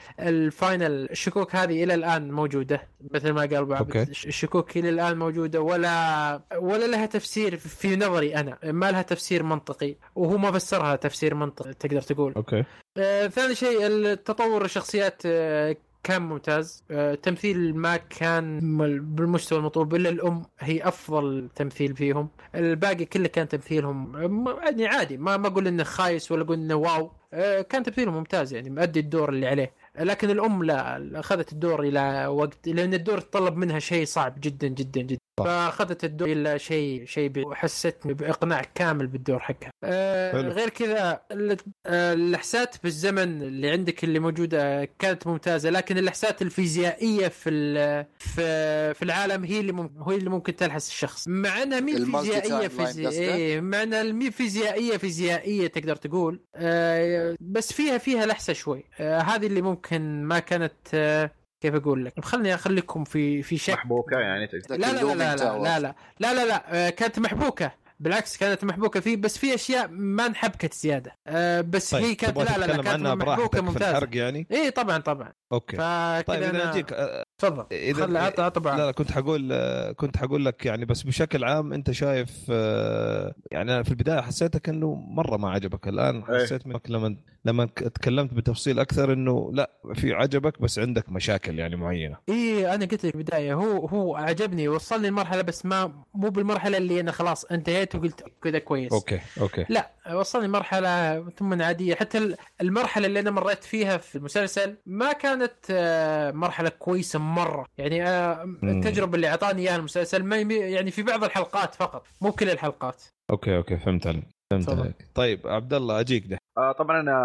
الفاينل الشكوك هذه الى الان موجوده مثل ما قال ابو عبد أوكي. الشكوك الى الان موجوده ولا ولا لها تفسير في نظري انا ما لها تفسير منطقي وهو ما فسرها تفسير منطقي تقدر تقول اوكي آه، ثاني شيء التطور الشخصيات آه، كان ممتاز آه، التمثيل ما كان مل- بالمستوى المطلوب الا الام هي افضل تمثيل فيهم الباقي كله كان تمثيلهم آه، م- يعني عادي ما ما اقول انه خايس ولا اقول انه واو آه، كان تمثيلهم ممتاز يعني مؤدي الدور اللي عليه لكن الام لا اخذت الدور الى وقت لان الدور تطلب منها شيء صعب جدا جدا جدا صح. فاخذت الدور الى شيء شيء ب- وحستني باقناع كامل بالدور حقها آه، حلو. غير كذا ال- آه، الاحسات بالزمن اللي عندك اللي موجوده كانت ممتازه لكن الاحسات الفيزيائيه في ال- في في العالم هي اللي ممكن هي اللي ممكن تلحس الشخص مع انها مي المالتي فيزيائيه تايم لاين فيزي... قصدك؟ إيه، مع انها مي فيزيائيه فيزيائيه تقدر تقول آه، بس فيها فيها لحسه شوي آه، هذه اللي ممكن ما كانت آه، كيف اقول لك خلني اخليكم في في شك محبوكه يعني تقدر ذاك لا لا لا اللومينج لا لا تاور. لا لا لا لا لا آه، كانت محبوكه بالعكس كانت محبوكه فيه بس في اشياء ما انحبكت زياده آه، بس هي طيب كانت تبغى لا لا لا تتكلم كانت إيه، عنها محبوكه براحتك في ممتازه الحرق يعني اي طبعا طبعا اوكي فكذا طيب اذا أنا- اجيك آه، تفضل إذا- خل عطى عطى لا بعض لا كنت حقول آه، كنت حقول لك يعني بس بشكل عام انت شايف آه، يعني أنا في البدايه حسيتك انه مره ما عجبك الان إيه. حسيت منك لما لما ك- تكلمت بتفصيل اكثر انه لا في عجبك بس عندك مشاكل يعني معينه اي انا إيه، قلت لك بدايه هو هو عجبني وصلني المرحله بس ما مو بالمرحله اللي انا خلاص انتهيت وقلت كذا كويس اوكي اوكي لا وصلني مرحلة ثم عادية حتى ال- المرحلة اللي أنا مريت فيها في المسلسل ما كانت آه، مرحلة كويسة مرة يعني آه، التجربة اللي أعطاني إياها المسلسل ما يمي- يعني في بعض الحلقات فقط مو كل الحلقات اوكي اوكي فهمت عليك فهمت تفضل. عليك طيب عبد الله اجيك ده آه طبعا انا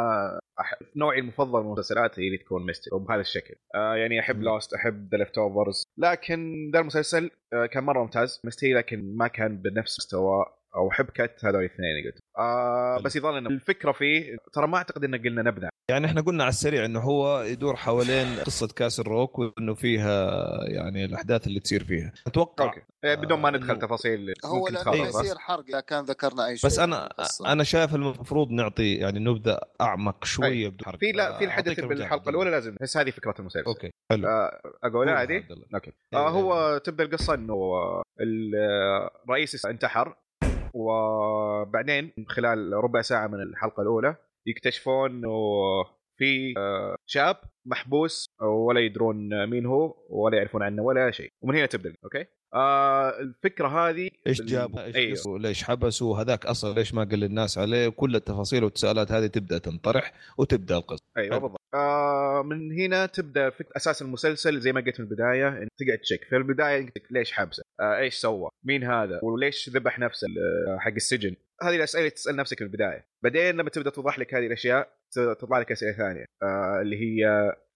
أح- نوعي المفضل من المسلسلات هي اللي تكون ميستري وبهذا الشكل آه يعني احب مم. لوست احب ذا ليفت اوفرز لكن ذا المسلسل آه كان مره ممتاز ميستري لكن ما كان بنفس مستوى او حبكه هذول الاثنين اللي قلت آه بس يظل إن الفكره فيه ترى ما اعتقد ان قلنا نبدا يعني احنا قلنا على السريع انه هو يدور حوالين قصه كاسل روك وانه فيها يعني الاحداث اللي تصير فيها اتوقع اوكي آه بدون ما آه، ندخل إنه- تفاصيل هو ممكن لانه تخرب، أيوة. بس. يصير حرق اذا كان ذكرنا اي شيء بس انا بالقصة. انا شايف المفروض نعطي يعني نبدا اعمق شويه بدون حرق. طيب. في لا في آه، أعطيك الحدث المجال. طيب. بالحلقه الاولى لازم بس هذه فكره المسلسل اوكي حلو اقولها قولها عادي عبد الله. اوكي إيه، آه إيه. هو تبدا القصه انه آه، ال- آه، الرئيس انتحر وبعدين خلال ربع ساعه من الحلقه الاولى يكتشفون انه في آه، شاب محبوس ولا يدرون مين هو ولا يعرفون عنه ولا شيء ومن هنا تبدا اوكي آه الفكره هذه ايش بال- جابوا ايش أيوه. أيوه. ليش حبسوا هذاك اصلا ليش ما قال للناس عليه كل التفاصيل والتساؤلات هذه تبدا تنطرح وتبدا القصه ايوه حلو. بالضبط آه من هنا تبدا فك... اساس المسلسل زي ما قلت من البدايه انت تقعد تشك في البدايه قلت لك ليش حبسه؟ آه ايش سوى؟ مين هذا؟ وليش ذبح نفسه ل- حق السجن؟ هذه الاسئله اللي تسال نفسك من البدايه، بعدين لما تبدا توضح لك هذه الاشياء ت- تطلع لك اسئله ثانيه آه اللي هي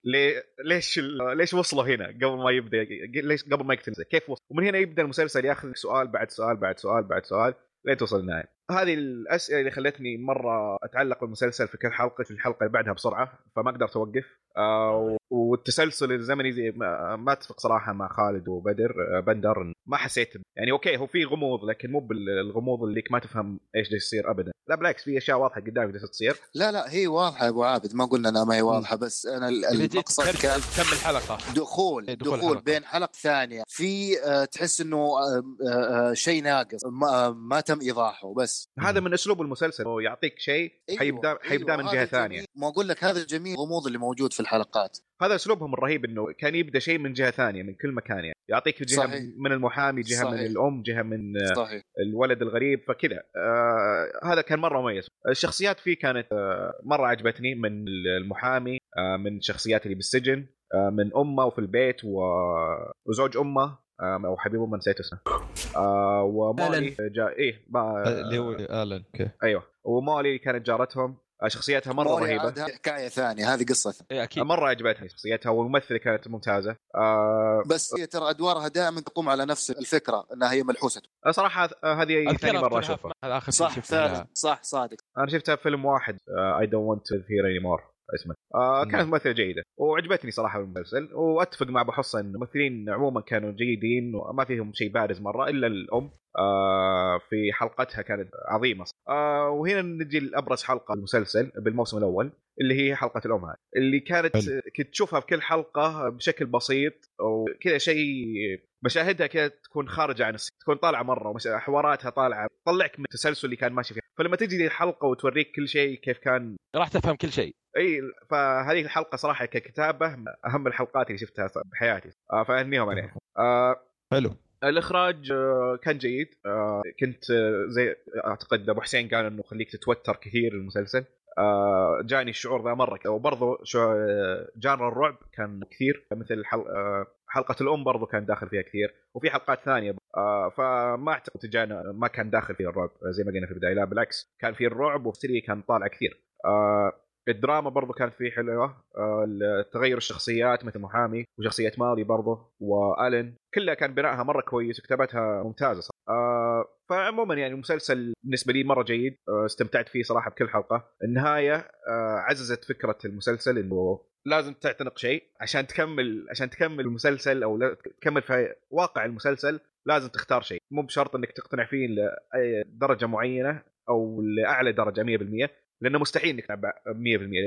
ليه ليش ال- ليش وصلوا هنا قبل ما يبدا ليش قبل ما يقتل نفسه؟ كيف وصل؟ ومن هنا يبدا المسلسل ياخذ سؤال بعد سؤال بعد سؤال بعد سؤال لين توصل للنهايه. هذه الاسئله اللي خلتني مره اتعلق بالمسلسل في كل حلقه في الحلقه اللي بعدها بسرعه فما قدرت اوقف آه، والتسلسل الزمني زي ما, ما اتفق صراحه مع خالد وبدر آه، بندر ما حسيت ب- يعني اوكي هو في غموض لكن مو بالغموض اللي ما تفهم ايش جالس يصير ابدا لا بالعكس في اشياء واضحه قدامك جالسه تصير لا لا هي واضحه يا ابو عابد ما قلنا انها ما هي واضحه بس انا ال- إذا جيت المقصد تكمل- كان تكمل حلقه إيه، دخول دخول دخول حلقة. بين حلقه ثانيه في آه، تحس انه آه، آه، آه، شيء ناقص ما, آه، ما تم ايضاحه بس هذا من اسلوب المسلسل هو يعطيك شيء حيبدا حيبدا من أيوة، هذا جهه الجميل- ثانيه ما اقول لك هذا الجميل الغموض اللي موجود في الحلقات هذا اسلوبهم الرهيب انه كان يبدا شيء من جهه ثانيه من كل مكان يعني يعطيك جهه صحيح. من- من المحامي جهه من صحيح. الام جهه من صحيح الولد الغريب فكذا آه هذا كان مره مميز الشخصيات فيه كانت آه مره عجبتني من المحامي آه من الشخصيات اللي بالسجن آه من امه وفي البيت و... وزوج امه آه او حبيب امه نسيت اسمه آه ومولي جا... ايه ما... اللي هو الن اوكي ايوه ومولي كانت جارتهم آه شخصيتها مره موري رهيبه عاد هذه حكايه ثانيه هذه قصه ثانية. إيه، آه، اكيد مره عجبتني شخصيتها والممثله كانت ممتازه آه بس هي ترى ادوارها دائما تقوم على نفس الفكره انها هي ملحوسه صراحه آه، هذه أذكرها ثاني مره أذكرها اشوفها في- هذا اخر شيء صح شفتها لها. فعلا صح صادق انا شفتها في فيلم واحد آه، اي دونت ونت تو هير اني مور اسمه آه كانت نعم. ممثله جيده وعجبتني صراحه المسلسل واتفق مع ابو حصن الممثلين عموما كانوا جيدين وما فيهم شيء بارز مره الا الام آه في حلقتها كانت عظيمه آه وهنا نجي لابرز حلقه المسلسل بالموسم الاول اللي هي حلقه الام هذه اللي كانت حلو. كنت تشوفها في كل حلقه بشكل بسيط وكذا شيء مشاهدها كذا تكون خارجه عن السياق تكون طالعه مره ومش... حواراتها طالعه تطلعك من التسلسل اللي كان ماشي فيه فلما تجي لي الحلقه وتوريك كل شيء كيف كان راح تفهم كل شيء اي فهذه الحلقه صراحه ككتابه من اهم الحلقات اللي شفتها ص- بحياتي آه فاهنيهم عليها آه حلو الاخراج آه كان جيد آه كنت آه زي اعتقد ابو حسين قال انه خليك تتوتر كثير المسلسل آه جاني الشعور ذا مره وبرضه شو آه، جانر الرعب كان كثير مثل حل... آه، حلقه الام برضه كان داخل فيها كثير وفي حلقات ثانيه آه، فما اعتقد جانا ما كان داخل فيه الرعب آه، زي ما قلنا في البدايه لا بالعكس كان فيه الرعب والسريه كان طالع كثير آه، الدراما برضو كانت فيه حلوه آه، تغير الشخصيات مثل محامي وشخصيه مالي برضو والن كلها كان بنائها مره كويس وكتابتها ممتازه صراحة. آه، فعموما يعني المسلسل بالنسبه لي مره جيد آه، استمتعت فيه صراحه بكل حلقه النهايه آه، عززت فكره المسلسل انه لازم تعتنق شيء عشان تكمل عشان تكمل المسلسل او لا- تكمل في واقع المسلسل لازم تختار شيء مو بشرط انك تقتنع فيه لاي درجه معينه او لاعلى درجه 100% لانه مستحيل انك تتابع 100%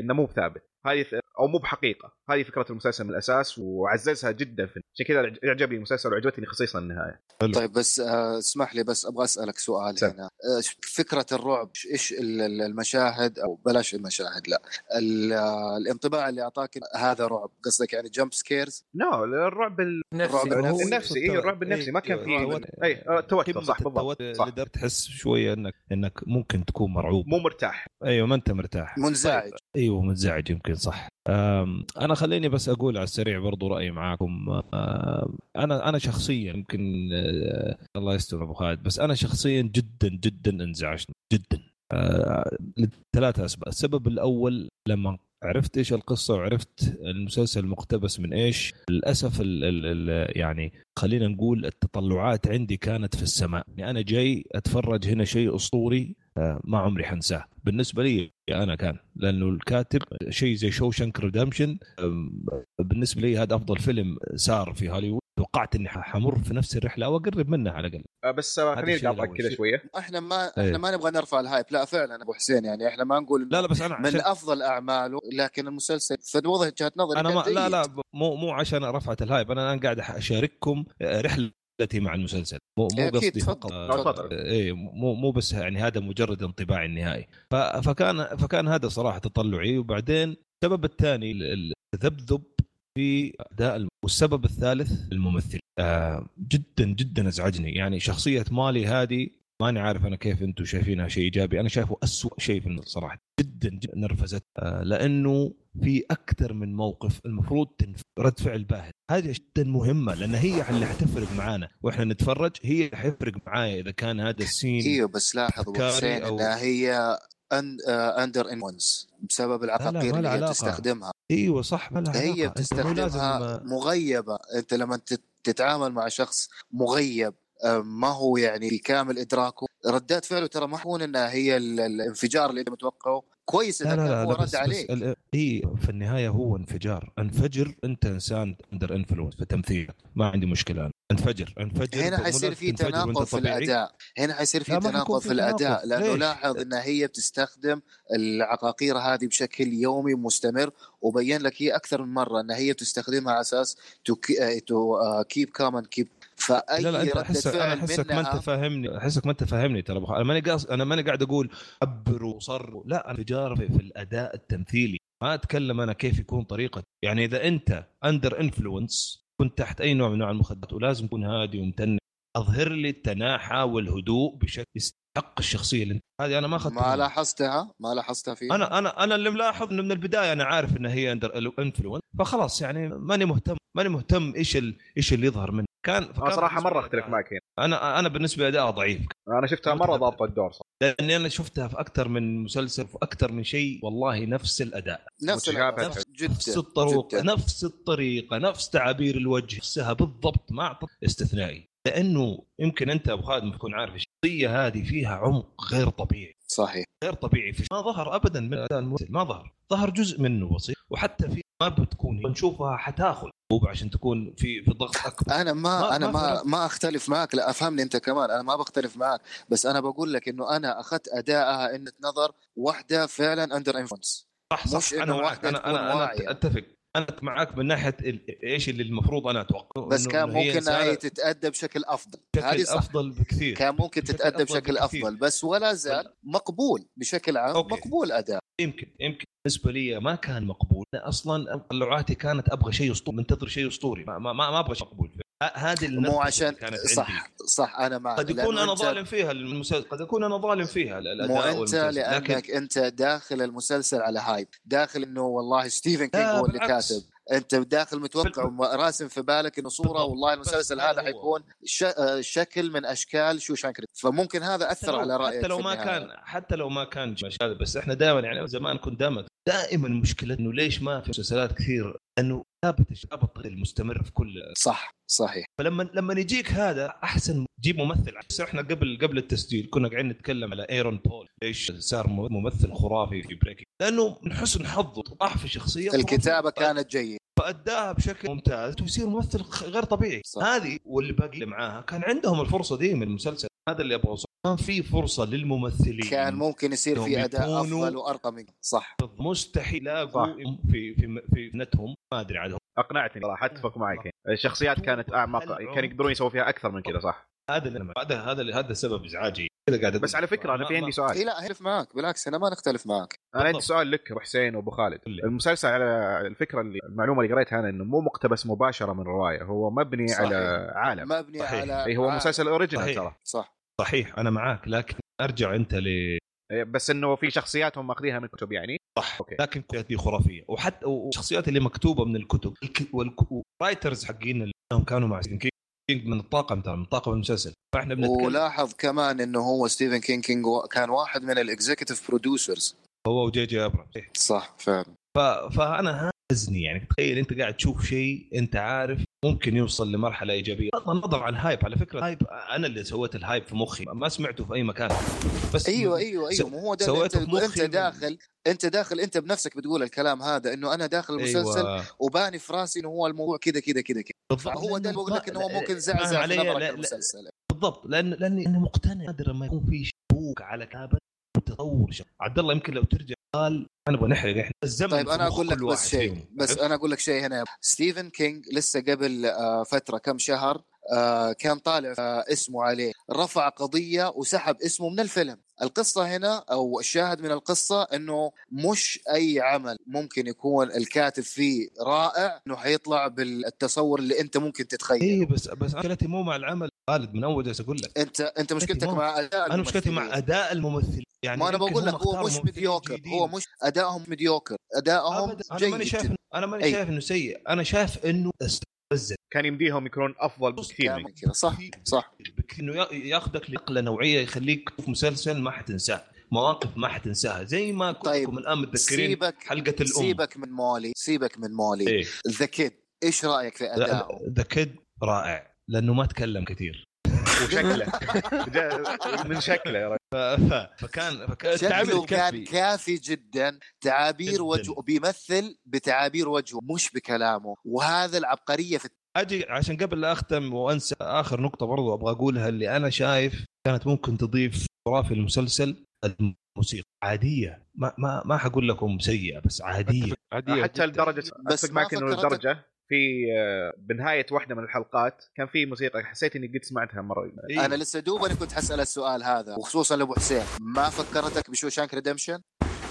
لانه مو بثابت هذه ث- او مو بحقيقه هذه فكره المسلسل من الاساس وعززها جدا في عشان كذا عجبني المسلسل وعجبتني خصيصا النهايه حلو. طيب بس آه، اسمح لي بس ابغى اسالك سؤال سم. هنا آه، فكره الرعب ايش ال- ال- المشاهد او بلاش المشاهد لا ال- آه، الانطباع اللي اعطاك هذا رعب قصدك يعني جمب سكيرز لا الرعب ال- الرعب نفسي النفسي. هو إيه، النفسي اي الرعب النفسي إيه، ما كان فيه التوتر. من- اي التوتر قمة آه، صح بالضبط التوتر صح. لدرجة تحس شويه انك انك ممكن تكون مرعوب مو مرتاح ايوه ما انت مرتاح منزعج ايوه منزعج يمكن صح أم، انا خليني بس اقول على السريع برضو رايي معاكم أم، انا انا شخصيا يمكن أه، الله يستر ابو خالد بس انا شخصيا جدا جدا انزعجت جدا أه، لثلاثة اسباب السبب الاول لما عرفت ايش القصه وعرفت المسلسل مقتبس من ايش للاسف ال ال ال يعني خلينا نقول التطلعات عندي كانت في السماء يعني انا جاي اتفرج هنا شيء اسطوري آه، ما عمري حنساه بالنسبه لي انا كان لانه الكاتب شيء زي شوشنك ريدمشن بالنسبه لي هذا افضل فيلم سار في هوليوود توقعت اني حمر في نفس الرحله او اقرب منها على الاقل آه، بس آه، هذا خليني الشيء اقاطعك الأول. كذا آه، شيء- شويه احنا ما إيه. احنا ما نبغى نرفع الهايب لا فعلا ابو حسين يعني احنا ما نقول لا إنه لا بس انا من عشان افضل اعماله لكن المسلسل فوضح وجهه نظري انا كان ما لا جيد. لا مو مو عشان رفعت الهايب انا الان قاعد اشارككم رحلتي مع المسلسل مو مو إيه، أكيد، قصدي تفضل، فقط تفضل. تفضل. اي إيه، مو مو بس يعني هذا مجرد انطباعي النهائي ف- فكان فكان هذا صراحه تطلعي وبعدين السبب الثاني ال- ال- التذبذب في اداء الم- والسبب الثالث الممثل آه جدا جدا ازعجني يعني شخصيه مالي هذه ماني عارف انا كيف انتم شايفينها شيء ايجابي انا شايفه أسوأ شيء في المسلسل صراحه جدا جدا نرفزت آه، لانه في اكثر من موقف المفروض تنف- رد فعل باهت هذه جدا مهمه لان هي اللي حتفرق معانا واحنا نتفرج هي اللي حيفرق معايا اذا كان هذا السين ايوه بس لاحظ ابو أفكاري حسين أو- انها هي اندر انفونس بسبب العقاقير ما اللي لها هي علاقة. تستخدمها ايوه صح ما لها علاقة. هي أنت مو لازم بتستخدمها آه، مغيبه انت لما تت- تتعامل مع شخص مغيب آه، ما هو يعني في كامل ادراكه ردات فعله ترى ما هون انها هي ال- الانفجار اللي انت متوقعه كويس اذا لا لا كان لا, هو لا رد بس, بس عليك ال- اي في النهايه هو انفجار انفجر انت انسان اندر انفلونس في تمثيل ما عندي مشكله انا انفجر انفجر هنا تؤمنك حيصير في تنفجر وأنت تناقض في طبيعي. الاداء هنا حيصير في لا، ما حيكون تناقض في في الاداء تناقض. لانه ليش؟ لاحظ انها هي بتستخدم العقاقير هذه بشكل يومي مستمر وبين لك هي اكثر من مره انها هي بتستخدمها على اساس تو كيب كام اند كيب فاي لا لا انت رده احسك انا فعل احسك ما انت منها فاهمني احسك ما انت فاهمني ترى أبو خالد. انا ماني قاص انا ماني قاعد اقول عبر وصر لا أنا انفجار في, في الاداء التمثيلي ما اتكلم انا كيف يكون طريقه يعني اذا انت اندر انفلونس كنت تحت اي نوع من انواع المخدرات ولازم تكون هادي ومتنع اظهر لي التناحى والهدوء بشكل يستحق الشخصيه اللي انت هذه انا ما ما اخذتها منك. لاحظتها ما لاحظتها فيه انا انا انا اللي ملاحظ انه من البدايه انا عارف انها هي اندر انفلونس فخلاص يعني ماني مهتم ماني مهتم ايش ال- ايش اللي يظهر منه كان انا فكان صراحه مره بالنسبة لي اختلف معك هنا انا انا بالنسبه لي اداءها ضعيف انا شفتها مره متعب. ضابطه الدور صراحه لاني انا شفتها في اكثر من مسلسل في اكثر من شيء والله نفس الاداء نفس متشابه. الأداء، نفس- نفس جدا الطرق جداً. نفس الطريقه نفس تعابير الوجه نفسها بالضبط ما اعطت استثنائي لانه يمكن انت ابو خالد ما تكون عارف الشخصيه هذه فيها عمق غير طبيعي صحيح غير طبيعي في ما ظهر ابدا من اداء الممثل ما ظهر ظهر جزء منه بسيط وحتى في ما بتكون نشوفها حتاخذ مو عشان تكون في في ضغط اكبر انا ما, ما- انا ما ما فرقت. ما اختلف معك لا افهمني انت كمان انا ما بختلف معك بس انا بقول لك انه انا اخذت ادائها ان نظر واحده فعلا اندر انفلونس صح صح مش انا إنه معك واحدة انا تكون انا, واعية. أنا اتفق انا معك من ناحيه ال- ايش اللي المفروض انا اتوقع بس إنه- كان إنه هي ممكن إنسانة- هي تتادى بشكل افضل هذه بشكل صح افضل بكثير كان ممكن بشكل تتادى أفضل بشكل بكثير. افضل بس ولا زال مقبول بشكل عام أوكي. مقبول اداء يمكن يمكن بالنسبه لي ما كان مقبول أنا اصلا طلعاتي كانت ابغى شيء اسطوري منتظر شيء اسطوري ما, ما, ما ما ابغى شيء مقبول ه- هذه النبرة مو اللي عشان كانت صح عندي. صح انا معك قد يكون لأنه انا أنت- ظالم فيها المسلسل قد يكون انا ظالم فيها ال- مو الاداء انت والمسلسل. لانك لكن انت داخل المسلسل على هايب داخل انه والله ستيفن كينج لا، هو اللي بالعكس. كاتب انت داخل متوقع وراسم في بالك انه صوره بالضبط. والله المسلسل بس هذا هذا هو. حيكون ش... آه، شكل من اشكال شو شانكري فممكن هذا حتى اثر لو- على رايك حتى لو في ما النهاية. كان حتى لو ما كان مش هذا بس احنا دائما يعني زمان كنت دائما دائما مشكله انه ليش ما في مسلسلات كثير انه ثابت الشباب الطويل المستمر في كل صح صحيح فلما لما يجيك هذا احسن جيب ممثل بس احنا قبل قبل التسجيل كنا قاعدين نتكلم على ايرون بول ليش صار م- ممثل خرافي في بريكنج لانه من حسن حظه طاح في شخصيه خرافية. الكتابه ف- كانت جيده فاداها بشكل ممتاز ويصير ممثل خ- غير طبيعي صح. هذه واللي باقي اللي معاها كان عندهم الفرصه دي من المسلسل هذا اللي ابغى اوصله كان في فرصه للممثلين كان ممكن يصير في يوم اداء يكونوا- افضل وارقى من صح مستحيل صح. الاقوا في في في نتهم ما ادري عنهم اقنعتني صراحه اتفق معك هنا. الشخصيات كانت اعمق كانوا يقدرون يسووا فيها اكثر من كذا صح هذا اللي أنا- هذا هذا هذا سبب ازعاجي كذا قاعد أقول. بس على فكره انا ما- في ما- عندي سؤال اي إيه، لا اختلف معك بالعكس انا ما نختلف معك انا عندي بالضبط. سؤال لك ابو حسين وابو خالد قل لي. المسلسل على الفكره اللي المعلومه اللي قريتها انا انه مو مقتبس مباشره من روايه هو مبني صحيح. على عالم مبني صحيح. على اي هو على- مسلسل اوريجينال صحيح. ترى صح صحيح انا معاك لكن ارجع انت ل إيه، بس انه في شخصيات هم ماخذينها من الكتب يعني صح أوكي. لكن الكتابات دي خرافيه وحتى والشخصيات اللي مكتوبه من الكتب الك- والك- والرايترز حقين اللي هم كانوا مع ستيفن كينج كينج من الطاقم ترى من طاقم المسلسل فاحنا بنتكلم ولاحظ كمان انه هو ستيفن كينج كينج و- كان واحد من الاكزيكتيف برودوسرز هو وجي جي ابرام صح فعلا ف- فانا هزني يعني تخيل انت قاعد تشوف شيء انت عارف ممكن يوصل لمرحله ايجابيه بغض النظر عن هايب على فكره هايب انا اللي سويت الهايب في مخي ما سمعته في اي مكان بس أيوة. ايوه ايوه ايوه مو هو ده اللي انت, سويته في مخي انت من- داخل انت داخل انت بنفسك بتقول الكلام هذا انه انا داخل المسلسل أيوة. أيوة. وباني في راسي انه هو الموضوع كذا كذا كذا كذا بالضبط. هو ده اللي بقول لك انه هو ممكن زعزع فاهم في علي؟ نظرك لا- لا- المسلسل بالضبط لان لاني انا مقتنع نادرا ما يكون في شبوك على كابل تطور شخص. عبد الله يمكن لو ترجع قال انا ابغى نحرق احنا الزمن طيب في انا مخ اقول لك كل بس واحد شيء فيهم. إيه؟ بس عرفت؟ انا اقول لك شيء هنا ستيفن كينج لسه قبل آه، فتره كم شهر آه، كان طالع آه، اسمه عليه رفع قضيه وسحب اسمه من الفيلم القصه هنا او الشاهد من القصه انه مش اي عمل ممكن يكون الكاتب فيه رائع انه حيطلع بالتصور اللي انت ممكن تتخيله ايه بس بس مشكلتي مو مع العمل خالد من اول جالس اقول لك انت انت مشكلتك مو- مع اداء انا مشكلتي مع الممثلين. اداء الممثلين يعني ما انا يمكن بقول هم لك هو اختاروا مش ممثلين مديوكر هو جيدين. مش ادائهم مديوكر ادائهم أبداً. انا ماني جيد شايف جدا. انا ماني أي. شايف انه سيء انا شايف انه استفزك كان يمديهم يكونون افضل بكثير كان من كذا صح صح بكثير انه يا- ياخذك لنقله نوعيه يخليك تشوف مسلسل ما حتنساه مواقف ما حتنساها زي ما كلكم طيب. الان متذكرين سيبك حلقه الام سيبك من مولي سيبك من مولي ايه ذا كيد ايش رايك في ادائه ذا كيد رائع لانه ما تكلم كثير وشكله جا- من شكله يا رجل فكان فكان تعبير شكله كان كافي كافي جدا تعابير جداً. وجهه بيمثل بتعابير وجهه مش بكلامه وهذا العبقريه في اجي عشان قبل لا اختم وانسى اخر نقطه برضو ابغى اقولها اللي انا شايف كانت ممكن تضيف ترى في المسلسل الموسيقى عاديه ما ما ما حقول لكم سيئه بس عاديه عادية حتى لدرجه بس اتفق ما معك انه فكرت- لدرجه في آه، بنهايه واحده من الحلقات كان في موسيقى حسيت اني قد سمعتها مره إيه. انا لسه دوبني كنت حسال السؤال هذا وخصوصا لابو حسين ما فكرتك بشوشانك ريدمشن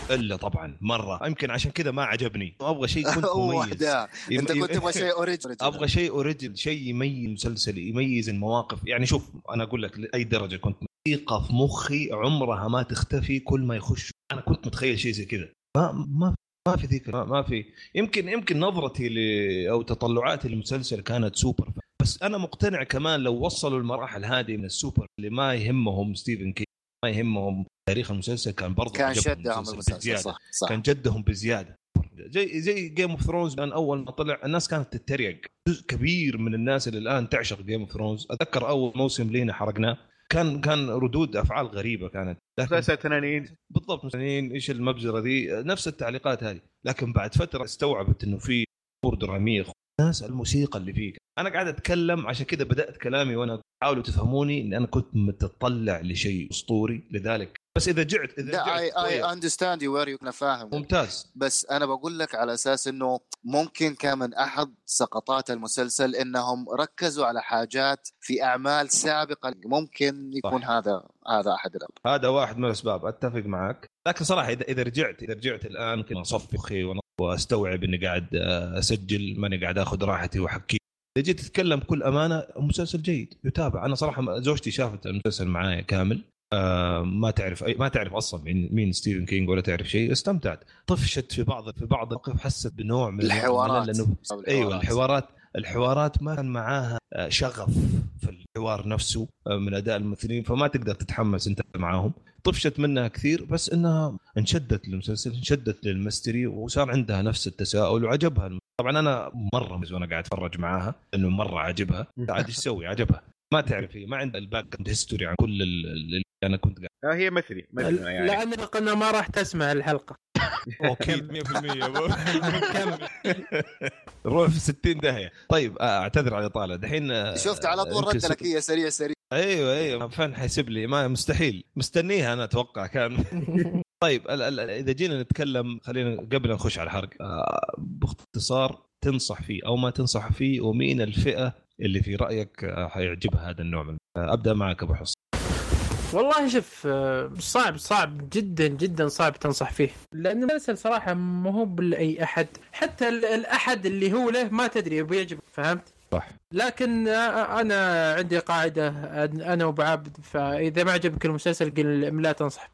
الا طبعا مره يمكن عشان كذا ما عجبني ابغى شيء يكون مميز واحده يم- انت كنت يم- تبغى شيء اوريجنال ابغى شيء اوريجنال شيء يميز المسلسل يميز المواقف يعني شوف انا اقول لك لاي درجه كنت موسيقى في مخي عمرها ما تختفي كل ما يخش انا كنت متخيل شيء زي كذا ما ما ما في ذيك ما, ما في يمكن يمكن نظرتي ل او تطلعاتي للمسلسل كانت سوبر بس انا مقتنع كمان لو وصلوا المراحل هذه من السوبر اللي ما يهمهم ستيفن كي ما يهمهم تاريخ المسلسل كان برضه كان عجبهم شدهم المسلسل بزيادة. صح صح كان جدهم بزياده زي زي جيم اوف ثرونز كان اول ما طلع الناس كانت تتريق جزء كبير من الناس اللي الان تعشق جيم اوف ثرونز اتذكر اول موسم لينا حرقناه كان كان ردود افعال غريبه كانت لكن مسلسل تنانين بالضبط مثلاً ايش المبزره ذي نفس التعليقات هذه لكن بعد فتره استوعبت انه في امور دراميه ناس الموسيقى اللي فيه انا قاعد اتكلم عشان كذا بدات كلامي وانا أقول حاولوا تفهموني ان انا كنت متطلع لشيء اسطوري لذلك بس اذا جعت اذا لا اي جعت اي شوية- اندرستاند يو وير يو انا فاهم ممتاز بس انا بقول لك على اساس انه ممكن كان من احد سقطات المسلسل انهم ركزوا على حاجات في اعمال سابقه ممكن يكون صح. هذا هذا احد الأمر. هذا واحد من الاسباب اتفق معك لكن صراحه اذا اذا رجعت اذا رجعت الان يمكن اصفي اخي وأنا- واستوعب اني قاعد آه، اسجل ماني قاعد اخذ راحتي واحكي اذا جيت تتكلم بكل امانه مسلسل جيد يتابع انا صراحه ما- زوجتي شافت المسلسل معايا كامل آه، ما تعرف أي ما تعرف اصلا مين مين ستيفن كينج ولا تعرف شيء استمتعت طفشت في بعض في بعض المواقف حست بنوع من الملل الحوارات لانه أو الحوارات. ايوه الحوارات الحوارات ما كان معاها آه، شغف في الحوار نفسه آه، من اداء الممثلين فما تقدر تتحمس انت معاهم طفشت منها كثير بس انها انشدت للمسلسل انشدت للمستري وصار عندها نفس التساؤل وعجبها الم- طبعا انا مره مز- وانا قاعد اتفرج معاها انه مره عجبها عاد ايش تسوي عجبها ما تعرف هي ما عندها الباك جراوند هيستوري عن كل ال- اللي انا كنت قاعد آه، هي مثلي مثلي أنا يعني لان قلنا ما راح تسمع الحلقه اكيد 100% روح في 60 داهيه طيب آه، اعتذر على الاطاله دحين آه، شفت على طول يمكن رد ست- لك هي سريع سريع ايوه ايوه فين حيسيب لي ما مستحيل مستنيها انا اتوقع كان طيب ال ال اذا جينا نتكلم خلينا قبل لا نخش على الحرق آه باختصار تنصح فيه او ما تنصح فيه ومين الفئه اللي في رايك آه، حيعجبها هذا النوع من آه ابدا معك ابو حسن والله شوف آه، صعب صعب جدا جدا صعب تنصح فيه لان المسلسل صراحه ما هو بالاي احد حتى ال- الاحد اللي هو له ما تدري بيعجبك فهمت صح. لكن آه، انا عندي قاعده انا وابو عبد فاذا ما عجبك المسلسل قل لا تنصح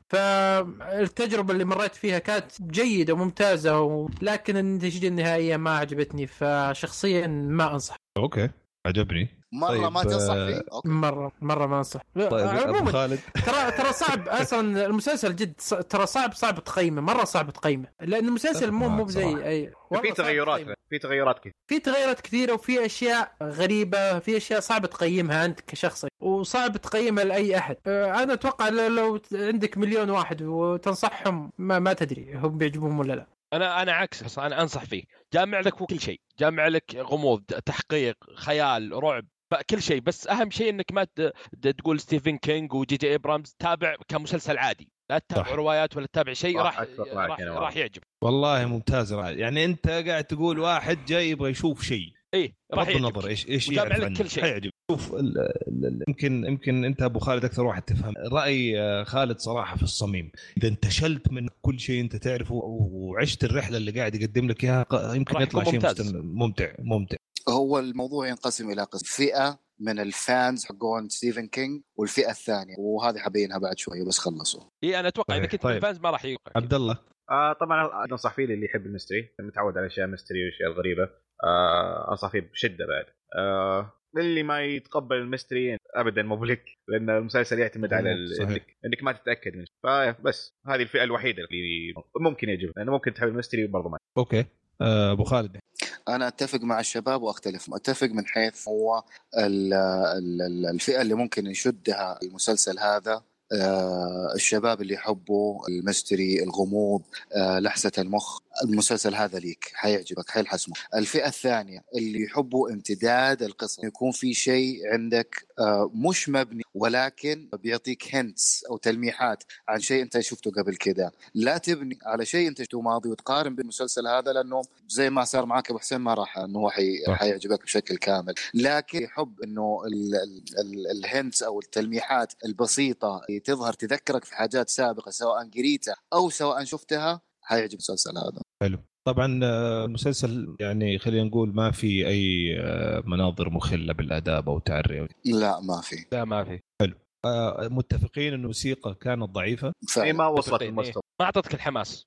فالتجربه اللي مريت فيها كانت جيده وممتازه و- لكن النتيجه النهائيه ما عجبتني فشخصيا ما انصح اوكي عجبني مره طيب، ما تنصح آه، فيه اوكي مره مره ما انصح طيب ابو عموما خالد ترى ترى صعب اصلا المسلسل جد ص- ترى صعب صعب تقيمه مره صعب تقيمه لان المسلسل مو مو صراحة. زي اي والله في صعب تغيرات تقيمه. في تغيرات كثير في تغيرات كثيره وفي اشياء غريبه في اشياء صعب تقيمها انت كشخص وصعب تقيمها لاي احد أه، انا اتوقع لو- لو عندك مليون واحد وتنصحهم ما, ما تدري هم بيعجبهم ولا لا انا انا عكس أصلاً، انا انصح فيه جامع لك كل شيء جامع لك غموض تحقيق خيال رعب ف- كل شيء بس اهم شيء انك ما ت- ت- تقول ستيفن كينج وجي جي ابرامز تابع كمسلسل عادي لا تتابع صح. روايات ولا تتابع شيء صح، راح أتفق معك راح, أنا راح والله. يعجب والله ممتاز رائع. يعني انت قاعد تقول واحد جاي يبغى يشوف شيء ايه بغض راح يعجبك. النظر ايش ايش وجامع يعرف لك عنه. كل شيء. حيعجب شوف ال- ال- ال- يمكن يمكن انت ابو خالد اكثر واحد تفهم راي آه، خالد صراحه في الصميم اذا انتشلت من كل شيء انت تعرفه وعشت الرحله اللي قاعد يقدم لك اياها ق- يمكن راح يطلع يكون شيء ممتاز. مستم- ممتع ممتع هو الموضوع ينقسم الى قسم فئه من الفانز حقون ستيفن كينج والفئه الثانيه وهذه حبينها بعد شويه بس خلصوا ايه انا اتوقع صحيح. اذا كنت طيب. من فانز ما راح يوقع عبد الله آه طبعا انصح فيه للي يحب الميستري متعود على اشياء ميستري واشياء غريبه آه انصح فيه بشده بعد آه اللي ما يتقبل الميستري ابدا مو بلك لان المسلسل يعتمد على ال- صحيح. انك انك ما تتاكد منه فبس هذه الفئه الوحيده اللي ممكن يعجبها لانه ممكن تحب الميستري برضه ما اوكي آه، ابو خالد انا اتفق مع الشباب واختلف اتفق من حيث هو ال- ال- ال- الفئه اللي ممكن يشدها المسلسل هذا آه، الشباب اللي يحبوا المستري الغموض آه، لحسه المخ المسلسل هذا ليك حيعجبك حيلحسمه الفئه الثانيه اللي يحبوا امتداد القصه يكون في شيء عندك آه، مش مبني ولكن بيعطيك هنتس او تلميحات عن شيء انت شفته قبل كده لا تبني على شيء انت شفته ماضي وتقارن بالمسلسل هذا لانه زي ما صار معك ابو حسين ما راح انه هو حي... صح. حيعجبك بشكل كامل لكن يحب انه ال... ال... ال... الهنتس او التلميحات البسيطه اللي تظهر تذكرك في حاجات سابقه سواء قريتها او سواء شفتها حيعجب المسلسل هذا طبعا آه، المسلسل يعني خلينا نقول ما في اي آه، مناظر مخله بالاداب او تعري أو- لا ما في لا ما في آه، متفقين ان الموسيقى كانت ضعيفه اي فعلا إيه، ما وصلت متفقين، المستوى ما اعطتك الحماس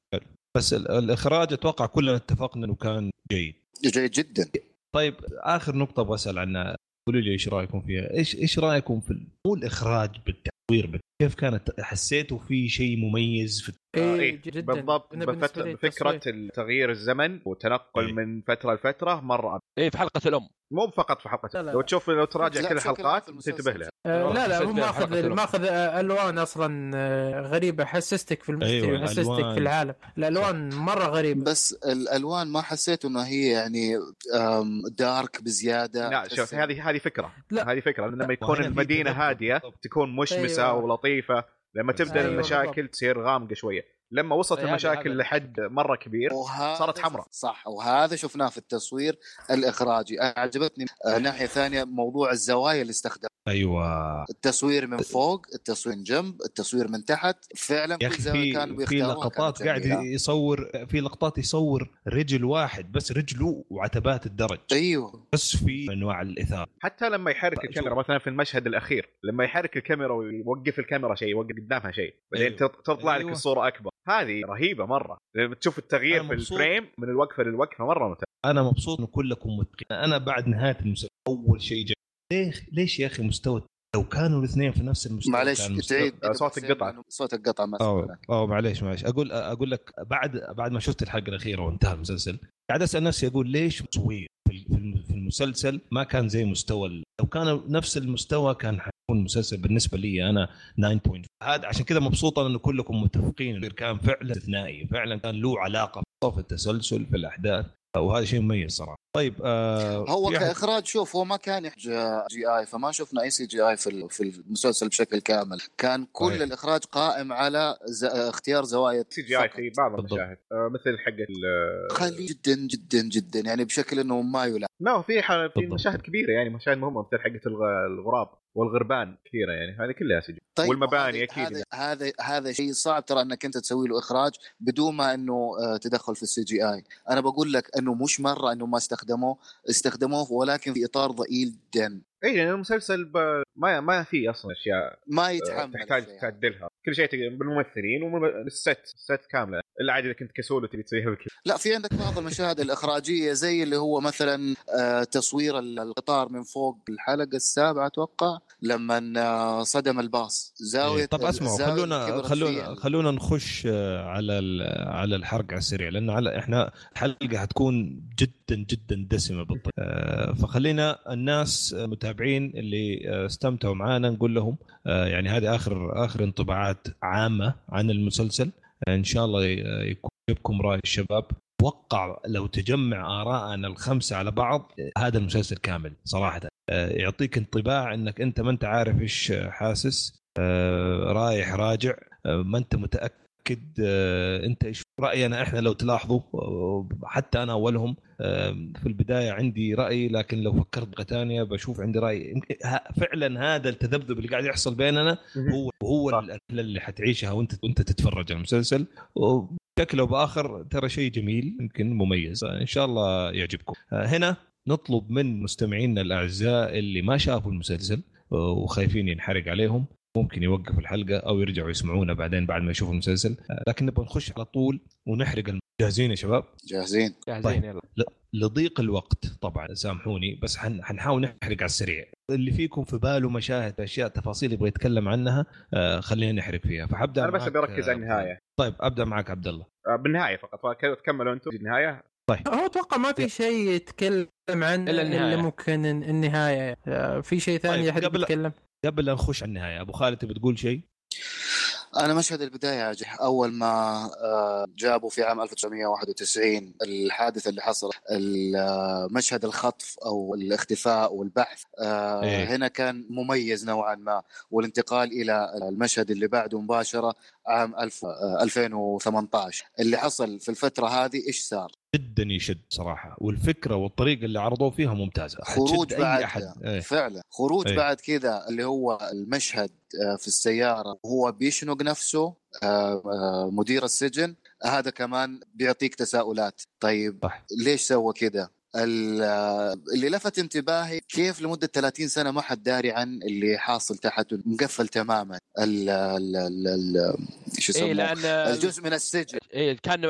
بس ال- الاخراج اتوقع كلنا اتفقنا انه كان جيد جيد جدا طيب اخر نقطه ابغى اسال عنها قولوا لي ايش رايكم فيها ايش ايش رايكم في ال- مو الاخراج بالتصوير بال- كيف كانت حسيتوا في شيء مميز في إيه، جدا بالضبط أنا بالنسبة لي بفت- بفكره التصوير- تغيير الزمن وتنقل إيه. من فتره لفتره مره ايه في حلقه الام مو فقط في لا، حلقه لا. لو تشوف لو تراجع لا، كل بشكل الحلقات عام في المسلسل. تنتبه لها آه، لا لا حسيت هو فيها ماخذ حركة ماخذ آه، الوان اصلا آه، غريبه حسستك في المستوى أيوة، أيوة حسستك الألوان. في العالم الالوان مره غريبه بس الالوان ما حسيت انه هي يعني أم، دارك بزياده لا تحس شوف إنه- هذه هذه فكره لا. هذه فكره لما يكون وهنا في المدينه تنقل. هاديه تكون مشمسه أيوة. ولطيفه لما تبدا أيوة، المشاكل بالضبط. تصير غامقه شويه لما وصلت أي، هذه- المشاكل هذا. لحد مره كبير وهذا صارت حمراء. صح وهذا شفناه في التصوير الاخراجي أنا عجبتني آه، ناحيه ثانيه موضوع الزوايا اللي استخدم ايوه التصوير من فوق التصوير من جنب التصوير من تحت فعلا يا كل اخي زاوية في في بيختاروها لقطات كانت قاعد جميلة. يصور في لقطات يصور رجل واحد بس رجله وعتبات الدرج ايوه بس في انواع الاثاره حتى لما يحرك شوف. الكاميرا مثلا في المشهد الاخير لما يحرك الكاميرا ويوقف الكاميرا شيء يوقف قدامها شيء بعدين أيوة. تط- تطلع لك أيوة. الصوره اكبر هذه رهيبه مره لما تشوف التغيير أنا في مبسوط. الفريم من الوقفه للوقفه مره ممتاز انا مبسوط ان كلكم متقنين انا بعد نهايه المسلسل اول شيء جاي ليش ليش يا اخي مستوى لو كانوا الاثنين في نفس المستوى معلش كان مستوى- تعيد آه، صوتك قطع. صوتك قطع ما اه سمعنا. اه معليش معليش اقول اقول لك بعد بعد ما شفت الحلقه الاخيره وانتهى المسلسل قاعد اسال نفسي اقول ليش تصوير في ال- في الم- في المسلسل ما كان زي مستوى ال- لو كان نفس المستوى كان حيكون المسلسل بالنسبه لي انا 9.5 هذا عشان كذا مبسوط انا ان كلكم متفقين إنه كان فعلا استثنائي فعلا كان له علاقه في التسلسل في الاحداث وهذا شيء مميز صراحه طيب آه هو في أحد- كاخراج شوف هو ما كان يحتاج جي اي فما شفنا اي سي جي اي في ال- في المسلسل بشكل كامل كان كل صحيح. الاخراج قائم على ز... اختيار زوايا سي جي اي فقط. في بعض بالضبط. المشاهد آه، مثل حق قليل جدا جدا جدا يعني بشكل انه ما يلعب ما هو في حال- في بالضبط. مشاهد كبيره يعني مشاهد مهمه مثل حقه الغ- الغراب والغربان كثيره يعني هذه كلها سي جي والمباني وهذا- أكيد طيب، هذا هذا هذا شيء صعب ترى انك انت تسوي له اخراج بدون ما انه آه، تدخل في السي جي اي انا بقول لك انه مش مره انه ما استخدموه استخدموه ولكن في اطار ضئيل جدا اي لان يعني المسلسل ب... ما ما في اصلا اشياء ما آه، يتحمل تحتاج الشيء هذا. تعدلها كل شيء تق- بالممثلين وبالست الست كامله الا عاد اذا كنت كسول وتبي تسويها بالكذا لا في عندك بعض المشاهد الاخراجيه زي اللي هو مثلا آه، تصوير ال- القطار من فوق الحلقه السابعه اتوقع لما آه، صدم الباص زاويه إيه، طب اسمعوا الزاوية اللي خلونا كبرت خلونا فيها. خلونا نخش آه، على ال- على الحرق على السريع لان على احنا الحلقه حتكون جدا جدا دسمه بالطبع آه، فخلينا الناس آه، متابعين اللي آه، استمتعوا معانا نقول لهم آه، يعني هذه اخر اخر انطباعات عامه عن المسلسل آه، ان شاء الله ي- آه، يكون يجيبكم راي الشباب اتوقع لو تجمع آراءنا الخمسه على بعض آه، هذا المسلسل كامل صراحه آه، يعطيك انطباع انك انت ما انت عارف ايش آه، حاسس آه، رايح راجع آه، ما انت متاكد آه، انت ايش راينا احنا لو تلاحظوا آه، حتى انا اولهم آه، في البدايه عندي راي لكن لو فكرت بطريقه ثانيه بشوف عندي راي يمكن- ه- فعلا هذا التذبذب اللي قاعد يحصل بيننا هو هو صح. الرحله اللي حتعيشها وانت وانت تتفرج على المسلسل وبشكل او باخر ترى شيء جميل يمكن مميز ان شاء الله يعجبكم آه، هنا نطلب من مستمعينا الاعزاء اللي ما شافوا المسلسل آه، وخايفين ينحرق عليهم ممكن يوقف الحلقه او يرجعوا يسمعونا بعدين بعد ما يشوفوا المسلسل آه، لكن نبغى نخش على طول ونحرق الم- جاهزين يا شباب جاهزين طيب. جاهزين يلا لضيق الوقت طبعا سامحوني بس حن- حنحاول نحرق على السريع اللي فيكم في باله مشاهد اشياء تفاصيل يبغى يتكلم عنها آه، خلينا نحرق فيها فحبدا انا بس معك، ابي اركز آه، على النهايه طيب ابدا معك عبد الله آه، بالنهايه فقط فكملوا انتم النهايه طيب هو اتوقع ما في شيء يتكلم عن إلا النهاية. اللي ممكن النهايه آه، في شيء ثاني طيب، احد قبل- يتكلم قبل لا نخش على النهايه ابو خالد تبي تقول شيء؟ انا مشهد البدايه عاجبني اول ما آه، جابوا في عام 1991 الحادث اللي حصل ال- آه، مشهد الخطف او الاختفاء والبحث آه، إيه. هنا كان مميز نوعا ما والانتقال الى المشهد اللي بعده مباشره عام 1000 آه، 2018 اللي حصل في الفتره هذه ايش صار؟ جدا يشد صراحه والفكره والطريقه اللي عرضوه فيها ممتازه خروج حتشد بعد اي احد إيه. فعلا خروج إيه. بعد كذا اللي هو المشهد آه، في السياره وهو بيشنق نفسه آه، آه، مدير السجن هذا كمان بيعطيك تساؤلات طيب صح. ليش سوى كذا ال- آه، اللي لفت انتباهي كيف لمده 30 سنه ما حد داري عن اللي حاصل تحته مقفل تماما ال ال ال ال إيه، شو اي يسموه لان الجزء من السجن إيه كان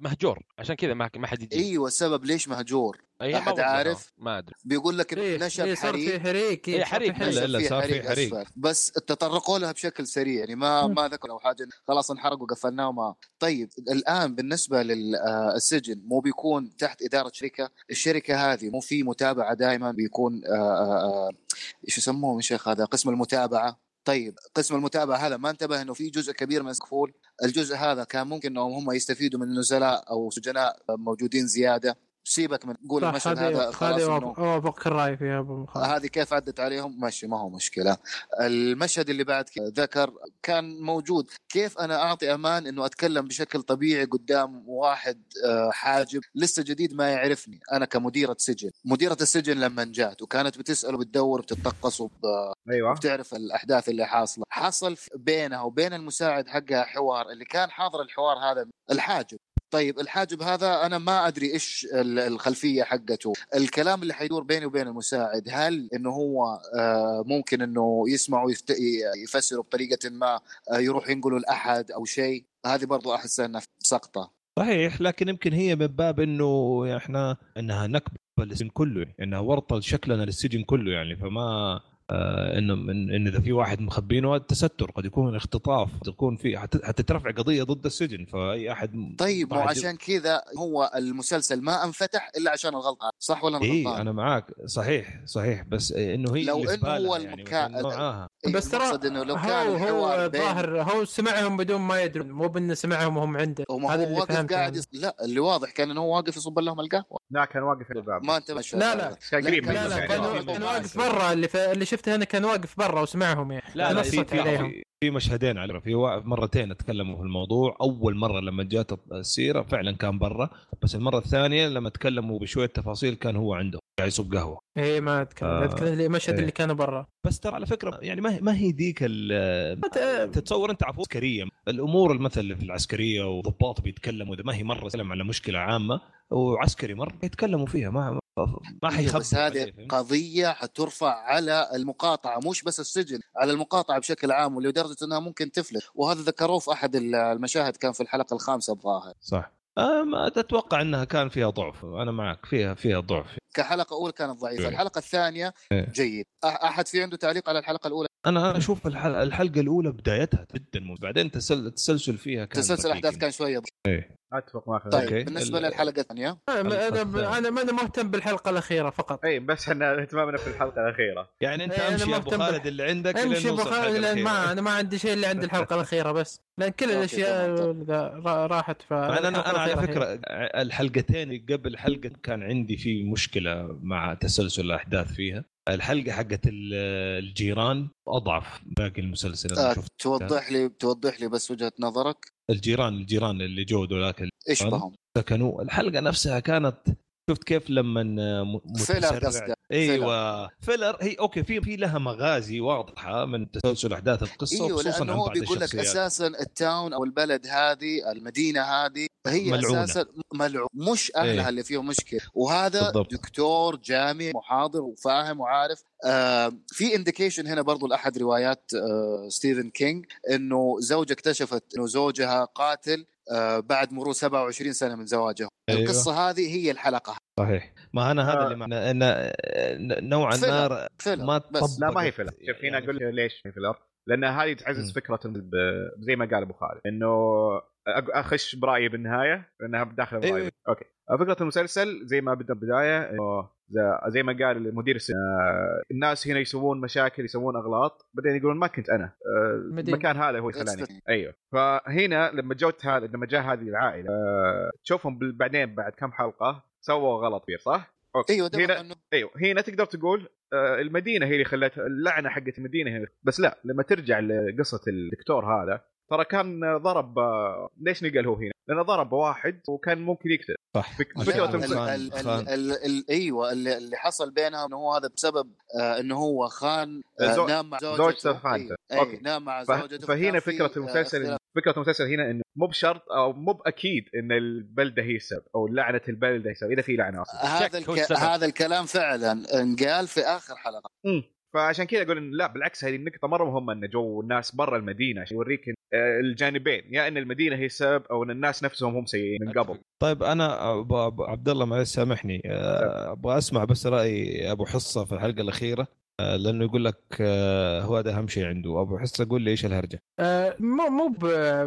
مهجور عشان كذا ما ما حد إيه. يجي ايوه السبب ليش مهجور إيه، ما أحد وضحوها. عارف؟ ما ادري بيقول لك إيه، نشب إيه، صار حريق في حريق صار في إيه، حريق. إلا- إلا صار في حريق. أسفل. بس تطرقوا لها بشكل سريع يعني ما مم. ما ذكروا حاجه خلاص انحرق وقفلناه وما طيب الان بالنسبه للسجن آه، مو بيكون تحت اداره شركه الشركه هذه مو في متابعه دائما بيكون آه، آه، آه، ايش يسموه يا شيخ هذا قسم المتابعه طيب قسم المتابعه هذا ما انتبه انه في جزء كبير من كفول الجزء هذا كان ممكن انهم هم يستفيدوا من نزلاء او سجناء موجودين زياده سيبك من قول صح المشهد هذا هذه خلاص هذه إنه- أوافق- اوافقك الراي فيها ابو خالد هذه كيف عدت عليهم ماشي ما هو مشكله المشهد اللي بعد كده ذكر كان موجود كيف انا اعطي امان انه اتكلم بشكل طبيعي قدام واحد آه، حاجب لسه جديد ما يعرفني انا كمديره سجن مديره السجن لما جات وكانت بتساله بتدور بتتقص وب- ايوه وبتعرف الاحداث اللي حاصله حصل بينها وبين المساعد حقها حوار اللي كان حاضر الحوار هذا الحاجب طيب الحاجب هذا انا ما ادري ايش ال- الخلفيه حقته الكلام اللي حيدور بيني وبين المساعد هل انه هو آه، ممكن انه يسمع ويفت- يفسره بطريقه ما آه، يروح ينقله لاحد او شيء هذه برضو احسها انها سقطه صحيح لكن يمكن هي من باب انه احنا انها نكبه للسجن كله يعني انها ورطه شكلنا للسجن كله يعني فما آه، انه من- ان اذا في واحد مخبينه هذا تستر قد يكون اختطاف قد يكون في حت- حتترفع قضيه ضد السجن فاي احد م- طيب واحد- وعشان كذا هو المسلسل ما انفتح الا عشان الغلطه صح ولا انا اي غلطان؟ انا إيه، معاك صحيح صحيح بس انه هي لو اللي في إنه هو بالها يعني المكا- مثلاً نوعها. إيه، بس ترى المقصد انه لو كان هو الحوار هو بين- الظاهر هو سمعهم بدون ما يدرون مو بانه سمعهم وهم عنده وما هذا هو اللي واقف فهمته قاعد أنا. يص... لا اللي واضح كان انه هو واقف يصب لهم القهوه لا كان واقف عند الباب ما انتبه لا، لا. كان إيه، قريب لا، منه لا لا يعني. كان- كان واقف برا اللي ف... اللي شفته انا كان واقف برا وسمعهم يعني لا، أنا لا، في اتصلت في عليهم في- في مشهدين على فكرة، في وا- مرتين اتكلموا في الموضوع اول مره لما جات السيره فعلا كان برا بس المره الثانيه لما تكلموا بشويه تفاصيل كان هو عنده قاعد يصب قهوه اي إيه، ما اتكلم آه، اتكلم اللي- المشهد إيه. اللي كانوا برا بس ترى على فكره يعني ما هي ما هي ذيك ال- آه. أنت- تتصور انت عفو عسكريه الامور المثل في العسكريه وضباط بيتكلموا اذا ما هي مره يتكلم على مشكله عامه وعسكري مره يتكلموا فيها ما ما- ما حيخبوا بس هذه عليه، فهمت؟ قضيه حترفع على المقاطعه مش بس السجن على المقاطعه بشكل عام ولدرجه انها ممكن تفلت وهذا ذكروه في احد المشاهد كان في الحلقه الخامسه الظاهر صح آه، ما اتوقع انها كان فيها ضعف انا معك فيها فيها ضعف كحلقه اولى كانت ضعيفه إيه. الحلقه الثانيه جيد أح- احد في عنده تعليق على الحلقه الاولى انا انا اشوف الحل- الحلقه الاولى بدايتها جدا ممتازه بعدين تسل... التسلسل فيها كان تسلسل دقيق. الاحداث كان شويه ضعيف. إيه. اتفق معك طيب أوكي. بالنسبه ال- للحلقه الثانيه آه، ما- انا الفخ- انا ما انا مهتم بالحلقه الاخيره فقط اي بس احنا اهتمامنا في الحلقه الاخيره يعني انت إيه، أنا امشي ما يا ابو أهتم خالد بالح- اللي عندك لين امشي نوصل بخالد الحلقة لان ما الأخيرة. انا ما عندي شيء الا عند الحلقه الاخيره بس لان كل أوكي، الاشياء تمام، ذا را- راحت ف انا انا, أنا على فكره الحلقتين قبل حلقه كان عندي في مشكله مع تسلسل الاحداث فيها الحلقه حقت ال- الجيران اضعف باقي المسلسل آه، انا شفت توضح لي توضح لي بس وجهه نظرك الجيران الجيران اللي جو ذولاك ايش بهم سكنوا الحلقه نفسها كانت شفت كيف لما م- فيلر متسرع- قصدك. ايوه فيلر هي اوكي في في لها مغازي واضحه من تسلسل احداث القصه ايوه وخصوصا لانه عن هو بعض بيقول لك الشخصيات اساسا التاون او البلد هذه المدينه هذه هي ملعونة. اساسا ملعون مش اهلها إيه. اللي فيهم مشكله وهذا بالضبط. بالضبط. دكتور جامعي محاضر وفاهم وعارف آه في انديكيشن هنا برضو لاحد روايات آه ستيفن كينج انه زوجة اكتشفت انه زوجها قاتل آه بعد مرور 27 سنه من زواجهم أيوة. أيوة. القصه هذه هي الحلقه صحيح ما انا هذا آه. اللي معناه ان إن نوعا فيلر. ما فيلم ما بس تطبق. لا ما هي فيلر شوف هنا يعني اقول لك ليش هي فيلر لان هذه تعزز مم. فكره ال- ب- زي ما قال ابو خالد انه أق- اخش برايي بالنهايه لانها داخله برايي إيه. اوكي فكره المسلسل زي ما بدنا بالبدايه إنه ز- زي ما قال مدير الس- آه، الناس هنا يسوون مشاكل يسوون اغلاط بعدين يقولون ما كنت انا آه، مدين. المكان هذا هو اللي That's خلاني the- ايوه فهنا لما جوت هذا لما جاء هذه العائله آه، تشوفهم بال- بعدين بعد كم حلقه سووا غلط كبير صح؟ اوكي ايوه دائما هنا انه ايوه هنا تقدر تقول آه، المدينه هي اللي خلت اللعنه حقت المدينه هي اللي- بس لا لما ترجع لقصه الدكتور هذا ترى كان ضرب آه، ليش نقل هو هنا؟ لانه ضرب واحد وكان ممكن يقتل صح فك- لا، فكره ال- المس- خان- ال- ال- خان. ال- ال- ايوه ال- اللي حصل بينها انه هو هذا بسبب آه، انه هو خان آه، زو- نام مع زوجته زوجته خانته. أي- أوكي. أي، نام مع ف- زوجته فهنا وكان في، فكره آه، المسلسل اختلاف. فكره المسلسل هنا انه مو بشرط او مو باكيد ان البلده هي السبب او لعنه البلده هي السبب اذا في لعنه اصلا شك هذا هو الك... السبب. هذا الكلام فعلا انقال في اخر حلقه مم. فعشان كذا اقول إن لا بالعكس هذه النقطه مره مهمه ان جو الناس برا المدينه عشان يوريك إن- آه، الجانبين يا ان المدينه هي السبب او ان الناس نفسهم هم سيئين من قبل طيب انا أبو- أبو عبد الله معلش سامحني آه، ابغى اسمع بس راي ابو حصه في الحلقه الاخيره آه، لانه يقول لك آه، هو هذا اهم شيء عنده ابو حصه قول لي ايش الهرجه آه، مو مو ب...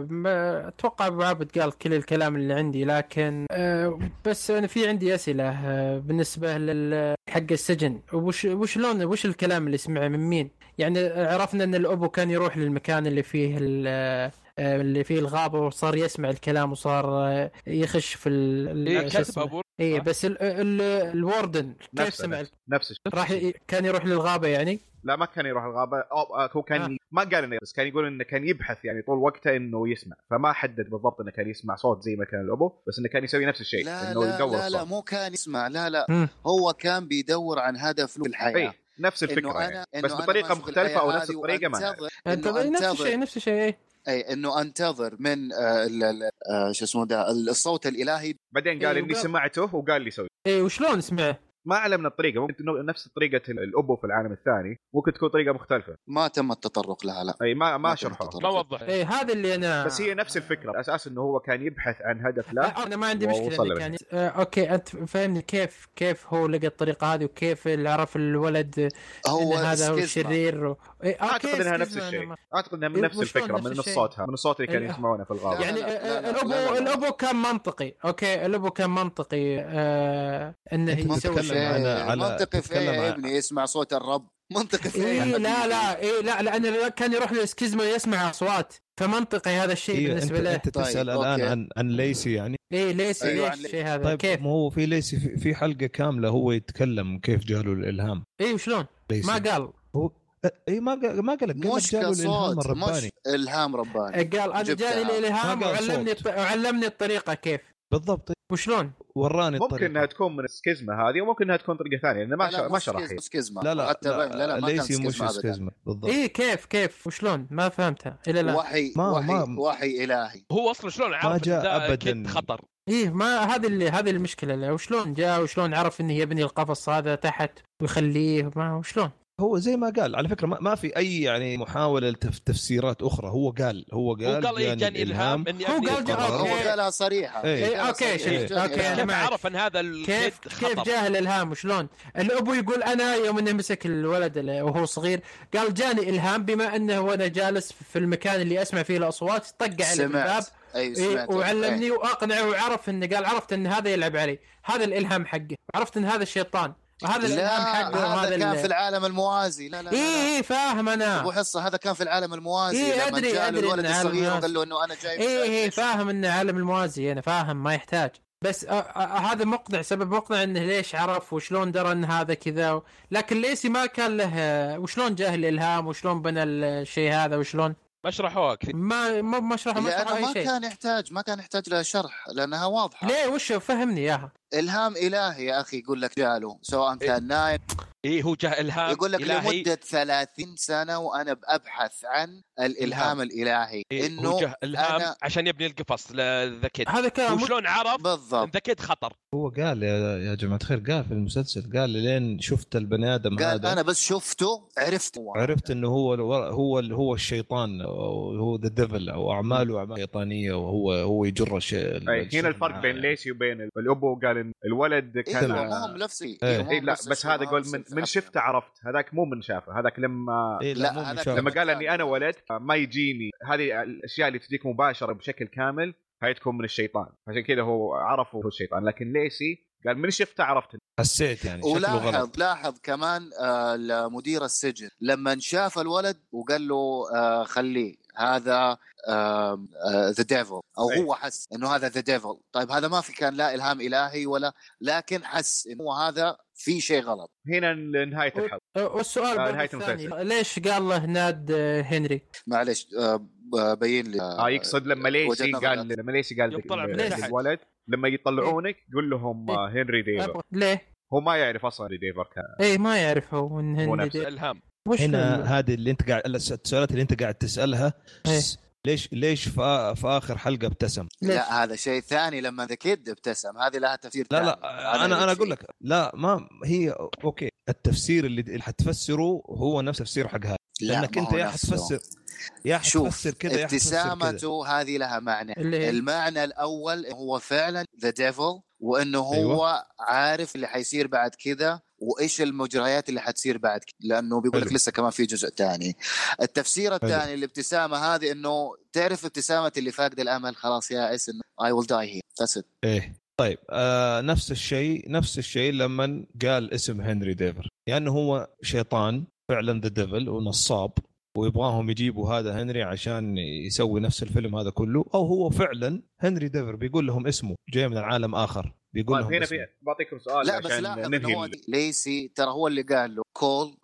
ما- اتوقع ابو عابد قال كل الكلام اللي عندي لكن آه، بس انا في عندي اسئله آه، بالنسبه لل- حق السجن وش وش لون وش الكلام اللي سمعه من مين؟ يعني عرفنا ان الابو كان يروح للمكان اللي فيه ال- آه، اللي فيه الغابه وصار يسمع الكلام وصار آه، يخش في ال ال- إيه شو كذب اسمه؟ ابو اي صح؟ بس ال ال الوردن كيف نفسه سمع نفسه, نفس الشيء راح ي- كان يروح للغابه يعني؟ لا ما كان يروح الغابه أو آه، هو كان آه. ما قال انه بس كان يقول انه كان يبحث يعني طول وقته انه يسمع فما حدد بالضبط انه كان يسمع صوت زي ما كان الابو بس انه كان يسوي نفس الشيء لا انه لا يدور لا, لا الصوت مو كان يسمع لا لا مم. هو كان بيدور عن هدفه في الحياه اي إيه، نفس الفكره انه يعني انا يعني. إنه بس أنا بطريقه ماشي في مختلفه او الحياة نفس هذه الطريقه ما وأنتظر- أنت- إنه إيه، نفس أنتظر- الشيء نفس الشيء إيه، اي اي انه انتظر من آه، ال- ال- آه، شو اسمه ده ال- الصوت الالهي بعدين قال إيه، اني وقال- سمعته وقال لي سوي اي إيه، وشلون سمعه؟ ما علمنا الطريقه ممكن تكون نفس طريقه الابو في العالم الثاني ممكن تكون طريقه مختلفه ما تم التطرق لها لا اي ما ما ما شرحوها تم ما وضح اي إيه، هذا اللي انا بس هي نفس الفكره اساس انه هو كان يبحث عن هدف له لا انا آه، ما عندي ووصل مشكله لها. يعني آه اوكي انت فهمني كيف كيف هو لقى الطريقه هذه وكيف اللي عرف الولد هو إن هذا هو سكيزما. الشرير و... إيه اوكي اعتقد انها نفس سكيزما أنا الشيء ما- اعتقد انها من إيه، نفس وشلون الفكره نفس من الشيء؟ صوتها من الصوت اللي كانوا إيه. يسمعونه في الغابه لا، يعني لا، آه، لا، لا، الابو لا، لا. الابو كان منطقي اوكي الابو كان منطقي آه انه أنت يسوي تتكلم شيء عن- على- على- منطقي في تتكلم إيه يا عن- ابني اسمع صوت الرب منطقي في إيه يا اي لا حبيبي؟ لا اي لا لان كان يروح للسكيزما يسمع اصوات فمنطقي هذا الشيء إيه، انت, بالنسبه له انت تسال طيب، الان أوكي. عن عن ليسي يعني اي ليش أيوة، ليش عن- الشيء هذا طيب كيف ما هو في ليسي في, في حلقه كامله هو يتكلم كيف جاله الالهام اي وشلون ليسي إيه، ما قال اي إيه، ما قال ما قال لك قال لك مش جاله الالهام كصوت مش الرباني الهام رباني قال انا جبتها. جاني الالهام ما قال وعلمني صوت. وعلمني الطريقه كيف بالضبط وشلون وراني ممكن الطريقه انها تكون من السكيزما هذه وممكن انها تكون طريقه ثانيه لانه ما لا، شر- مو ما شرح يعني. هي. سكيز- سكيزما لا لا حتى لا لا, لا ما كان ليسي مش سكيزما أبداً. سكيزما بالضبط ايه كيف كيف وشلون ما فهمتها الى الان وحي ما- وحي ما- وحي الهي هو اصلا شلون عرف ما إن جاء ذا أبداً. كيد خطر ايه ما هذه اللي هذه المشكله اللي وشلون جاء وشلون عرف انه يبني القفص هذا تحت ويخليه ما وشلون هو زي ما قال على فكره ما, ما في اي يعني محاوله لتف تفسيرات اخرى هو قال هو هو قال يعني قال إيه جاني الهام اني هو أبني قال جا- القرار. هو أوكي. قالها صريحه إيه. قالها إيه، أوكي، صريحة. شيء. جاني أوكي، أنا الهام. كيف معك. عرف ان هذا إيه، الكيد كيف كيف خطر جاه الالهام وشلون الابو يقول انا يوم انه مسك الولد اللي وهو صغير قال جاني الهام بما انه وانا جالس في المكان اللي اسمع فيه الاصوات طق على الباب سمعت اي إيه سمعت وعلمني واقنعه وعرف انه قال عرفت ان هذا يلعب علي هذا الالهام حقه عرفت ان هذا الشيطان هذا الالهام لا حقه هذا وهذا كان ال- في العالم الموازي لا لا لا، لا اي اي فاهم ابو انا حصه هذا كان في العالم الموازي إيه، لما أدري- جاء له أدري الولد إن العالم الصغير الموازي. وقال له انه انا جاي من اي اي الأرض. إيه، فاهم انه عالم الموازي انا فاهم ما يحتاج بس أ- أ- هذا مقنع سبب مقنع انه ليش عرف وشلون درى ان هذا كذا و... لكن ليسي ما كان له آه، وشلون جاه الالهام وشلون بنى الشيء هذا وشلون ما شرحوها كثير ما ما ما شرح ما شرح لانه اي ما شيء كان يحتاج ما كان يحتاج لها شرح لانها واضحه ليه وش فهمني اياها الهام الهي يا اخي يقول لك جاله سواء كان نايم اي هو جاء الهام يقول لك إلهي. لمده 30 سنه وانا ابحث عن الالهام الالهي إيه، انه هو جاء الهام أنا- عشان يبني القفص لذا كيد هذا كلام وشلون عرف إن بالضبط ذا كيد خطر هو قال يا, يا جماعه الخير قال في المسلسل قال لين شفت البني ادم قال هذا انا بس شفته عرفت هو. عرفت انه هو الور- هو ال- هو الشيطان او هو ذا ديفل او اعماله اعمال شيطانيه وهو هو يجر الشيء أي، إيه، هنا الفرق بين ليسي وبين الابو قال إن الولد إيه كان هو مو هم نفسي إيه. هو مو إيه لا نفس بس الشيء، هذا هو قول نفس من, من الفكرة. شفته عرفت هذاك مو من شافه هذاك لما إيه لا, لا، مو هذا مشابه. لما قال اني انا ولدت ما يجيني هذه الاشياء اللي تجيك مباشره بشكل كامل هاي تكون من الشيطان عشان كذا هو عرف هو الشيطان لكن ليسي قال من شفته عرفت حسيت يعني شكله غلط ولاحظ لاحظ كمان آه مدير السجن لما شاف الولد وقال له آه خليه هذا آه، ذا ديفل او طيب. أي. هو حس انه هذا ذا ديفل طيب هذا ما في كان لا الهام الهي ولا لكن حس انه هذا في شيء غلط هنا نهايه الحلقه أه، والسؤال آه، برضو نهاية الثاني المسلسل. ليش قال له ناد آه، هنري؟ معليش آه، ب- بين لي اه يقصد لما ليسي وجدنا قال بنات. لما ليسي قال يوم ذاك طلع إيه. ال- بليسي. الولد لما يطلعونك قول لهم آه، هنري ديفر أبغى- ليه؟ هو ما يعرف اصلا هنري ديفر كان اي ما يعرف هو من هو هنري نفسه. دي- الهام وش هنا هنا هذه اللي انت قاعد السؤالات اللي انت قاعد تسالها إيه. س- ليش ليش في, آ- في اخر حلقه ابتسم؟ لا هذا شيء ثاني لما ذا كيد ابتسم هذه لها تفسير لا ثاني. لا انا انا اقول لك لا ما هي اوكي التفسير اللي اللي حتفسره هو نفس تفسير حق هذا لا، لانك ما انت هو يا نفسه. حتفسر يا شوف، حتفسر كذا يا حتفسر كذا ابتسامته هذه لها معنى اللي إيه. هي- المعنى الاول هو فعلا ذا ديفل وانه هو أيوة. أيوة. عارف اللي حيصير بعد كذا وايش المجريات اللي حتصير بعد كده لانه بيقول لك حلو. لسه كمان في جزء ثاني التفسير الثاني الابتسامه هذه انه تعرف ابتسامه اللي فاقد الامل خلاص يائس انه اي ويل داي هي ذاتس ات ايه طيب آه نفس الشيء نفس الشيء لما قال اسم هنري ديفر يعني هو شيطان فعلا ذا ديفل ونصاب ويبغاهم يجيبوا هذا هنري عشان يسوي نفس الفيلم هذا كله او هو فعلا هنري ديفر بيقول لهم اسمه جاي من العالم اخر بيقول طيب لهم هنا اسمه. في بعطيكم سؤال لا بس عشان لاحظ ننهي انه هو ال- ليسي ترى هو اللي قال له آه، كول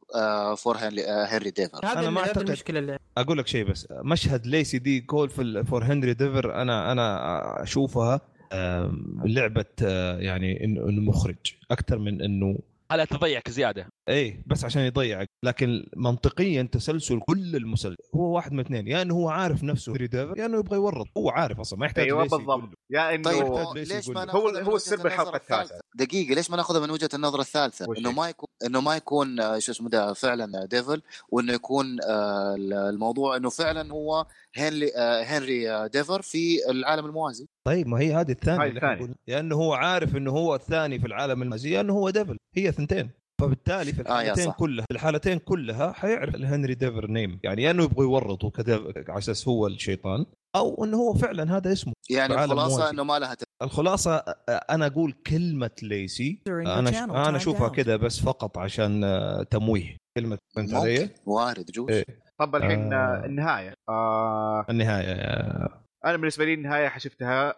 فور هنري ديفر هذا أنا ما أنا ما أعتقد. المشكله اللي اقول لك شيء بس مشهد ليسي دي جول في ال- فور هنري ديفر انا انا اشوفها آم، لعبه آه، يعني إنه- انه مخرج اكثر من انه هلا تضيعك زياده ايه بس عشان يضيعك لكن منطقيا تسلسل كل المسلسل هو واحد من اثنين يا يعني انه هو عارف نفسه هنري ديفر يا انه يبغى يورط هو عارف اصلا ما يحتاج ايوه ليسي بالضبط. يقول له. يا انه طيب هو- هو ليش ليش يقول ما لك؟ ناخذها هو- من هو وجهة السر النظر بالحلقة التاسعة. الثالثة؟ دقيقة ليش ما ناخذها من وجهة النظر الثالثة؟ وش انه هي؟ ما يكون انه ما يكون آه، شو اسمه ده فعلا ديفل وانه يكون آه، ال- الموضوع انه فعلا هو هنري آه، هنري آه، ديفر في العالم الموازي طيب ما هي هذه الثانيه هاي اللي إحنا الثانية. نقول. يا انه هو عارف انه هو الثاني في العالم المازي انه هو ديفل هي ثنتين فبالتالي في آه، يا الحالتين صح. كلها في الحالتين كلها حيعرف الهنري ديفر نيم يعني يا انه يبغى يورطه كذا على اساس هو الشيطان او انه هو فعلا هذا اسمه يعني في عالم الخلاصه موازي. انه ما لها تف- الخلاصه آه، انا اقول كلمه ليسي During the انا channel انا timed اشوفها out. كذا بس فقط عشان آه، تمويه كلمه فهمت علي؟ ممكن وارد يجوز إيه. طب الحين آه. آه، النهايه آه النهايه آه، انا بالنسبه لي النهايه شفتها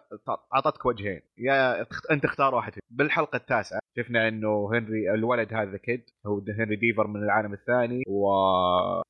اعطتك وجهين يا اخت- انت اختار واحد فيهم. بالحلقه التاسعه شفنا انه هنري الولد هذا كيد هو ده هنري ديفر من العالم الثاني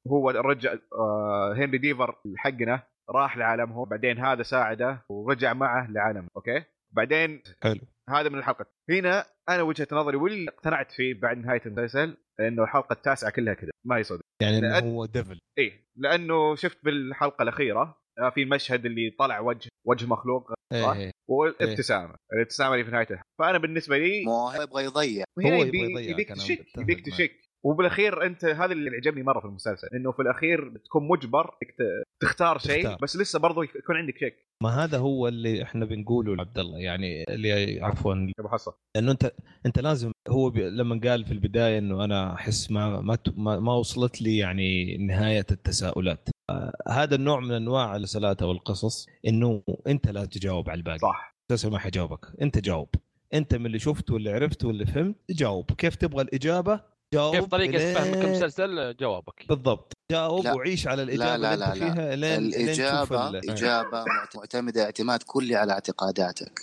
وهو رجع آه، هنري ديفر حقنا راح لعالمهم بعدين هذا ساعده ورجع معه لعالمه اوكي بعدين حلو. هذا من الحلقه هنا انا وجهه نظري واللي اقتنعت فيه بعد نهايه المسلسل انه الحلقه التاسعه كلها كذا ما يصدق يعني انه لأن- هو ديفل ايه لانه شفت بالحلقه الاخيره آه، في المشهد اللي طلع وجه وجه مخلوق صح؟ إيه. والابتسامه إيه. الابتسامه اللي في نهايتها فانا بالنسبه لي ما هو يبغى يضيع هنا هو يبي- يبغى يضيعك، يبيك أنا تشك متفق يبيك معك. تشك وبالاخير انت هذا اللي عجبني مره في المسلسل انه في الاخير تكون مجبر إنك ت- تختار شيء تختار. بس لسه برضو يكون عندك شك ما هذا هو اللي احنا بنقوله لعبد الله يعني اللي عفوا يا ابو حصه لانه انت انت لازم هو بي لما قال في البدايه انه انا احس ما ما ت- ما, ما وصلت لي يعني نهايه التساؤلات آه هذا النوع من انواع الرسالات او القصص انه انت لا تجاوب على الباقي صح المسلسل ما حيجاوبك انت جاوب انت من اللي شفته واللي عرفته واللي فهمت جاوب كيف تبغى الاجابه جاوب كيف طريقه إلين- فهمك المسلسل جوابك بالضبط جاوب لا. وعيش على الاجابه لا، لا، اللي انت لا، لا. فيها لين الاجابه لين تشوف ال- إيه. اجابه معت- معتمده اعتماد كلي على اعتقاداتك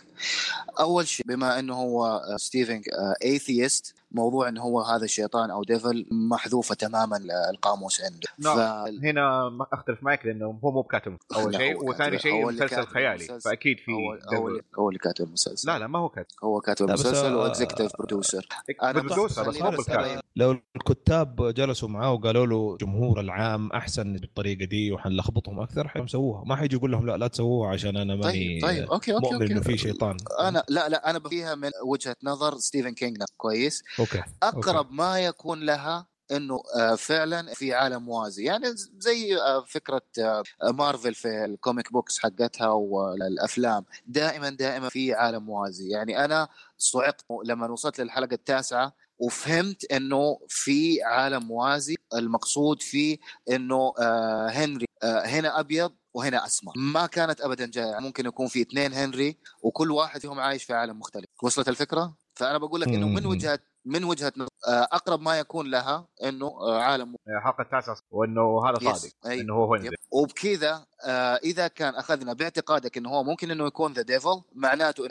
اول شيء بما انه هو آه، ستيفن ايثيست موضوع انه هو هذا الشيطان او ديفل محذوفه تماما آه، القاموس عنده نعم. ف- هنا ما اختلف معك لانه هو مو بكاتب اول لا، شيء هو وثاني كاتب- شيء هو اللي مسلسل كاتب خيالي المسلسل. فاكيد في هو هو دبل. اللي- هو اللي كاتب المسلسل لا لا ما هو كاتب هو كاتب لا، بس المسلسل هو- واكزكتيف برودوسر أنا برودوسر بس مو خلينا- بالكاتب لو الكتاب جلسوا معاه وقالوا له جمهور العام احسن بالطريقه دي وحنلخبطهم اكثر حيسووها ما حيجي يقول لهم لا لا تسووها عشان انا ماني طيب طيب اوكي اوكي يعني مؤمن انه اوكي في شيطان انا لا لا انا فيها من وجهه نظر ستيفن كينج نفسه، كويس اوكي اقرب ما يكون لها انه آه، فعلا في عالم موازي يعني ز- زي آه، فكره آه، مارفل في الكوميك بوكس حقتها والافلام دائما دائما في عالم موازي يعني انا صعقت لما وصلت للحلقه التاسعه وفهمت انه في عالم موازي المقصود فيه انه آه، هنري آه، هنا ابيض وهنا اسمر ما كانت ابدا جائعه ممكن يكون في اثنين هنري وكل واحد فيهم عايش في عالم مختلف وصلت الفكره فانا بقول لك انه من مم. وجهه من وجهه نظر آه، اقرب ما يكون لها انه آه، عالم الحلقه التاسعه وانه هذا يس، صادق أي. انه هو هنري يب. وبكذا آه اذا كان اخذنا باعتقادك انه هو ممكن انه يكون ذا ديفل معناته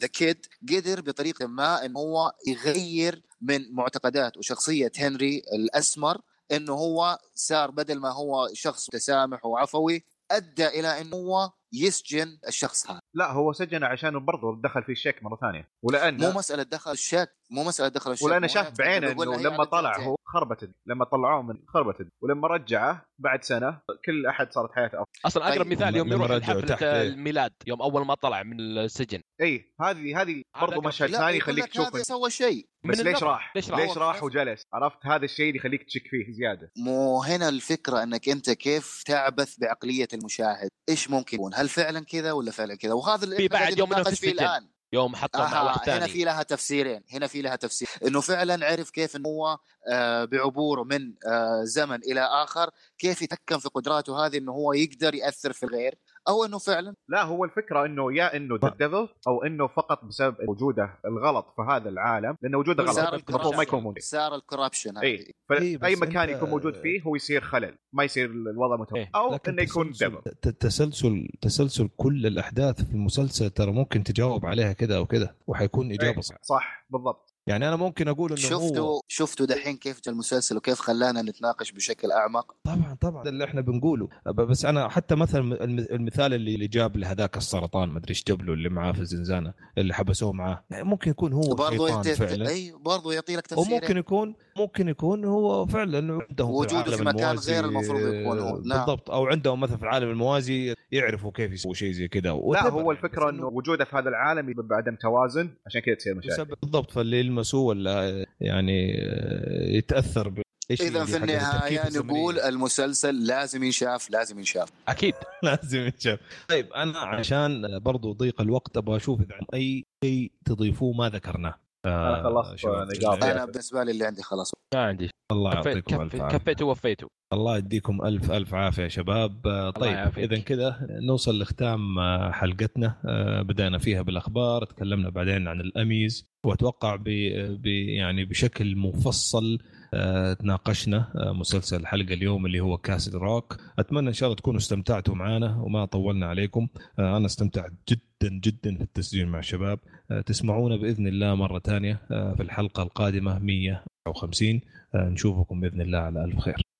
ذا كيد قدر بطريقه ما انه هو يغير من معتقدات وشخصيه هنري الاسمر انه هو صار بدل ما هو شخص متسامح وعفوي ادى الى انه هو يسجن الشخص هذا لا هو سجنه عشان برضه دخل فيه الشك مره ثانيه ولان مو مساله دخل الشك مو مساله دخل الشك ولانه مو شاف بعينه بيقول انه هي لما عادة طلع جائعة. هو خربت الدنيا. لما طلعوه من خربت الدنيا. ولما رجعه بعد سنه كل احد صارت حياته افضل اصلا اقرب طيب. مثال يوم لما يروح رجعوا تحت، حفله إيه. الميلاد يوم اول ما طلع من السجن اي هذه هذه هذا برضه قصدي. مشهد لا، ثاني يقول يخليك لك تشوف هذا سوى شيء بس من ليش النظر. راح؟ ليش راح؟ ليش راح هو- وجلس؟ عرفت هذا الشيء اللي يخليك تشك فيه زياده مو هنا الفكرة انك انت كيف تعبث بعقلية المشاهد، ايش ممكن يكون؟ هل فعلا كذا ولا فعلا كذا؟ وهذا اللي في إحنا بعد قاعدين يوم إنه في نتناقش فيه السجن. الان. يوم حطه مع واحد آها هنا ثاني في لها تفسيرين، هنا في لها تفسير انه فعلا عرف كيف انه هو آه، بعبوره من آه، زمن الى اخر كيف يتحكم في قدراته هذه انه هو يقدر ياثر في الغير او انه فعلا لا هو الفكره انه يا انه ذا ديفل او انه فقط بسبب وجوده الغلط في هذا العالم لانه وجوده وزارة غلط المفروض ما يكون موجود صار الكوربشن هذه. إيه. اي إي، فاي إيه، بس مكان أنت- يكون موجود فيه هو يصير خلل ما يصير الوضع متوازن إيه، او لكن انه يكون تسلسل- ديفل ت- تسلسل تسلسل كل الاحداث في المسلسل ترى ممكن تجاوب عليها كذا وكذا وحيكون اجابه طيب. صح إيه، صح بالضبط يعني انا ممكن اقول انه هو شفتوا شفتوا دحين كيف جاء المسلسل وكيف خلانا نتناقش بشكل اعمق طبعا طبعا ده اللي احنا بنقوله ب- بس انا حتى مثلا الم- المثال اللي اللي جاب لهذاك السرطان ما ادري ايش جاب له اللي معاه في الزنزانه اللي حبسوه معاه يعني ممكن يكون هو وبرضه شيطان يت- فعلا اي برضه يعطي لك تفسير وممكن يكون ممكن يكون هو فعلا عندهم وجوده في العالم مكان الموازي، آه، غير المفروض يكون هو، نعم. بالضبط او عندهم مثلا في العالم الموازي يعرفوا كيف يسووا شيء زي كذا لا هو الفكره انه وجوده في هذا العالم يبقى بعدم توازن عشان كذا تصير مشاكل بسبب بالضبط فاللي يلمسوه ولا يعني آه، يتاثر ب إيش اذا اللي في يعني حق النهايه التركيبة نقول الزمنية. المسلسل لازم ينشاف لازم ينشاف اكيد لازم يتشاف طيب انا عشان برضو ضيق الوقت ابغى اشوف اذا عن اي شيء تضيفوه ما ذكرناه أنا آه، خلصت نقاط. انا بالنسبه لي اللي عندي خلاص ما عندي الله كفيت- يعطيكم الف كفيت- عافيه كفيت ووفيت الله يديكم الف الف عافيه يا شباب آه، طيب يعافيك. اذا كذا نوصل لختام آه، حلقتنا آه، بدأنا فيها بالاخبار تكلمنا بعدين عن الاميز واتوقع ب ب- يعني بشكل مفصل آه، تناقشنا آه، مسلسل الحلقه اليوم اللي هو كاسل روك اتمنى ان شاء الله تكونوا استمتعتوا معنا وما طولنا عليكم آه، انا استمتعت جدا جدا في التسجيل مع الشباب آه، تسمعونا باذن الله مره ثانيه آه، في الحلقه القادمه 150 آه، نشوفكم باذن الله على الف خير